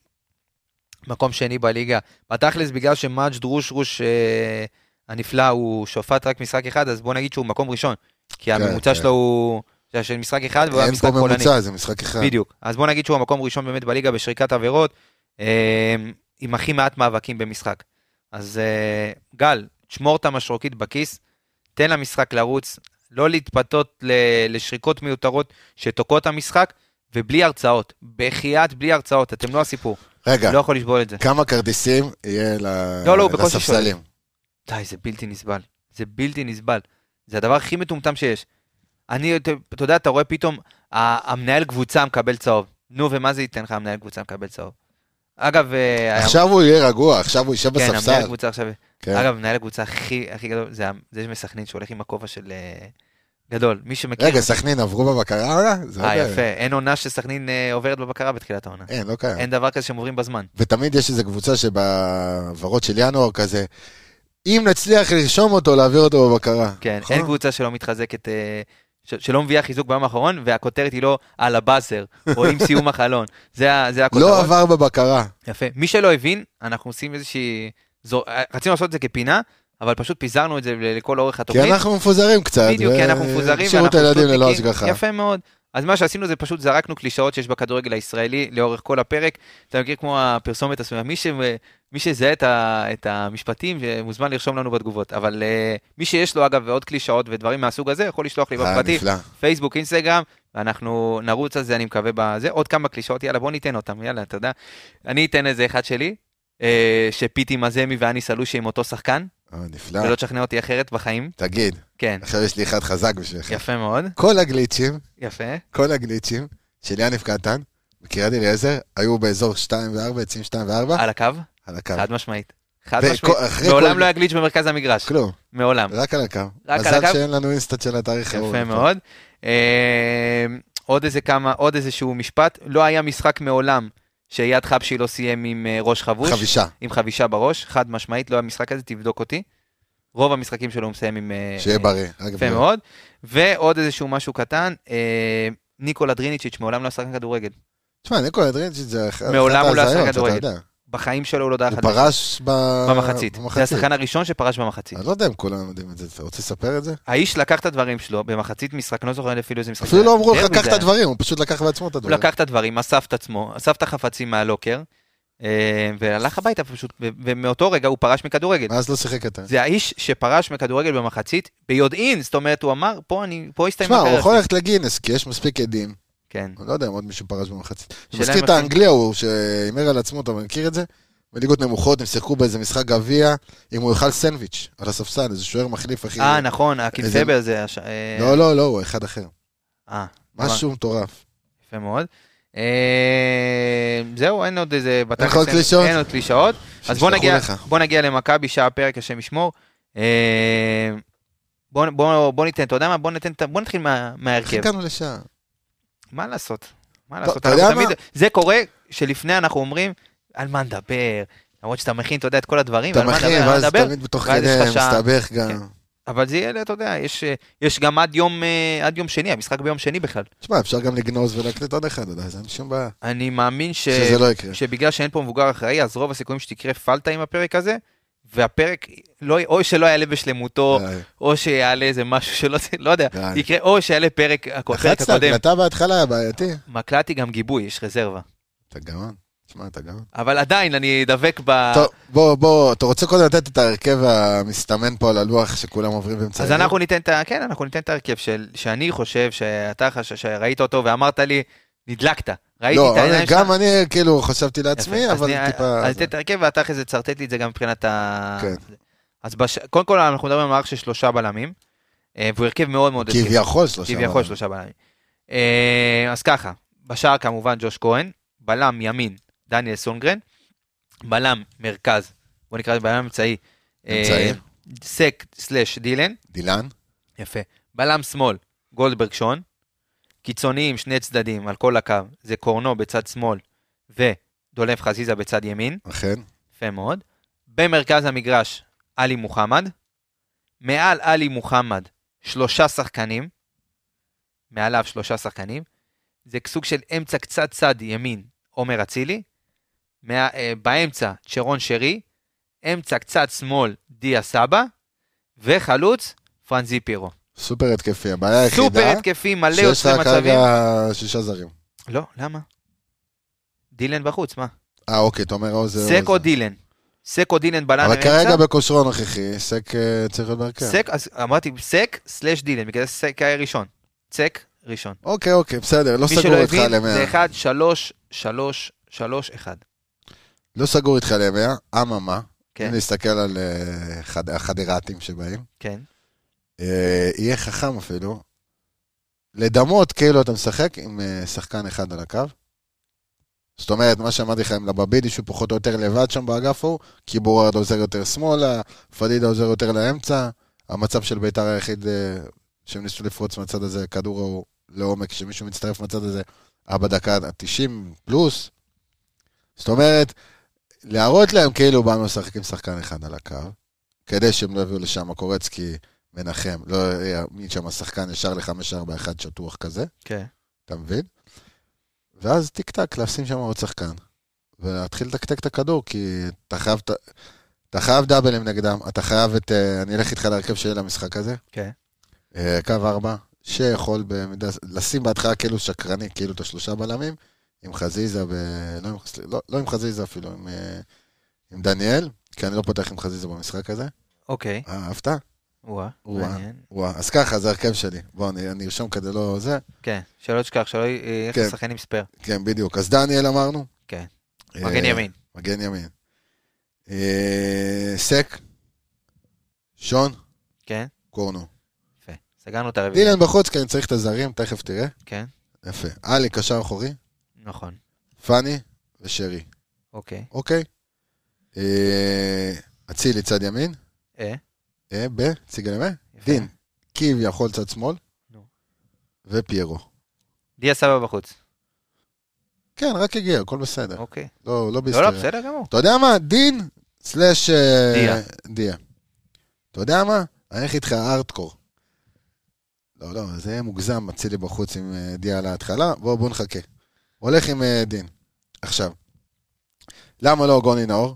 Speaker 1: מקום שני בליגה. בתכלס, בגלל שמאג' דרוש רוש אה, הנפלא, הוא שופט רק משחק אחד, אז בוא נגיד שהוא מקום ראשון, כי
Speaker 2: כן,
Speaker 1: הממוצע
Speaker 2: כן.
Speaker 1: שלו הוא זה של משחק אחד, והוא היה
Speaker 2: אין
Speaker 1: משחק
Speaker 2: פה
Speaker 1: פולני.
Speaker 2: ממוצע, זה משחק אחד.
Speaker 1: בדיוק. אז בוא נגיד שהוא המקום הראשון באמת בליגה בשריקת עבירות, אה, עם הכי מעט מאבקים במשחק. אז אה, גל, תשמור את המשרוקית בכיס, תן למשחק לרוץ. לא להתפתות ל- לשריקות מיותרות שתוקעות את המשחק, ובלי הרצאות. בחייאת בלי הרצאות, אתם לא הסיפור.
Speaker 2: רגע,
Speaker 1: לא יכול לסבול את זה.
Speaker 2: כמה כרטיסים יהיה ל-
Speaker 1: לא, לא, הוא בקושי
Speaker 2: לספסלים?
Speaker 1: די, זה בלתי נסבל. זה בלתי נסבל. זה הדבר הכי מטומטם שיש. אני, אתה אתה יודע, אתה רואה פתאום, ה- המנהל קבוצה מקבל צהוב. נו, ומה זה ייתן לך המנהל קבוצה מקבל צהוב? אגב, אה,
Speaker 2: עכשיו הוא יהיה רגוע, עכשיו הוא יישב
Speaker 1: כן, המנהל
Speaker 2: בספסל.
Speaker 1: הקבוצה עכשיו,
Speaker 2: כן.
Speaker 1: אגב, מנהל הקבוצה הכי הכי גדול, זה ה- זה מסכנין שהולך עם הכובע של אה, גדול. מי שמכיר...
Speaker 2: רגע, סכנין עברו בבקרה עונה? זה
Speaker 1: אה,
Speaker 2: עוד-
Speaker 1: יפה. אין עונה שסכנין אה, עוברת בבקרה בתחילת העונה.
Speaker 2: אין, לא קיים.
Speaker 1: אין דבר כזה שהם עוברים בזמן.
Speaker 2: ותמיד יש איזו קבוצה שבוורוד של ינואר כזה, אם נצליח לרשום אותו, להעביר אותו בבקרה.
Speaker 1: כן,
Speaker 2: נכון?
Speaker 1: אין קבוצה שלא מתחזקת, אה, ש- שלא מביאה חיזוק ביום האחרון, והכותרת היא לא על
Speaker 2: (laughs)
Speaker 1: הבאזר, או עם סיום החלון. זה ה- זה הכותרות.
Speaker 2: לא עבר בבקרה.
Speaker 1: יפה. מי שלא הבין, אנחנו עושים איזושהי... זו- רצינו לעשות את זה כפינה, אבל פשוט פיזרנו את זה ל- לכל אורך התוכנית.
Speaker 2: כי אנחנו מפוזרים קצת.
Speaker 1: בדיוק, כי אנחנו
Speaker 2: ו-
Speaker 1: מפוזרים.
Speaker 2: אה, שירות
Speaker 1: ואנחנו
Speaker 2: הילדים ללא
Speaker 1: שטותניקים.
Speaker 2: השגחה.
Speaker 1: יפה מאוד. אז מה שעשינו זה פשוט זרקנו קלישאות שיש בכדורגל הישראלי לאורך כל הפרק. אתה מכיר כמו הפרסומת הסמויה, מי, ש... מי שזהה את, ה... את המשפטים מוזמן לרשום לנו בתגובות. אבל uh, מי שיש לו אגב עוד קלישאות ודברים מהסוג הזה, יכול לשלוח לי
Speaker 2: אה,
Speaker 1: בפרטי,
Speaker 2: נפלא.
Speaker 1: פייסבוק, אינסטגרם, ואנחנו נרוץ על זה, אני מקווה, בזה. עוד כמה קלישאות, יאללה, בוא ניתן אותם, יאללה, אתה יודע. אני אתן איזה אחד שלי, אה, שפיטי מזמי ואני סלושי עם אותו שחקן,
Speaker 2: אה, נפלא.
Speaker 1: ולא תשכנע אותי אחרת בחיים.
Speaker 2: תגיד,
Speaker 1: כן,
Speaker 2: עכשיו יש לי אחד חזק בשבילך.
Speaker 1: יפה מאוד,
Speaker 2: כל הגליצ'ים,
Speaker 1: יפה.
Speaker 2: כל הגליצ'ים של יניב קטן, בקריית אליעזר, היו באזור 2 ו-4, עצים 2 ו-4,
Speaker 1: על הקו,
Speaker 2: על הקו.
Speaker 1: חד משמעית. חד
Speaker 2: וכל-
Speaker 1: משמעית.
Speaker 2: אחרי
Speaker 1: מעולם
Speaker 2: כל-
Speaker 1: לא היה גליץ' במרכז המגרש,
Speaker 2: כלום,
Speaker 1: מעולם.
Speaker 2: רק על הקו.
Speaker 1: על
Speaker 2: מזל
Speaker 1: הקו.
Speaker 2: שאין לנו אינסטנט של התאריך ההוא.
Speaker 1: יפה מאוד. אה, עוד איזה כמה, עוד איזשהו משפט, לא היה משחק מעולם שאייד חבשי לא סיים עם אה, ראש חבוש,
Speaker 2: חבישה.
Speaker 1: עם חבישה בראש, חד משמעית, לא היה משחק כזה, תבדוק אותי. רוב המשחקים שלו הוא מסיים עם... אה,
Speaker 2: שיהיה בריא. רק
Speaker 1: יפה
Speaker 2: בריאות.
Speaker 1: מאוד. ועוד איזשהו משהו קטן, אה, ניקולה דריניצ'יץ' מעולם לא שחקן כדורגל.
Speaker 2: תשמע, ניקולה דרינצ'יץ' זה אחת
Speaker 1: מעולם הוא לא עשה
Speaker 2: ההזיות, אתה
Speaker 1: כדורגל.
Speaker 2: יודע.
Speaker 1: בחיים שלו הוא לא דעה
Speaker 2: הוא
Speaker 1: אחת
Speaker 2: פרש ב...
Speaker 1: במחצית. זה השחקן הראשון שפרש במחצית.
Speaker 2: אני לא יודע אם כולם יודעים את זה, אתה רוצה לספר את זה?
Speaker 1: האיש לקח את הדברים שלו במחצית משחק, אני לא זוכר אפילו איזה משחק.
Speaker 2: אפילו לא אמרו לך,
Speaker 1: דרבי
Speaker 2: קח
Speaker 1: זה
Speaker 2: את
Speaker 1: היה.
Speaker 2: הדברים, הוא פשוט לקח בעצמו את
Speaker 1: הוא
Speaker 2: הדברים.
Speaker 1: לקח את הדברים, אסף את עצמו, אסף את החפצים מהלוקר, אה, והלך הביתה פשוט, ו- ומאותו רגע הוא פרש מכדורגל.
Speaker 2: מאז לא שיחק יותר.
Speaker 1: זה האיש שפרש מכדורגל במחצית, ביודעין, זאת אומרת, הוא אמר, פה אני, פה הסתיים
Speaker 2: תשמע, הוא
Speaker 1: הקריירה
Speaker 2: יכול
Speaker 1: שלי."
Speaker 2: ללכת לגינס, כי יש מספיק עדים.
Speaker 1: כן,
Speaker 2: אני לא יודע אם עוד מישהו פרש במחצית.
Speaker 1: שאלה
Speaker 2: זה מזכיר
Speaker 1: אם
Speaker 2: את
Speaker 1: אפילו-
Speaker 2: האנגלי ההוא, שהימר על עצמו, אתה מכיר את זה? בליגות נמוכות, הם שיחקו באיזה משחק גביע, אם הוא יאכל סנדוויץ' על הספסל, איזה שוער מחליף, אחי.
Speaker 1: אה, נכון, הקינפבר זה...
Speaker 2: כאילו. לא, לא, לא, הוא אחד אחר.
Speaker 1: אה,
Speaker 2: משהו מטורף.
Speaker 1: יפה מאוד. אה, זהו, אין עוד איזה... בתכלס
Speaker 2: עוד
Speaker 1: אין-
Speaker 2: קלישאות?
Speaker 1: אין עוד קלישאות. אז בוא
Speaker 2: שישלחו
Speaker 1: נגיע,
Speaker 2: לך.
Speaker 1: בוא נגיע למכבי, שעה הפרק, השם ישמור. אה, בוא, בוא, בוא ניתן, אתה יודע מה? בוא, ניתן, את ה- בוא נתחיל מה,
Speaker 2: איך
Speaker 1: מההרכב.
Speaker 2: הגענו לשם?
Speaker 1: מה לעשות? מה
Speaker 2: אתה-
Speaker 1: לעשות?
Speaker 2: אתה יודע
Speaker 1: אנחנו
Speaker 2: מה?
Speaker 1: תמיד, זה קורה שלפני אנחנו אומרים, על מה נדבר? למרות שאתה מכין, אתה יודע, את כל הדברים,
Speaker 2: אתה
Speaker 1: על מה נדבר,
Speaker 2: מכין,
Speaker 1: על מה
Speaker 2: ואז
Speaker 1: נדבר,
Speaker 2: תמיד בתוך
Speaker 1: ואז יש
Speaker 2: כדי
Speaker 1: לך שעה.
Speaker 2: מסתבך
Speaker 1: כן.
Speaker 2: גם.
Speaker 1: אבל זה יהיה, אתה יודע, יש, אה, יש גם עד יום, אה, עד יום שני, המשחק ביום שני בכלל.
Speaker 2: תשמע, אפשר גם לגנוז ולהקליט עוד אחד, אתה יודע, זה אין שום בעיה.
Speaker 1: אני מאמין ש...
Speaker 2: שזה לא יקרה.
Speaker 1: שבגלל שאין פה מבוגר אחראי, אז רוב הסיכויים שתקרה פלטה עם הפרק הזה, והפרק, לא, או שלא יעלה בשלמותו,
Speaker 2: די.
Speaker 1: או שיעלה איזה משהו שלא, לא יודע,
Speaker 2: די.
Speaker 1: יקרה, או שיעלה פרק, הפרק
Speaker 2: לחצת
Speaker 1: הקודם.
Speaker 2: הקלטה בהתחלה, היה בעייתי.
Speaker 1: מקלטי גם גיבוי, יש רזרבה.
Speaker 2: אתה גאון. תשמע, אתה גאון.
Speaker 1: אבל עדיין, אני אדבק ב...
Speaker 2: טוב, בוא, בוא, אתה רוצה קודם לתת את ההרכב המסתמן פה על הלוח שכולם עוברים באמצע?
Speaker 1: אז
Speaker 2: הערב?
Speaker 1: אנחנו ניתן את ה... כן, אנחנו ניתן את ההרכב של... שאני חושב שאתה חש... שראית אותו ואמרת לי, נדלקת. ראיתי
Speaker 2: לא,
Speaker 1: את העיניים שלך.
Speaker 2: גם אני כאילו חשבתי לעצמי,
Speaker 1: יפה, אז
Speaker 2: אבל
Speaker 1: אני- אה,
Speaker 2: טיפה...
Speaker 1: אז תן את ההרכב ואתה אחרי זה תשרטט לי את זה גם מבחינת ה...
Speaker 2: כן.
Speaker 1: אז בש- קודם כל אנחנו מדברים על מערך של שלושה בלמים, אה, והוא הרכב מאוד מאוד... התקפי.
Speaker 2: כביכול שלושה.
Speaker 1: כביכול
Speaker 2: בלמים.
Speaker 1: שלושה בלמים. אה, אז ככה, בשער כמובן ג'וש כהן, בלם ימין דניאל סונגרן, בלם מרכז, בוא נקרא לזה בלם אמצעי, אה,
Speaker 2: אמצעי.
Speaker 1: סק סלאש דילן,
Speaker 2: דילן?
Speaker 1: יפה, בלם שמאל גולדברג שון, קיצוניים שני צדדים על כל הקו, זה קורנו בצד שמאל ודולף חזיזה בצד ימין,
Speaker 2: אכן.
Speaker 1: יפה מאוד, במרכז המגרש עלי מוחמד, מעל עלי מוחמד שלושה שחקנים, מעליו שלושה שחקנים, זה סוג של אמצע קצת צד ימין, עומר אצילי, מה- אה, באמצע צ'רון שרי, אמצע קצת שמאל דיה סבא, וחלוץ פרנזי פירו.
Speaker 2: סופר התקפי, הבעיה
Speaker 1: סופר
Speaker 2: היחידה,
Speaker 1: התקפי, מלא
Speaker 2: שיש
Speaker 1: יוצרי
Speaker 2: לה
Speaker 1: מצבים.
Speaker 2: כרגע שישה זרים.
Speaker 1: לא, למה? דילן בחוץ, מה?
Speaker 2: אה, אוקיי, תומר האוזר.
Speaker 1: סק או דילן? סקו דילן בלם
Speaker 2: אבל
Speaker 1: אמצע.
Speaker 2: כרגע בכושרו הנוכחי, סק אה, צריך להיות בהרכב.
Speaker 1: סק, אז אמרתי סק סלאש דילן, בגלל זה סק היה ראשון. סק ראשון.
Speaker 2: אוקיי, אוקיי, בסדר, לא
Speaker 1: מי שלא
Speaker 2: סגור איתך
Speaker 1: הבין, זה
Speaker 2: ל-100.
Speaker 1: 1, 3, 3, 3, 1.
Speaker 2: לא סגור איתך ל-100, אממה,
Speaker 1: כן,
Speaker 2: אם נסתכל על אה, חד- החדרתים שבאים,
Speaker 1: כן.
Speaker 2: אה, יהיה חכם אפילו, לדמות כאילו אתה משחק עם אה, שחקן אחד על הקו. זאת אומרת, מה שאמרתי לך עם לבבידי, שהוא פחות או יותר לבד שם באגף ההוא, כי בורד עוזר יותר שמאלה, פדידה עוזר יותר לאמצע, המצב של ביתר היחיד אה, שהם ניסו לפרוץ מהצד הזה, כדור ההוא לעומק, שמישהו מצטרף מהצד הזה, היה בדקה ה-90 פלוס. זאת אומרת, להראות להם כאילו באנו לשחק עם שחקן אחד על הקו, כדי שהם לא יביאו לשם קורצקי, מנחם, לא יעמיד שם שחקן ישר ל-5-4-1 שטוח כזה,
Speaker 1: כן.
Speaker 2: אתה מבין? ואז טיק טק, לשים שם עוד שחקן. ולהתחיל לתקתק את הכדור, כי אתה חייב, את- אתה חייב דאבלים נגדם, אתה חייב את... אה, אני אלך איתך להרכב שלי למשחק הזה.
Speaker 1: כן.
Speaker 2: אה, קו ארבע, שיכול במידה... לשים בהתחלה כאילו שקרני, כאילו את השלושה בלמים, עם חזיזה ו... לא, עם- סליחה, לא, לא עם חזיזה אפילו, עם, אה, עם דניאל, כי אני לא פותח עם חזיזה במשחק הזה.
Speaker 1: אוקיי.
Speaker 2: אה, אהבת?
Speaker 1: וואה.
Speaker 2: וואה.
Speaker 1: מעניין.
Speaker 2: וואה, אז ככה, זה הרכב שלי. בואו, אני אני ארשום כדי לא זה.
Speaker 1: כן. שלא תשכח, שלא י- אה, איך
Speaker 2: כן.
Speaker 1: לשחקן עם ספייר.
Speaker 2: כן, בדיוק. אז דניאל אמרנו.
Speaker 1: כן.
Speaker 2: אה,
Speaker 1: מגן ימין.
Speaker 2: מגן ימין. אה, סק, שון,
Speaker 1: כן.
Speaker 2: קורנו.
Speaker 1: יפה. סגרנו את הרביעי.
Speaker 2: דילן בחוץ, כי אני צריך את הזרים, תכף תראה.
Speaker 1: כן.
Speaker 2: יפה. עלי, קשר אחורי,
Speaker 1: נכון.
Speaker 2: פאני ושרי.
Speaker 1: אוקיי.
Speaker 2: אוקיי. אה, אצילי צד ימין,
Speaker 1: אה.
Speaker 2: אה, ב, ציגלמה,
Speaker 1: יפה.
Speaker 2: דין, כביכול צד שמאל,
Speaker 1: נו.
Speaker 2: ופיירו.
Speaker 1: דיה סבא בחוץ.
Speaker 2: כן, רק הגיע, הכל בסדר.
Speaker 1: אוקיי.
Speaker 2: לא, לא
Speaker 1: לא,
Speaker 2: בהיסטריה.
Speaker 1: לא, בסדר גמור.
Speaker 2: אתה יודע מה? דין סלאש אה,
Speaker 1: דיה.
Speaker 2: דיה. אתה יודע מה? אני אלך איתך ארטקור. לא, לא, זה יהיה מוגזם, אצילי בחוץ עם אה, דיה על ההתחלה. בואו, בואו נחכה. הולך עם אה, דין. עכשיו, למה לא גוני נאור?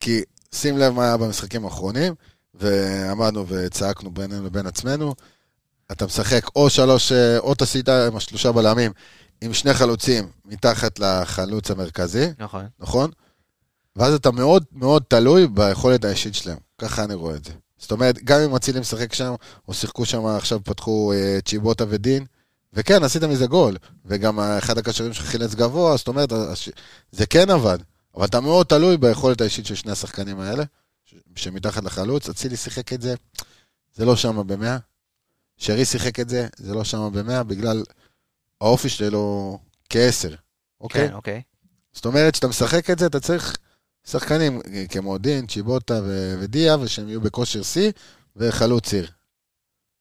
Speaker 2: כי שים לב מה היה במשחקים האחרונים, ועמדנו וצעקנו בינינו לבין עצמנו. אתה משחק או שלוש, אה, או את הסידה עם השלושה בלמים, עם שני חלוצים מתחת לחלוץ המרכזי.
Speaker 1: נכון.
Speaker 2: נכון? ואז אתה מאוד מאוד תלוי ביכולת האישית שלהם, ככה אני רואה את זה. זאת אומרת, גם אם אצילי משחק שם, או שיחקו שם, עכשיו פתחו אה, צ'יבוטה ודין, וכן, עשית מזה גול, וגם אה, אחד הקשרים שלך חילץ גבוה, זאת אומרת, הש... זה כן עבד, אבל אתה מאוד תלוי ביכולת האישית של שני השחקנים האלה, ש... שמתחת לחלוץ, אצילי שיחק את זה, זה לא שם במאה, שרי שיחק את זה, זה לא שם במאה, בגלל האופי שלו כעשר, אוקיי?
Speaker 1: כן, אוקיי.
Speaker 2: זאת אומרת, כשאתה משחק את זה, אתה צריך שחקנים אה, כמו דין, צ'יבוטה ו- ודיה, ושהם יהיו בכושר שיא, וחלוץ ציר.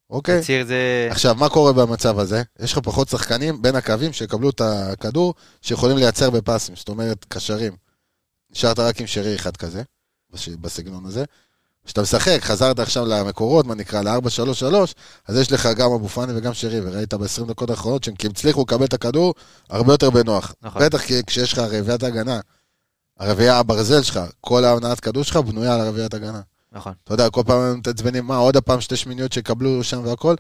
Speaker 2: אוקיי?
Speaker 1: הציר זה...
Speaker 2: עכשיו, מה קורה במצב הזה? יש לך פחות שחקנים בין הקווים שיקבלו את הכדור, שיכולים לייצר בפסים, זאת אומרת, קשרים. נשארת רק עם שרי אחד כזה, בש- בסגנון הזה. כשאתה משחק, חזרת עכשיו למקורות, מה נקרא, ל-4-3-3, אז יש לך גם אבו פאני וגם שרי, וראית ב-20 דקות האחרונות שהם כי הם הצליחו לקבל את הכדור הרבה יותר בנוח.
Speaker 1: נכון.
Speaker 2: בטח כי כשיש לך רביעיית הגנה, הרביעייה הברזל שלך, כל ההנעת כדור שלך בנויה על הרביעיית הגנה.
Speaker 1: נכון.
Speaker 2: אתה יודע, כל פעם הם מתעצבנים, מה, עוד הפעם שתי שמיניות שיקבלו שם והכל,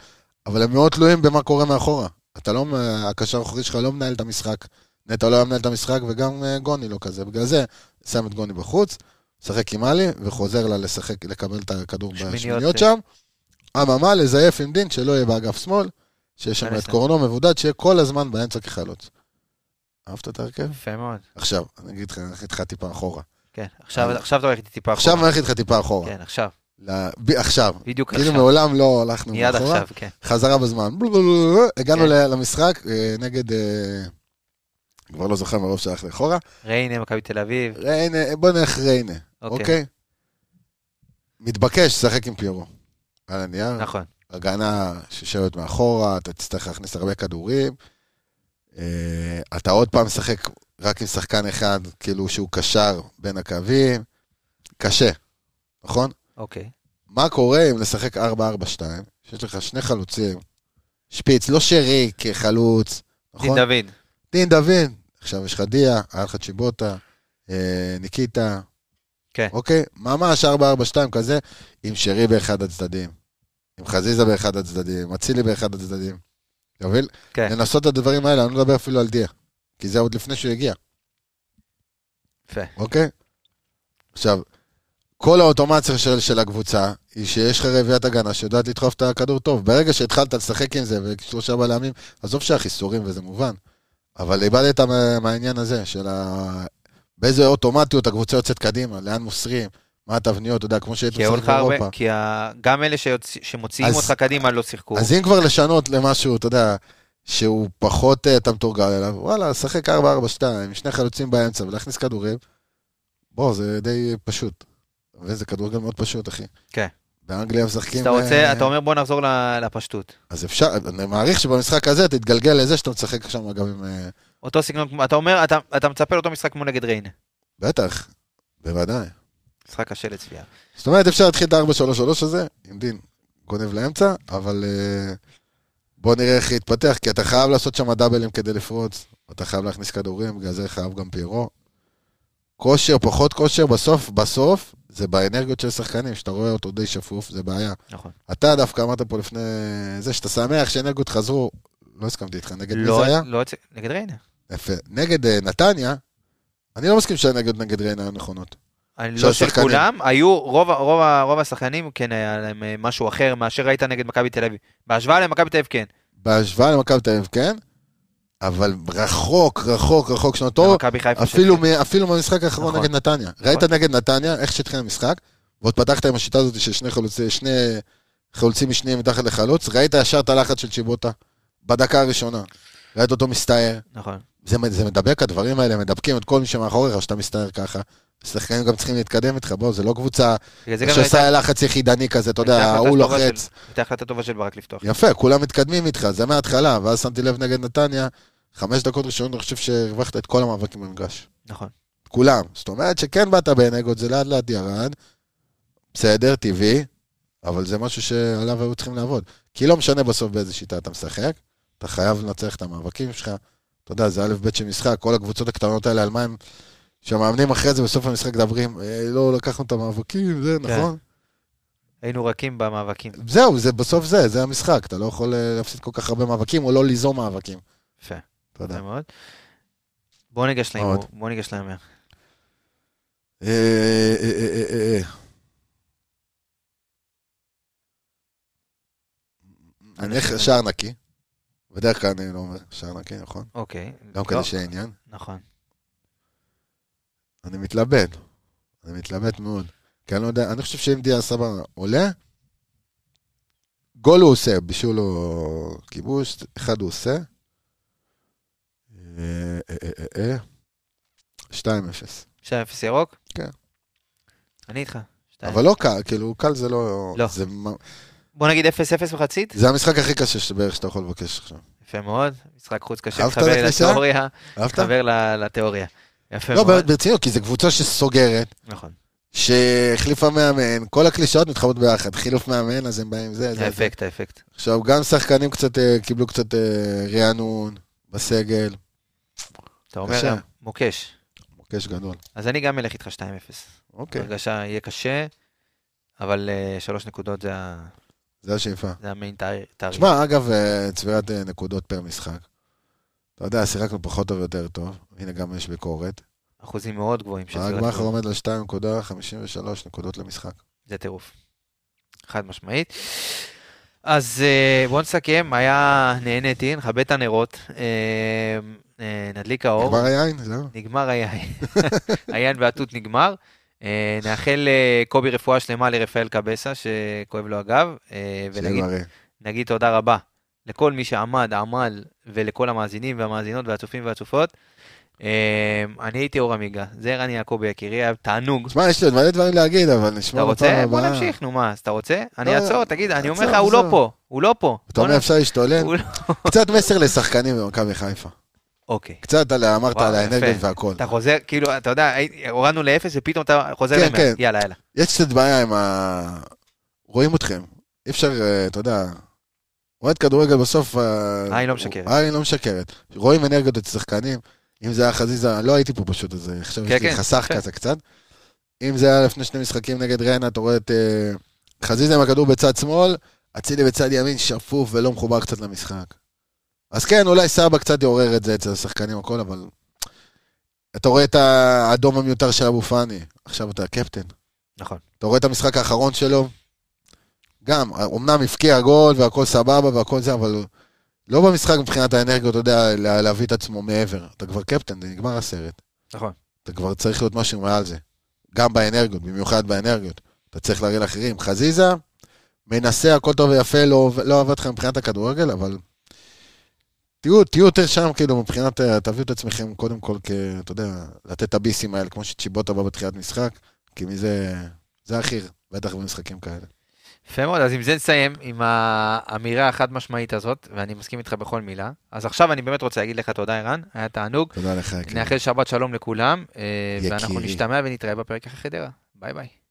Speaker 2: אבל הם מאוד תלויים במה קורה מאחורה. אתה לא, הקשר האחורי שלך לא מנהל את המשחק. נטע לא היה מנהל את המשחק, וגם אה, גוני לא כזה. בגלל זה, שם את גוני בחוץ, משחק עם עלי, וחוזר לה לשחק, לקבל את הכדור
Speaker 1: שמיניות,
Speaker 2: בשמיניות
Speaker 1: אה.
Speaker 2: שם. אממה, לזייף עם דין, שלא יהיה באגף שמאל, שיש שם את
Speaker 1: בסדר.
Speaker 2: קורנו מבודד, שיהיה כל הזמן באמצע כחלוץ. אהבת את ההרכב?
Speaker 1: יפה מאוד.
Speaker 2: עכשיו, אני אגיד לך, אני אלך איתך טיפה אחורה.
Speaker 1: כן. עכשיו עכשיו אתה הולך איתי טיפה
Speaker 2: אה, עכשיו אני
Speaker 1: אחורה.
Speaker 2: הולך איתך טיפה אחורה.
Speaker 1: כן, עכשיו.
Speaker 2: ל- ב- עכשיו,
Speaker 1: בדיוק
Speaker 2: כאילו
Speaker 1: עכשיו.
Speaker 2: מעולם לא הלכנו
Speaker 1: מיד
Speaker 2: מאחורה.
Speaker 1: עכשיו, כן.
Speaker 2: חזרה בזמן. בלולולולולול. הגענו
Speaker 1: כן.
Speaker 2: ל- למשחק אה, נגד... אה, כבר לא זוכר מרוב שהלך לאחורה.
Speaker 1: ריינה, מכבי תל אביב.
Speaker 2: ריינה, אה, בוא נלך ריינה,
Speaker 1: אוקיי.
Speaker 2: אוקיי? מתבקש, שחק עם פיירו. על הנייר,
Speaker 1: נכון.
Speaker 2: הגנה שיושבת מאחורה, אתה תצטרך להכניס הרבה כדורים. אה, אתה עוד פעם משחק רק עם שחקן אחד, כאילו שהוא קשר בין הקווים. קשה, נכון?
Speaker 1: אוקיי.
Speaker 2: מה קורה אם נשחק 4-4-2, שיש לך שני חלוצים, שפיץ, לא שרי כחלוץ,
Speaker 1: דין
Speaker 2: נכון?
Speaker 1: דוד.
Speaker 2: דין דוד. עכשיו יש לך דיה, היה לך צ'יבוטה, אה, ניקיטה.
Speaker 1: כן.
Speaker 2: אוקיי? ממש 4-4-2 כזה, עם שרי באחד הצדדים, עם חזיזה באחד הצדדים, עם אצילי באחד הצדדים. אתה מבין?
Speaker 1: כן.
Speaker 2: לנסות את הדברים האלה, אני לא מדבר אפילו על דיה, כי זה עוד לפני שהוא הגיע.
Speaker 1: יפה.
Speaker 2: אוקיי? עכשיו, כל האוטומציה של, של הקבוצה היא שיש לך רביעיית הגנה שיודעת לדחוף את הכדור טוב. ברגע שהתחלת לשחק עם זה ושלושה בלמים, עזוב שהחיסורים וזה מובן, אבל איבדת מה- מהעניין הזה של ה... באיזה אוטומטיות הקבוצה יוצאת קדימה, לאן מוסרים, מה התבניות, אתה יודע, כמו שהיית
Speaker 1: כי, היו
Speaker 2: משחק
Speaker 1: לך הרבה-
Speaker 2: באירופה.
Speaker 1: כי ה- גם אלה שיוצ... שמוציאים
Speaker 2: אז-
Speaker 1: אותך קדימה לא שיחקו.
Speaker 2: אז אם כבר לשנות למשהו, אתה יודע, שהוא פחות אה, אתה מתורגל אליו, וואלה, שחק 4-4-2, עם שני חלוצים באמצע ולהכניס כדורים, בוא, זה די פשוט. וזה כדורגל מאוד פשוט, אחי.
Speaker 1: כן.
Speaker 2: באנגליה
Speaker 1: אז
Speaker 2: משחקים...
Speaker 1: אתה רוצה,
Speaker 2: אה,
Speaker 1: אתה אומר בוא נחזור ל- לפשטות.
Speaker 2: אז אפשר, אני מעריך שבמשחק הזה תתגלגל לזה שאתה משחק שם גם עם... אה,
Speaker 1: אותו סגנון, כמו- אתה אומר, אתה, אתה מצפה לאותו משחק כמו נגד ריינה.
Speaker 2: בטח, בוודאי.
Speaker 1: משחק קשה לצפייה.
Speaker 2: זאת אומרת, אפשר להתחיל את ה-4-3-3 הזה, עם דין גונב לאמצע, אבל אה, בוא נראה איך יתפתח, כי אתה חייב לעשות שם דאבלים כדי לפרוץ, אתה חייב להכניס כדורים, בגלל זה חייב גם פיירו. כושר, פחות כושר, בסוף, בסוף, זה באנרגיות של שחקנים, שאתה רואה אותו די שפוף, זה בעיה.
Speaker 1: נכון.
Speaker 2: אתה דווקא אמרת פה לפני זה, שאתה שמח שאנרגיות חזרו, לא הסכמתי איתך, נגד מי
Speaker 1: לא-
Speaker 2: זה היה?
Speaker 1: לא יוצא- נגד ריינה.
Speaker 2: יפה. נגד אה, נתניה, אני לא מסכים שהנגד נגד ריינה היו נכונות.
Speaker 1: אני
Speaker 2: של
Speaker 1: לא של
Speaker 2: השחקנים.
Speaker 1: כולם, היו, רוב, ה- רוב, ה- רוב השחקנים כן היה להם אה, משהו אחר מאשר ראית נגד מכבי תל אביב. בהשוואה למכבי תל אביב כן.
Speaker 2: בהשוואה למכבי תל אביב, כן, אבל רחוק, רחוק, רחוק שנות אור,
Speaker 1: למכבי חיפה
Speaker 2: לא, אפילו,
Speaker 1: שכן.
Speaker 2: מ- אפילו במשחק האחרון
Speaker 1: נכון.
Speaker 2: נגד נתניה. ראית נגד נתניה, איך שהתחיל המשחק, ועוד פתחת עם השיטה הזאת של שני חלוצים, שני חלוצים משניים מתחת לחלוץ, ראית ישר את הלחץ של צ'יבוטה, בדקה הראשונה. ראית אותו מסתער,
Speaker 1: נכון.
Speaker 2: זה, מ- זה מדבק, הדברים האלה מדבקים את כל מי שמאחוריך, שאתה מסתער ככה. השחקנים גם צריכים להתקדם איתך, בוא, זה לא קבוצה
Speaker 1: בגלל זה גם הייתה-
Speaker 2: שעושה לחץ יחידני כזה, אתה יודע,
Speaker 1: הייתה החלטה
Speaker 2: ההוא
Speaker 1: טובה
Speaker 2: לוחץ.
Speaker 1: של- הייתה החלטה טובה של ברק לפתוח.
Speaker 2: יפה, כולם מתקדמים איתך, זה מההתחלה, ואז שמתי לב נגד נתניה, חמש דקות ראשונות אני חושב שהרווחת את כל המאבקים במגרש.
Speaker 1: נכון.
Speaker 2: את כולם. זאת אומרת שכן באת באנגות, זה לאט לאט ירד, בסדר, טבעי, אבל זה משהו שעליו היו צריכים לעבוד. כי לא משנה בסוף באיזה שיטה אתה משחק, אתה חייב לנצח את המאבקים שלך. אתה יודע, זה א' ב' של משחק, כל הקבוצות הקטנות האלה, על מה הם... שהמאמנים אחרי זה בסוף המשחק מדברים, "אה, לא לקחנו את המאבקים, זה
Speaker 1: כן.
Speaker 2: נכון.
Speaker 1: היינו רכים במאבקים.
Speaker 2: זהו, זה בסוף זה, זה המשחק, אתה לא יכול אה, להפסיד כל כך הרבה מאבקים, או לא ליזום מאבקים.
Speaker 1: יפה.
Speaker 2: אתה יודע.
Speaker 1: יפה מאוד. בוא ניגש
Speaker 2: מאוד.
Speaker 1: להימור. בוא ניגש להימור.
Speaker 2: אה, אה, אה, אה, אה, אה. אני הולך שער נקי. בדרך כלל אני לא אומר שער נקי, נכון?
Speaker 1: אוקיי.
Speaker 2: גם
Speaker 1: לא,
Speaker 2: כדי שיהיה עניין.
Speaker 1: נכון.
Speaker 2: אני מתלבט. אני מתלבט מאוד. כי אני לא יודע, אני חושב שאם דיה סבא עולה, גול הוא עושה, בישול או כיבוש, אחד הוא עושה. אה, אה, אה, אה, אה. 2-0.
Speaker 1: 2-0 ירוק?
Speaker 2: כן.
Speaker 1: אני איתך. שתיים.
Speaker 2: אבל לא קל, כאילו, קל זה לא...
Speaker 1: לא.
Speaker 2: זה מה-
Speaker 1: בוא נגיד 0-0 מחצית.
Speaker 2: זה המשחק הכי קשה שבערך שאתה יכול לבקש עכשיו.
Speaker 1: יפה מאוד. משחק חוץ קשה.
Speaker 2: אהבת
Speaker 1: מתחבר
Speaker 2: לכניסה?
Speaker 1: לתיאוריה.
Speaker 2: אהבת?
Speaker 1: מתחבר ל- לתיאוריה. יפה
Speaker 2: לא,
Speaker 1: מאוד.
Speaker 2: ברצינות, כי זו קבוצה שסוגרת,
Speaker 1: נכון.
Speaker 2: שהחליפה מאמן, כל הקלישאות מתחברות ביחד. חילוף מאמן, אז הם באים עם זה, זה. זה.
Speaker 1: האפקט, האפקט.
Speaker 2: עכשיו, גם שחקנים קצת אה, קיבלו קצת אה, רענון בסגל.
Speaker 1: אתה אומר
Speaker 2: קשה.
Speaker 1: גם, מוקש.
Speaker 2: מוקש גדול.
Speaker 1: אז אני גם אלך איתך 2-0.
Speaker 2: אוקיי,
Speaker 1: הרגשה יהיה קשה, אבל אה, שלוש נקודות זה ה-
Speaker 2: זה השאיפה.
Speaker 1: זה המיין טאר- טארגט.
Speaker 2: שמע, אגב, אה, צבירת אה, נקודות פר משחק. אתה יודע, שיחקנו פחות טוב ויותר טוב. הנה, גם יש ביקורת.
Speaker 1: אחוזים מאוד גבוהים של סגירת
Speaker 2: הגמר
Speaker 1: גבול.
Speaker 2: עומד על 2.53 נקודות למשחק.
Speaker 1: זה טירוף. חד משמעית. אז אה, בואו נסכם, היה נהניתי, נכבה את הנרות, אה, אה, נדליק האור,
Speaker 2: כבר היין? זהו.
Speaker 1: נגמר היין, (laughs) היין והתות נגמר. אה, נאחל קובי רפואה שלמה לרפאל קבסה, שכואב לו הגב, אה,
Speaker 2: שיהיה
Speaker 1: ונגיד
Speaker 2: בריא.
Speaker 1: נגיד תודה רבה לכל מי שעמד, עמל, ולכל המאזינים והמאזינות והצופים והצופות. אה, אני הייתי אור עמיגה, זה רני יעקבי יקירי, היה תענוג.
Speaker 2: תשמע, יש לי עוד מלא דברים להגיד, אבל נשמע
Speaker 1: אתה רוצה? בוא נמשיך, נו מה, אז אתה רוצה? אני
Speaker 2: לא,
Speaker 1: אעצור, תגיד, אני אומר לך,
Speaker 2: עצור,
Speaker 1: הוא לא
Speaker 2: עצור.
Speaker 1: פה, הוא לא פה.
Speaker 2: אתה
Speaker 1: בוא
Speaker 2: אומר,
Speaker 1: נ-
Speaker 2: אפשר להשתולל?
Speaker 1: הוא לא-
Speaker 2: קצת מסר לשחקנים במכבי חיפה.
Speaker 1: אוקיי.
Speaker 2: קצת על, אמרת
Speaker 1: וואו,
Speaker 2: על האנרגיות
Speaker 1: יפה.
Speaker 2: והכל.
Speaker 1: אתה חוזר, כאילו, אתה יודע, הי- הורדנו לאפס ופתאום אתה חוזר
Speaker 2: כן,
Speaker 1: למאה.
Speaker 2: כן.
Speaker 1: יאללה, יאללה.
Speaker 2: יש קצת בעיה עם ה... רואים אתכם. אי אפשר, אה, אתה יודע... אוהד כדורגל בסוף... אה,
Speaker 1: העין לא משקרת.
Speaker 2: העין לא משקרת. רואים אנרגיות אצל שחקנים. אם זה היה חזיזה, לא הייתי פה פשוט, אז אה, עכשיו
Speaker 1: כן,
Speaker 2: יש לי
Speaker 1: כן,
Speaker 2: חסך
Speaker 1: כן.
Speaker 2: כזה קצת. אם זה היה לפני שני משחקים נגד ריינה, אתה רואה את אה, חזיזה עם הכדור בצד שמאל, אצילי בצד ימין שפוף ולא מחובר קצת למשחק. אז כן, אולי סבא קצת יעורר את זה אצל השחקנים הכל, אבל... אתה רואה את האדום המיותר של אבו פאני, עכשיו אתה הקפטן.
Speaker 4: נכון.
Speaker 2: אתה רואה את המשחק האחרון שלו? גם, אמנם הבקיע גול והכל סבבה והכל זה, אבל לא במשחק מבחינת האנרגיות, אתה יודע, לה- להביא את עצמו מעבר. אתה כבר קפטן, זה נגמר הסרט.
Speaker 4: נכון.
Speaker 2: אתה כבר צריך להיות משהו מעל זה. גם באנרגיות, במיוחד באנרגיות. אתה צריך להראה לאחרים. חזיזה, מנסה, הכל טוב ויפה, לא, לא עבד לך מבחינת הכדורגל, אבל תהיו, תהיו יותר שם, כאילו, מבחינת, אה, תביאו את עצמכם קודם כל, כ, אתה יודע, לתת את הביסים האלה, כמו שצ'יבוטה בא בתחילת משחק, כי מזה, זה החי"ר, בטח במשחקים כאלה.
Speaker 1: יפה מאוד, אז עם זה נסיים, עם האמירה החד משמעית הזאת, ואני מסכים איתך בכל מילה. אז עכשיו אני באמת רוצה להגיד לך תודה, ערן, היה תענוג.
Speaker 2: תודה לך, יקירי.
Speaker 1: נאחל שבת שלום לכולם, אה, ואנחנו
Speaker 2: יקירי.
Speaker 1: נשתמע ונתראה בפרק אחרי חדרה. ביי ביי.